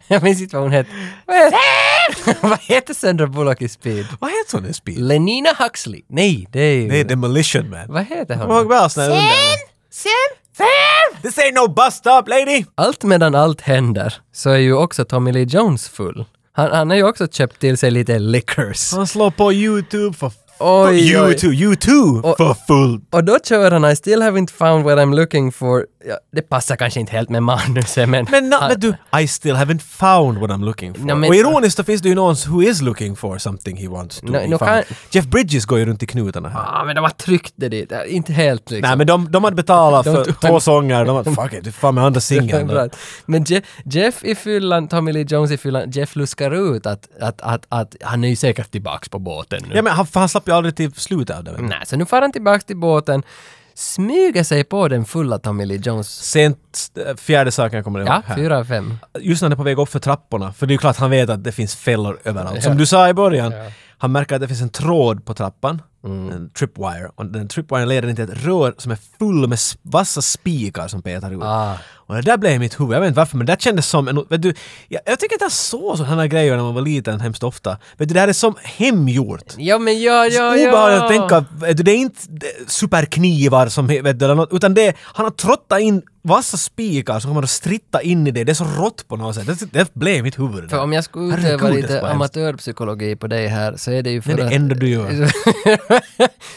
Speaker 2: jag minns inte vad hon hette. Vad heter- Vad heter Sandra Bullock i Speed?
Speaker 3: Vad heter hon i Speed?
Speaker 2: Lenina Huxley? Nej, det är ju...
Speaker 3: Det är Demolition Man.
Speaker 2: Vad heter
Speaker 3: Kommer ihåg
Speaker 2: hon?
Speaker 3: väl såna här under-
Speaker 6: Sam! Sam! Sam!
Speaker 3: This ain't no bus stop lady!
Speaker 2: Allt medan allt händer så är ju också Tommy Lee Jones full. Han, han har ju också köpt till sig lite liquors.
Speaker 3: Han slår på YouTube för...
Speaker 2: Oj, oj.
Speaker 3: YouTube, YouTube!
Speaker 2: Och-
Speaker 3: För full...
Speaker 2: Och då kör han I still haven't found what I'm looking for. Ja, det passar kanske inte helt med manuset men...
Speaker 3: Men, na,
Speaker 2: han,
Speaker 3: men du, I still haven't found what I'm looking for.
Speaker 2: Ja, men-
Speaker 3: och ironiskt så finns det ju någon who is looking for something he wants to
Speaker 2: Nå-
Speaker 3: be
Speaker 2: nå
Speaker 3: found.
Speaker 2: kan-
Speaker 3: Jeff Bridges går ju runt i knutarna här.
Speaker 2: Ah, men de har tryckt det dit. Ja, Inte helt liksom.
Speaker 3: Nej men de, de hade betalat
Speaker 2: De
Speaker 3: för
Speaker 2: tog-
Speaker 3: två sånger, de hade fuck it, det är fan med andra singeln.
Speaker 2: Bra. Men Je- Jeff i fyllan, Tommy Lee Jones i fyllan, Jeff luskar ut att, att, att, att han är ju säkert tillbaks på båten nu.
Speaker 3: Ja men han, för han slapp ju aldrig till slutet av det. vet du.
Speaker 2: Nej, så nu far han tillbaks till båten, smyger sig på den fulla Tommy Lee Jones.
Speaker 3: Sent, eh, fjärde saken jag kommer ihåg
Speaker 2: Ja,
Speaker 3: här.
Speaker 2: fyra av fem.
Speaker 3: Just när han är på väg upp för trapporna, för det är ju klart han vet att det finns fällor överallt. Som du sa i början, han märker att det finns en tråd på trappan, en tripwire, och den tripwiren leder in till ett rör som är full med s- vassa spikar som petar ut.
Speaker 2: Ah.
Speaker 3: Och det där blev i mitt huvud, jag vet inte varför, men det där kändes som en... Vet du, jag, jag tycker inte jag såg sådana här grejer när man var liten hemskt ofta. Vet du, det här är som hemgjort.
Speaker 2: Ja, men ja, ja, ja.
Speaker 3: Obehagligt att tänka, vet du, det är inte eh, superknivar som, he- vet du, eller något, utan det är, han har trottat in vassa spikar som kommer att stritta in i det, det är så rått på något sätt. Det, det blev mitt huvud.
Speaker 2: För om jag skulle
Speaker 3: Herregud,
Speaker 2: utöva
Speaker 3: det är så
Speaker 2: lite
Speaker 3: hemskt.
Speaker 2: amatörpsykologi på dig här så är det ju för
Speaker 3: Det är det
Speaker 2: att...
Speaker 3: enda du gör.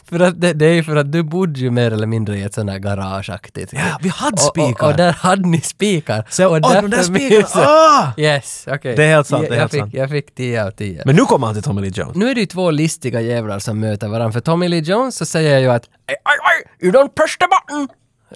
Speaker 2: för att det, det är ju för att du bodde ju mer eller mindre i ett sånt här garageaktigt.
Speaker 3: Ja, vi hade
Speaker 2: Och-
Speaker 3: spikar.
Speaker 2: Och, och där hade ni spikar.
Speaker 3: Så jag,
Speaker 2: och
Speaker 3: åh, de där
Speaker 2: därför
Speaker 3: spikarna,
Speaker 2: minns jag-
Speaker 3: ah!
Speaker 2: Yes, okej.
Speaker 3: Det är helt sant, det är
Speaker 2: jag,
Speaker 3: helt
Speaker 2: fick,
Speaker 3: sant.
Speaker 2: jag fick 10 av 10.
Speaker 3: Men nu kommer han till Tommy Lee Jones.
Speaker 2: nu är det ju två listiga jävlar som möter varandra. För Tommy Lee Jones så säger ju att "Aj, aj, aj, You don't push the button!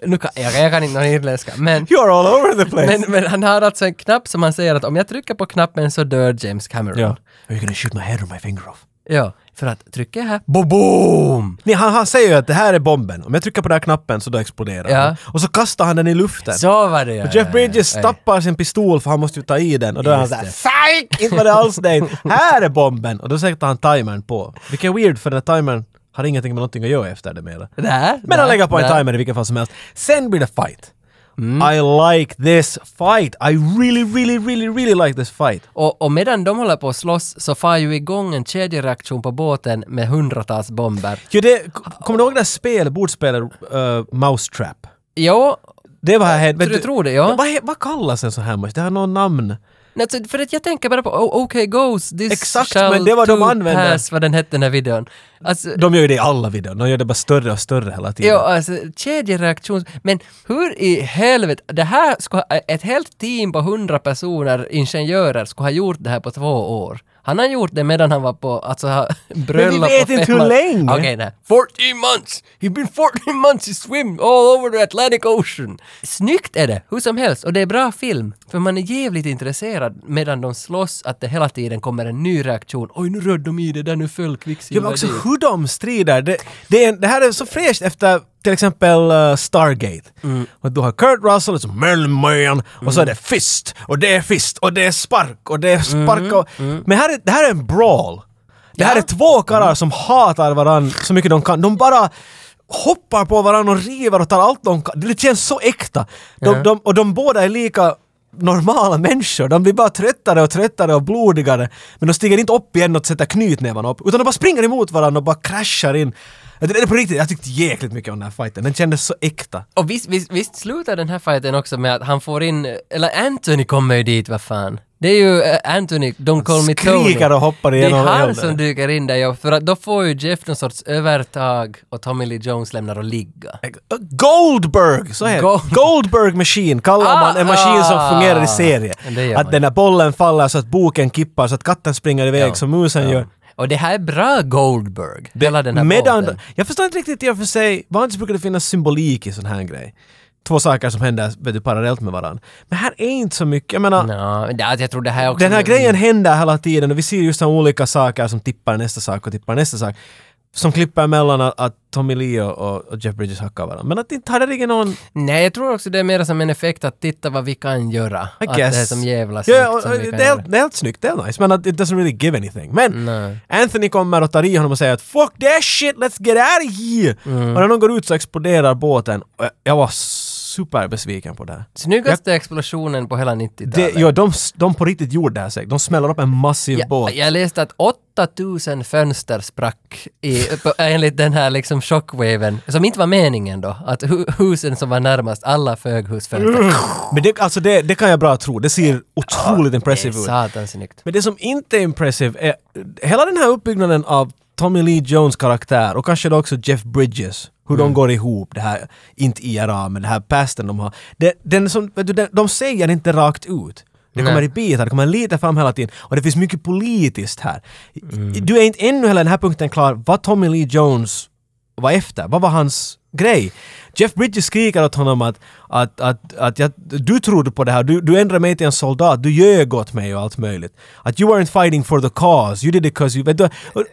Speaker 2: Nu kan, jag, jag kan inte någon irländska, men...
Speaker 3: You're all over the place!
Speaker 2: Men, men han har alltså en knapp som han säger att om jag trycker på knappen så dör James Cameron.
Speaker 3: ja. Are you gonna shoot my head or my finger off?
Speaker 2: Ja, för att trycker jag här, boom!
Speaker 3: Nej, han, han säger ju att det här är bomben, om jag trycker på den här knappen så då exploderar
Speaker 2: Ja.
Speaker 3: den. Och så kastar han den i luften.
Speaker 2: Så var det ja,
Speaker 3: Jeff Bridges
Speaker 2: ja, ja.
Speaker 3: tappar sin pistol för han måste ju ta i den och då är han
Speaker 2: Eh, Just
Speaker 3: såhär FAK! Inte var det alls det. Här är bomben! Och då sätter han timern på. Vilket är weird för den här timern har ingenting med någonting att göra efter det mera.
Speaker 2: Nej,
Speaker 3: Men
Speaker 2: nej,
Speaker 3: han lägger på en
Speaker 2: nej. Mm.
Speaker 3: timer i vilken fall som helst. Sen blir det fight. I like this fight! I really, really, really, really like this fight.
Speaker 2: Och, och medan de håller på att slåss så far ju igång en kedjereaktion på båten med hundratals bomber.
Speaker 3: Jo, det, k- kommer du ihåg det där spelet, bordspelet eh, Mousetrap?
Speaker 2: Jo,
Speaker 3: Det var här... vet
Speaker 2: du tror det, ja.
Speaker 3: Vad, he- vad kallas en sån här match? Det har någon namn.
Speaker 2: nej, så- alltså, för att jag tänker bara på oh, OK Goes, This
Speaker 3: Exakt,
Speaker 2: shall
Speaker 3: men det var de
Speaker 2: too
Speaker 3: använde.
Speaker 2: pass, vad den hette den här videon. Alltså,
Speaker 3: De gör ju det i alla videor. De gör det bara större och större hela tiden.
Speaker 2: Jo, alltså kedjereaktion. Men hur i helvete, det här ska, ett helt team på 100 personer, ingenjörer, skulle ha gjort det här på två år. Han har gjort det medan han var på, alltså ha- bröllop
Speaker 3: vet
Speaker 2: och
Speaker 3: inte
Speaker 2: fem
Speaker 3: hur
Speaker 2: man-
Speaker 3: länge.
Speaker 2: Okej, nej. 14 months! He's been 14 months he swim all over the Atlantic Ocean. Snyggt är det, hur som helst. Och det är bra film. För man är jävligt intresserad medan de slåss att det hela tiden kommer en ny reaktion. Oj, nu rörde de i det där, nu föll
Speaker 3: Ja,
Speaker 2: kvicksilver
Speaker 3: men också
Speaker 2: dit.
Speaker 3: hur de strider. Det, det, är en, det här är så fräscht efter till exempel eh, Stargate. Och du har Kurt Russell, och så Merlin Mann, och så är det fist, och det är fist, och det är spark, och det är spark. Och, Men här är, det här är en brawl. Det här
Speaker 2: Ja.
Speaker 3: är två karlar som hatar varandra så mycket de kan. De bara hoppar på varandra och river och tar allt de kan. Det känns så äkta. De, de, och de båda är lika normala människor. De blir bara tröttare och tröttare och blodigare. Men de stiger inte upp igen och sätter knytnävarna upp. Utan de bara springer emot varandra och bara kraschar in. Det det är på riktigt, jag tyckte jäkligt mycket om den här fighten. Den kändes så äkta.
Speaker 2: Och visst, visst, visst slutar den här fighten också med att han får in, eller Anthony kommer ju dit, vad fan. Det är ju eh, Anthony, Don't Call Me Tony.
Speaker 3: Skriker och hoppar igenom
Speaker 2: Det är han
Speaker 3: elden.
Speaker 2: som dyker in där, ja, för att då får ju Jeff någon sorts övertag och Tommy Lee Jones lämnar och ligga.
Speaker 3: Goldberg! Så heter
Speaker 2: Gold-
Speaker 3: det. Goldberg Machine kallar
Speaker 2: Ah,
Speaker 3: man en maskin
Speaker 2: ah.
Speaker 3: som fungerar i serie.
Speaker 2: Det gör man.
Speaker 3: Att den där bollen faller så att boken kippar så att katten springer iväg
Speaker 2: Ja,
Speaker 3: som musen gör.
Speaker 2: Och det här är bra Goldberg, hela den här
Speaker 3: Medan,
Speaker 2: båten.
Speaker 3: jag förstår inte riktigt i och för sig, vanligtvis brukar det finnas symbolik i sån här grej. Två saker som händer vet du, parallellt med varandra. Men här är inte så mycket, jag menar,
Speaker 2: Nå, det- alltså, jag tror det här är också...
Speaker 3: den här grejen händer hela tiden och vi ser just de olika saker som tippar nästa sak och tippar nästa sak. Som klipper emellan att att Tommy Lee och- och och Jeff Bridges hackar varandra. Men att inte hade det någon...
Speaker 2: Nej, jag tror också det är mer som en effekt att titta vad vi kan göra.
Speaker 3: I
Speaker 2: att
Speaker 3: guess.
Speaker 2: det är som jävla
Speaker 3: ja,
Speaker 2: snyggt
Speaker 3: och,
Speaker 2: som
Speaker 3: och,
Speaker 2: vi kan
Speaker 3: det, är,
Speaker 2: göra.
Speaker 3: det är helt snyggt, det är nice. Men att it doesn't really give anything. Men
Speaker 2: Nej.
Speaker 3: Anthony kommer och tar i honom och säger att “Fuck that shit, let's get out of here!”
Speaker 2: Mm.
Speaker 3: Och när de går ut så exploderar båten. Och jag- jag var superbesviken på det här.
Speaker 2: Snyggaste explosionen på hela 90-talet.
Speaker 3: Det, ja, de, de på riktigt gjorde det här säkert. De smäller upp en massiv båt.
Speaker 2: Jag, jag läste att 8000 fönster sprack i, på, enligt den här liksom chockwaven, som inte var meningen då. Att hu, husen som var närmast, alla föghusfönster.
Speaker 3: Men det, alltså det, det kan jag bra tro. Det ser otroligt
Speaker 2: Det är
Speaker 3: impressive ut.
Speaker 2: Satans snyggt.
Speaker 3: Men det som inte är impressive är eh, hela den här uppbyggnaden av Tommy Lee Jones karaktär och kanske då också Jeff Bridges. Hur de går ihop, det här, inte IRA, men det här pasten de har. Det, den som, vet du, den, de säger inte rakt ut. Det kommer
Speaker 2: Nej.
Speaker 3: i bitar, det kommer lite fram hela tiden. Och det finns mycket politiskt här. I- Du är inte ännu hela den här punkten klar vad Tommy Lee Jones var efter. Vad var hans grej? Jeff Bridges skriker åt honom att, att, att, att jag, du trodde på det här, du, du ändrade mig till en soldat, du ljög åt mig och allt möjligt. Att you weren't fighting for the cause, you did it cause you... Vet du, och-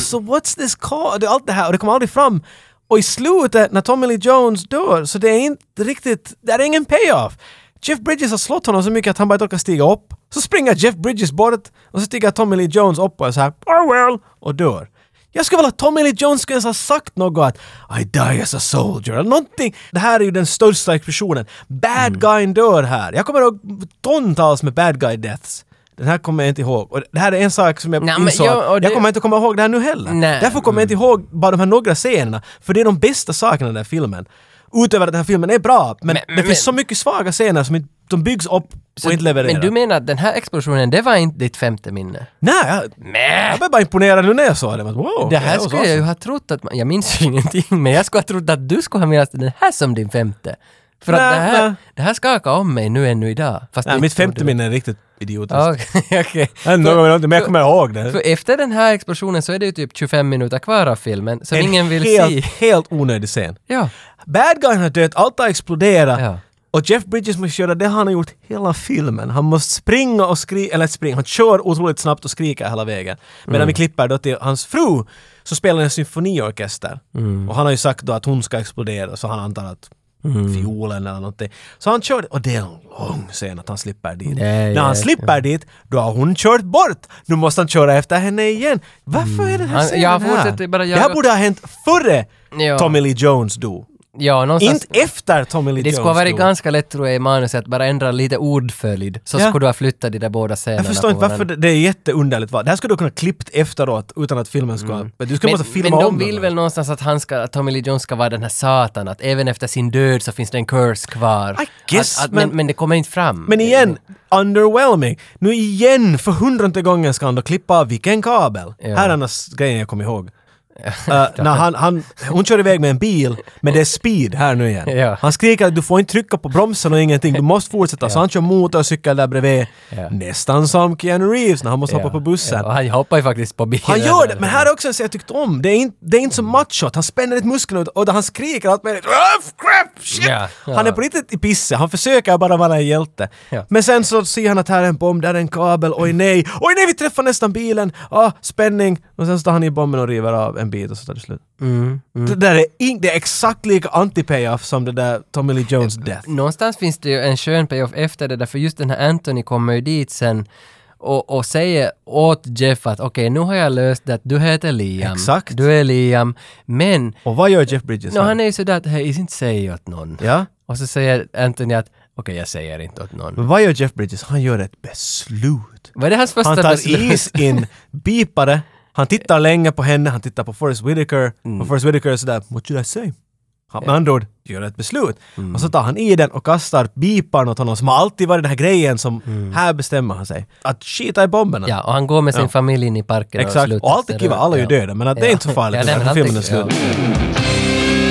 Speaker 3: so what's this cause? Det- Allt det här, och det kommer aldrig fram. Och i slutet, när Tommy Lee Jones dör, så det är inte riktigt... Det är ingen payoff! Jeff Bridges har slått honom så mycket att han bara inte orkar stiga upp. Så springer Jeff Bridges bort och så stiger Tommy Lee Jones upp och är så här oh well, och dör. Jag skulle vilja att Tommy Lee Jones skulle ens ha sagt något att I die as a soldier eller någonting. Det här är ju den största explosionen. Bad
Speaker 2: Mm.
Speaker 3: guyen dör här. Jag kommer ihåg tontals med bad guy deaths. Den här kommer jag inte ihåg. Och det här är en sak som jag
Speaker 2: Nej, men
Speaker 3: insåg
Speaker 2: ja, och
Speaker 3: att
Speaker 2: det-
Speaker 3: jag kommer inte komma ihåg det här nu heller.
Speaker 2: Nej. Mm.
Speaker 3: Därför kommer jag inte ihåg bara de här några scenerna. För det är de bästa sakerna i den här filmen. Utöver att den här filmen är bra, men,
Speaker 2: Men-
Speaker 3: det
Speaker 2: men-
Speaker 3: finns så mycket svaga scener som inte, de byggs upp och inte levererar.
Speaker 2: Men du menar att den här explosionen, det var inte ditt femte minne?
Speaker 3: Nej, jag, jag blev bara imponerad nu när jag såg det. Men, Wow,
Speaker 2: Det här
Speaker 3: var så
Speaker 2: skulle jag ju ha trott att, man- jag minns ju ingenting, men jag skulle ha trott att du skulle ha menat den här som din femte. För att
Speaker 3: Nej,
Speaker 2: det här,
Speaker 3: nej.
Speaker 2: det här skakar om mig nu ännu idag. Fast
Speaker 3: Nej,
Speaker 2: inte
Speaker 3: mitt femte
Speaker 2: gjorde det.
Speaker 3: minne är riktigt idiotiskt.
Speaker 2: Okej, okej.
Speaker 3: Jag vet inte om jag vet inte, Men jag kommer ihåg det.
Speaker 2: För efter den här explosionen så är det ju typ 25 minuter kvar av filmen som ingen vill
Speaker 3: helt,
Speaker 2: se.
Speaker 3: helt onödig scen.
Speaker 2: Ja.
Speaker 3: Bad guyen har dött, allt har exploderat.
Speaker 2: Ja.
Speaker 3: Och Jeff Bridges måste göra det han har gjort hela filmen. Han måste springa och skrika, eller springa, han kör otroligt snabbt och skriker hela vägen. Medan
Speaker 2: Mm.
Speaker 3: vi klipper då till hans fru som spelar en symfoniorkester.
Speaker 2: Mm.
Speaker 3: Och han har ju sagt då att hon ska explodera så han antar att
Speaker 2: Mm.
Speaker 3: fiolen eller någonting. Så han kör, och det är en lång scen att han slipper dit.
Speaker 2: Nej,
Speaker 3: När han
Speaker 2: ja,
Speaker 3: slipper dit, då har hon kört bort. Nu måste han köra efter henne igen. Varför är den här
Speaker 2: Mm. Han-
Speaker 3: scenen
Speaker 2: jag fortsätter
Speaker 3: här?
Speaker 2: bara
Speaker 3: det
Speaker 2: jaga-
Speaker 3: här borde ha hänt före
Speaker 2: Ja.
Speaker 3: Tommy Lee Jones dog.
Speaker 2: Ja, någonstans.
Speaker 3: Inte efter Tommy Lee
Speaker 2: det
Speaker 3: Jones
Speaker 2: skulle ha varit
Speaker 3: dog.
Speaker 2: ganska lätt tror jag i manuset att bara ändra lite ordföljd. Så
Speaker 3: Ja.
Speaker 2: skulle du ha flyttat de där båda scenerna
Speaker 3: Jag förstår
Speaker 2: på
Speaker 3: inte varför
Speaker 2: varandra.
Speaker 3: det, det är jätteunderligt. Va? Det här skulle du kunna klippt efteråt utan att filmen skulle... ha- Du skulle
Speaker 2: Mm. Men,
Speaker 3: måste filma
Speaker 2: men de
Speaker 3: om
Speaker 2: vill
Speaker 3: den.
Speaker 2: väl någonstans att, han ska, att Tommy Lee Jones ska vara den här satan, att även efter sin död så finns det en curse kvar.
Speaker 3: I guess,
Speaker 2: att, att, men,
Speaker 3: men-
Speaker 2: men det kommer inte fram.
Speaker 3: Men igen, underwhelming. Nu igen, för hundrade gången ska han då klippa av vilken kabel.
Speaker 2: Ja.
Speaker 3: Här är annars grejen jag kommer ihåg. Eh, när han, han, hon kör iväg med en bil, men det är speed här nu igen.
Speaker 2: Ja.
Speaker 3: Han skriker att du får inte trycka på bromsen och ingenting, du måste fortsätta. Så han kör motorcykel där bredvid.
Speaker 2: Ja.
Speaker 3: Nästan som Keanu Reeves när han måste
Speaker 2: Ja,
Speaker 3: hoppa på bussen.
Speaker 2: ja, och han hoppar ju faktiskt på bilen.
Speaker 3: Han gör det, men här är också en som jag tyckte om. Det är inte, det är inte så machot. Han spänner ett muskeln ut och då han skriker allt möjligt. "Åh, crap, shit!
Speaker 2: Ja, ja.
Speaker 3: Han är på riktigt i pisse. Han försöker bara vara en hjälte.
Speaker 2: Ja.
Speaker 3: Men sen så ser han att här är en bomb, där är en kabel. Oj nej! Oj nej, vi träffar nästan bilen! Ah, spänning! Och sen så tar han i bomben och river av en bit och så tar det slut.
Speaker 2: Mm,
Speaker 3: Det där är, in, det är exakt lika anti-payoff som det där Tommy Lee Jones death.
Speaker 2: någonstans finns det ju en skön payoff efter det där, för just den här Anthony kommer ju dit sen och, och säger åt Jeff att okej, nu har jag löst det, att du heter Liam.
Speaker 3: Exakt.
Speaker 2: Du är Liam. Men,
Speaker 3: Och vad gör Jeff Bridges
Speaker 2: no,
Speaker 3: här?
Speaker 2: han är ju sådär att hej, inte säg åt någon.
Speaker 3: Ja?
Speaker 2: Och så säger Anthony att okej, jag säger inte åt någon.
Speaker 3: Men vad gör Jeff Bridges? Han gör ett beslut.
Speaker 2: Var det hans första
Speaker 3: Han tar
Speaker 2: beslut?
Speaker 3: is in,
Speaker 2: Mm.
Speaker 3: bipare, han tittar länge på henne, han tittar på Forrest Whitaker och Forrest Whitaker är sådär “What should I say?” Han, med andra ord, gör ett beslut.
Speaker 2: Mm.
Speaker 3: Och så tar han i den och kastar pipan åt honom som har alltid varit den här grejen som, här bestämmer han sig. Att skita i bomberna.
Speaker 2: Mm. Ja, och han går med sin familj in i parken och
Speaker 3: Exakt.
Speaker 2: slutar.
Speaker 3: Och allt är kiva, alla är ju
Speaker 2: Ja.
Speaker 3: döda, men att det är inte så farligt.
Speaker 2: nej,
Speaker 3: för
Speaker 2: men allt
Speaker 3: filmen är
Speaker 2: kiva,
Speaker 3: slut.
Speaker 2: ja.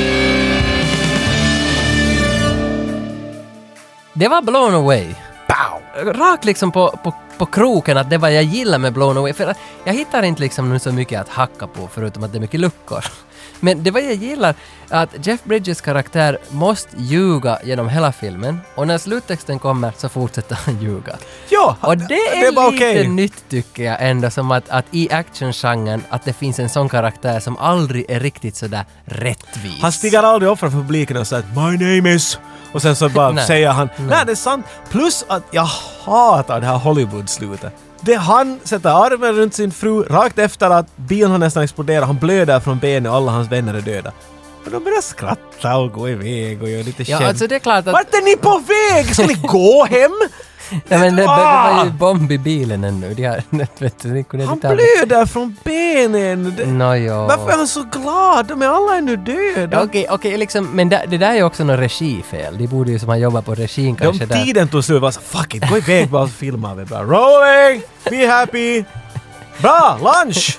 Speaker 2: Det var Blown Away. Bow! Rakt liksom på, på, på kroken att det var jag gillar med Blown Away. För att jag hittar inte liksom nu så mycket att hacka på förutom att det är mycket luckor. Men det var jag gillar att Jeff Bridges karaktär måste ljuga genom hela filmen och när sluttexten kommer så fortsätter han ljuga.
Speaker 3: Ja,
Speaker 2: Och det är
Speaker 3: var
Speaker 2: lite
Speaker 3: okej.
Speaker 2: nytt tycker jag ändå, som att, att i actiongenren att det finns en sån karaktär som aldrig är riktigt sådär rättvis.
Speaker 3: Han stiger aldrig upp framför publiken och säger “My name is...” och sen så bara
Speaker 2: Nej.
Speaker 3: säger han “Nej, det är sant”. Plus att jag hatar det här Hollywood-slutet. Det han sätter armen runt sin fru rakt efter att bilen har nästan exploderat, han blöder från benen och alla hans vänner är döda. Och de börjar skratta och gå iväg och göra lite
Speaker 2: Ja,
Speaker 3: skämt.
Speaker 2: alltså det är klart att...
Speaker 3: Vart är ni på väg? Ska ni gå hem?
Speaker 2: Nej, men det, det
Speaker 3: Ah!
Speaker 2: var ju bomb i bilen ännu. De har, vet du, de kunde
Speaker 3: Han
Speaker 2: inte ha-
Speaker 3: blöder från benen. Det-
Speaker 2: Nåjo.
Speaker 3: Varför är han så glad? De är alla är nu döda.
Speaker 2: Ja, Okej, okej, liksom, men det, det där är ju också något regifel. De borde ju som ha jobbat på regin
Speaker 3: De
Speaker 2: kanske där.
Speaker 3: tiden tog slut, bara så fuck it, gå iväg bara och filma. Vi bara rolling, be happy. Bra, lunch!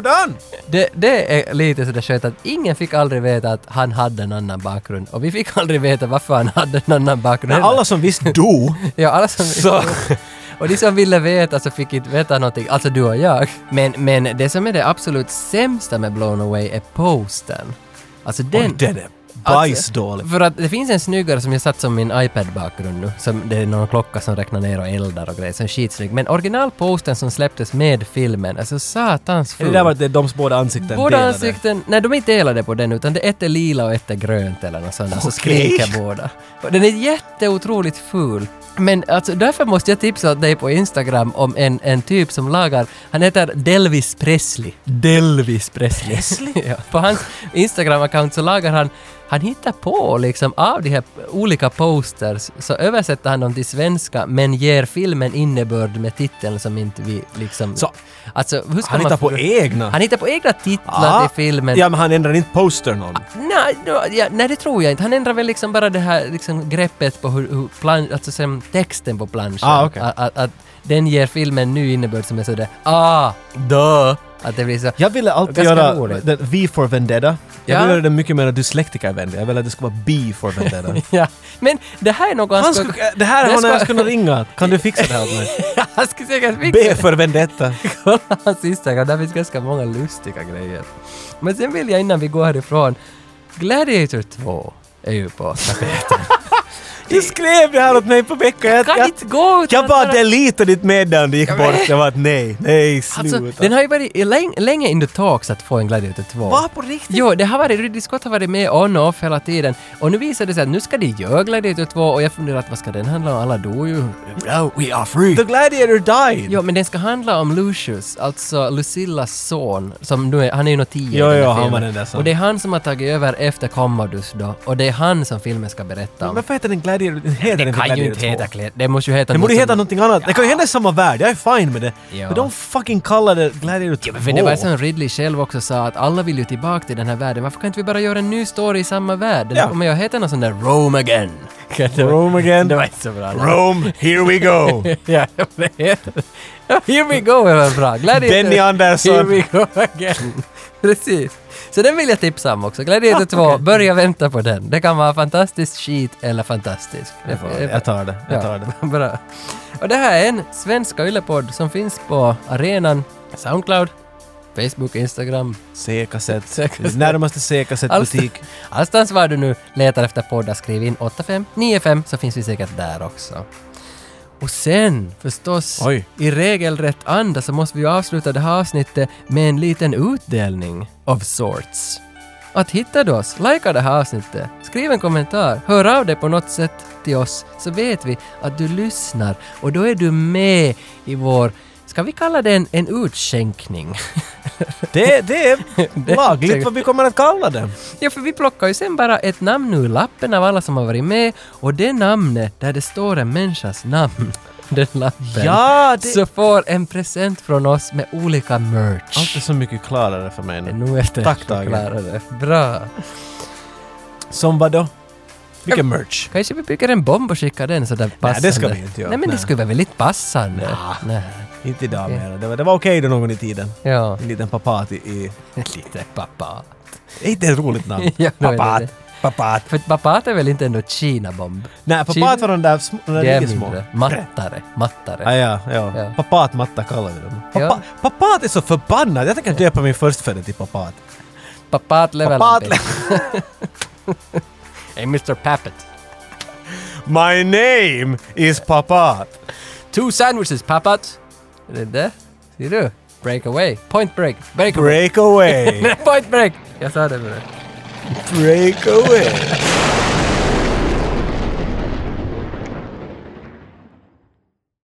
Speaker 3: done!
Speaker 2: Det, det är lite sådär skönt att ingen fick aldrig veta att han hade en annan bakgrund. Och vi fick aldrig veta varför han hade en annan bakgrund. heller.
Speaker 3: Alla som visst do.
Speaker 2: Ja, alla som...
Speaker 3: Så.
Speaker 2: Och de som ville veta så fick inte veta någonting, alltså du och jag. Men, men det som är det absolut sämsta med Blown Away är postern. Alltså den...
Speaker 3: Den, den är bajsdålig.
Speaker 2: Alltså, För att det finns en snyggare som jag satt som min iPad-bakgrund nu, som det är någon klocka som räknar ner och eldar och grejer, som är skitsnygg. Men originalposten som släpptes med filmen, alltså satans
Speaker 3: Är
Speaker 2: ful.
Speaker 3: det där var det de båda ansikten
Speaker 2: Båda
Speaker 3: delade?
Speaker 2: ansikten, nej de är inte delade på den utan det ett är lila och ett är grönt eller något sånt där, så
Speaker 3: Okej.
Speaker 2: skriker båda. Och den är jätteotroligt ful. Men alltså därför måste jag tipsa dig på Instagram om en, en typ som lagar, han heter Delvis Presley. Delvis Presley. ja, på hans Instagram-account så lagar han han hittar på liksom av de här olika posters så översätter han dem till svenska men ger filmen innebörd med titeln som inte vi liksom...
Speaker 3: Så-
Speaker 2: alltså, hur ska
Speaker 3: Han
Speaker 2: man
Speaker 3: hittar på
Speaker 2: för-
Speaker 3: egna.
Speaker 2: han hittar på egna titlar
Speaker 3: Ah,
Speaker 2: till filmen.
Speaker 3: Ja, men han ändrar inte postern någon.
Speaker 2: Nej, då- ja, nej, det tror jag inte. Han ändrar väl liksom bara det här liksom greppet på hur, hur plan, alltså sen texten på planschen.
Speaker 3: Ah, okej.
Speaker 2: att, att, att den ger filmen ny innebörd som är sådär ah, duh. Att det blir så.
Speaker 3: Jag ville alltid
Speaker 2: Ganska
Speaker 3: göra
Speaker 2: roligt.
Speaker 3: den, V for Vendetta. Jag
Speaker 2: Ja.
Speaker 3: ville göra den mycket mer dyslektikervänlig. Jag ville att det skulle vara B for Vendetta.
Speaker 2: Ja. Men det här är något
Speaker 3: Han skulle, det här
Speaker 2: Det
Speaker 3: har han
Speaker 2: ska-
Speaker 3: ens kunnat ringa. Kan du fixa det här åt mig?
Speaker 2: han skulle säkert
Speaker 3: B
Speaker 2: fixa
Speaker 3: för Vendetta.
Speaker 2: kolla hans Instagram, där finns ganska många lustiga grejer. Men sen vill jag innan vi går härifrån, Gladiator 2 är ju på tapeten.
Speaker 3: Du skrev det här åt mig på veckan. Jag,
Speaker 2: Kan inte gå utan
Speaker 3: Jag
Speaker 2: att
Speaker 3: bara
Speaker 2: bara-
Speaker 3: deletade ditt meddelande och gick bort. Jag bara nej, nej, sluta.
Speaker 2: Alltså, den har ju varit i- länge, länge in the talks att få en Gladiator 2.
Speaker 3: Va, på riktigt?
Speaker 2: Jo, det har varit, Ridley Scott har varit med on och off hela tiden. Och nu visar det sig att nu ska de göra Gladiator 2 och jag funderar att vad ska den handla om? Alla dog ju. No, we are free.
Speaker 3: The Gladiator died!
Speaker 2: Jo, men den ska handla om Lucius, alltså Lucillas son, som nu är, han är ju nog tio i
Speaker 3: Jo,
Speaker 2: den här
Speaker 3: jo, han
Speaker 2: filmen.
Speaker 3: var den där sonen.
Speaker 2: Och det är han som har tagit över efter Commodus då, och det är han som filmen ska berätta om.
Speaker 3: Varför heter den Gladiator? Den heter
Speaker 2: Det
Speaker 3: inte
Speaker 2: kan ju
Speaker 3: Gladiator
Speaker 2: inte
Speaker 3: 2.
Speaker 2: heta Gladiator, det måste ju heta
Speaker 3: Den borde
Speaker 2: något
Speaker 3: heta
Speaker 2: som-
Speaker 3: någonting annat. Det kan ju hända i samma värld, jag är fine med det.
Speaker 2: Ja.
Speaker 3: Men de fucking kallar det Gladiator 2.
Speaker 2: Men det var som Ridley själv också sa att alla vill ju tillbaka till den här världen. Varför kan inte vi bara göra en ny story i samma värld? Den
Speaker 3: Ja.
Speaker 2: kommer ju att heta någon sån där Rome again.
Speaker 3: Rome again.
Speaker 2: Det var inte så bra.
Speaker 3: Rome, here we go!
Speaker 2: Ja, det heter- Here we go är väl bra. Gladiator.
Speaker 3: Benny Andersson.
Speaker 2: Here we go again. Precis. Så den vill jag tipsa om också. Gladiator 2, börja vänta på den. Det kan vara fantastiskt skit eller fantastisk.
Speaker 3: Jag får- jag tar det, jag tar det.
Speaker 2: Bra. Och det här är en svenska yllepodd som finns på arenan, Soundcloud, Facebook, Instagram,
Speaker 3: C-kassett.
Speaker 2: C-kassett.
Speaker 3: Närmaste C-kassettbutik.
Speaker 2: Allstans- Allstans var du nu letar efter poddar, skriv in 8595 så finns vi säkert där också. Och sen förstås,
Speaker 3: Oj.
Speaker 2: i regelrätt anda så måste vi ju avsluta det här avsnittet med en liten utdelning of sorts. Att hitta du oss, likea det här avsnittet, skriv en kommentar, hör av dig på något sätt till oss så vet vi att du lyssnar och då är du med i vår, ska vi kalla det en, en utskänkning?
Speaker 3: Det, det är lagligt vad vi kommer att kalla det.
Speaker 2: Ja, för vi plockar ju sen bara ett namn ur lappen av alla som har varit med och det namnet där det står en människas namn, den lappen,
Speaker 3: Ja, det-
Speaker 2: så får en present från oss med olika merch.
Speaker 3: Allt är så mycket klarare för mig nu.
Speaker 2: Nu är det
Speaker 3: Tack, Tage.
Speaker 2: klarare. Bra.
Speaker 3: Som vadå? Vilken merch?
Speaker 2: Kanske vi bygger en bomb och skickar den sådär passande.
Speaker 3: det ska vi inte göra.
Speaker 2: Nej, men det
Speaker 3: Nej.
Speaker 2: skulle vara väldigt passande. Nej.
Speaker 3: Inte idag mera. Det var, det var okej då någon i tiden.
Speaker 2: Ja.
Speaker 3: En liten papat i... i
Speaker 2: Lite pappa.
Speaker 3: är inte ett roligt namn?
Speaker 2: Ja, det är
Speaker 3: papat.
Speaker 2: det.
Speaker 3: Papat.
Speaker 2: För papat är väl inte ändå Kina-bomb?
Speaker 3: Nej,
Speaker 2: Kina-
Speaker 3: papat var de där, små, de där
Speaker 2: Det är
Speaker 3: riktigt små.
Speaker 2: mindre. Mattare. Mattare.
Speaker 3: Ah, ja, ja.
Speaker 2: Ja.
Speaker 3: Papatmatta kallar vi dem. Papa,
Speaker 2: Ja.
Speaker 3: Papat är så förbannad! Jag tänker döpa min förstfödde till papat.
Speaker 2: Papat level
Speaker 3: Papat
Speaker 2: up. Hey Mr. Pappet.
Speaker 3: My name is papat!
Speaker 2: Two sandwiches, papat. Är det det? Ser du? Break away. Point break. Break away.
Speaker 3: Break away!
Speaker 2: Point break! Jag sa det med det.
Speaker 3: Break away!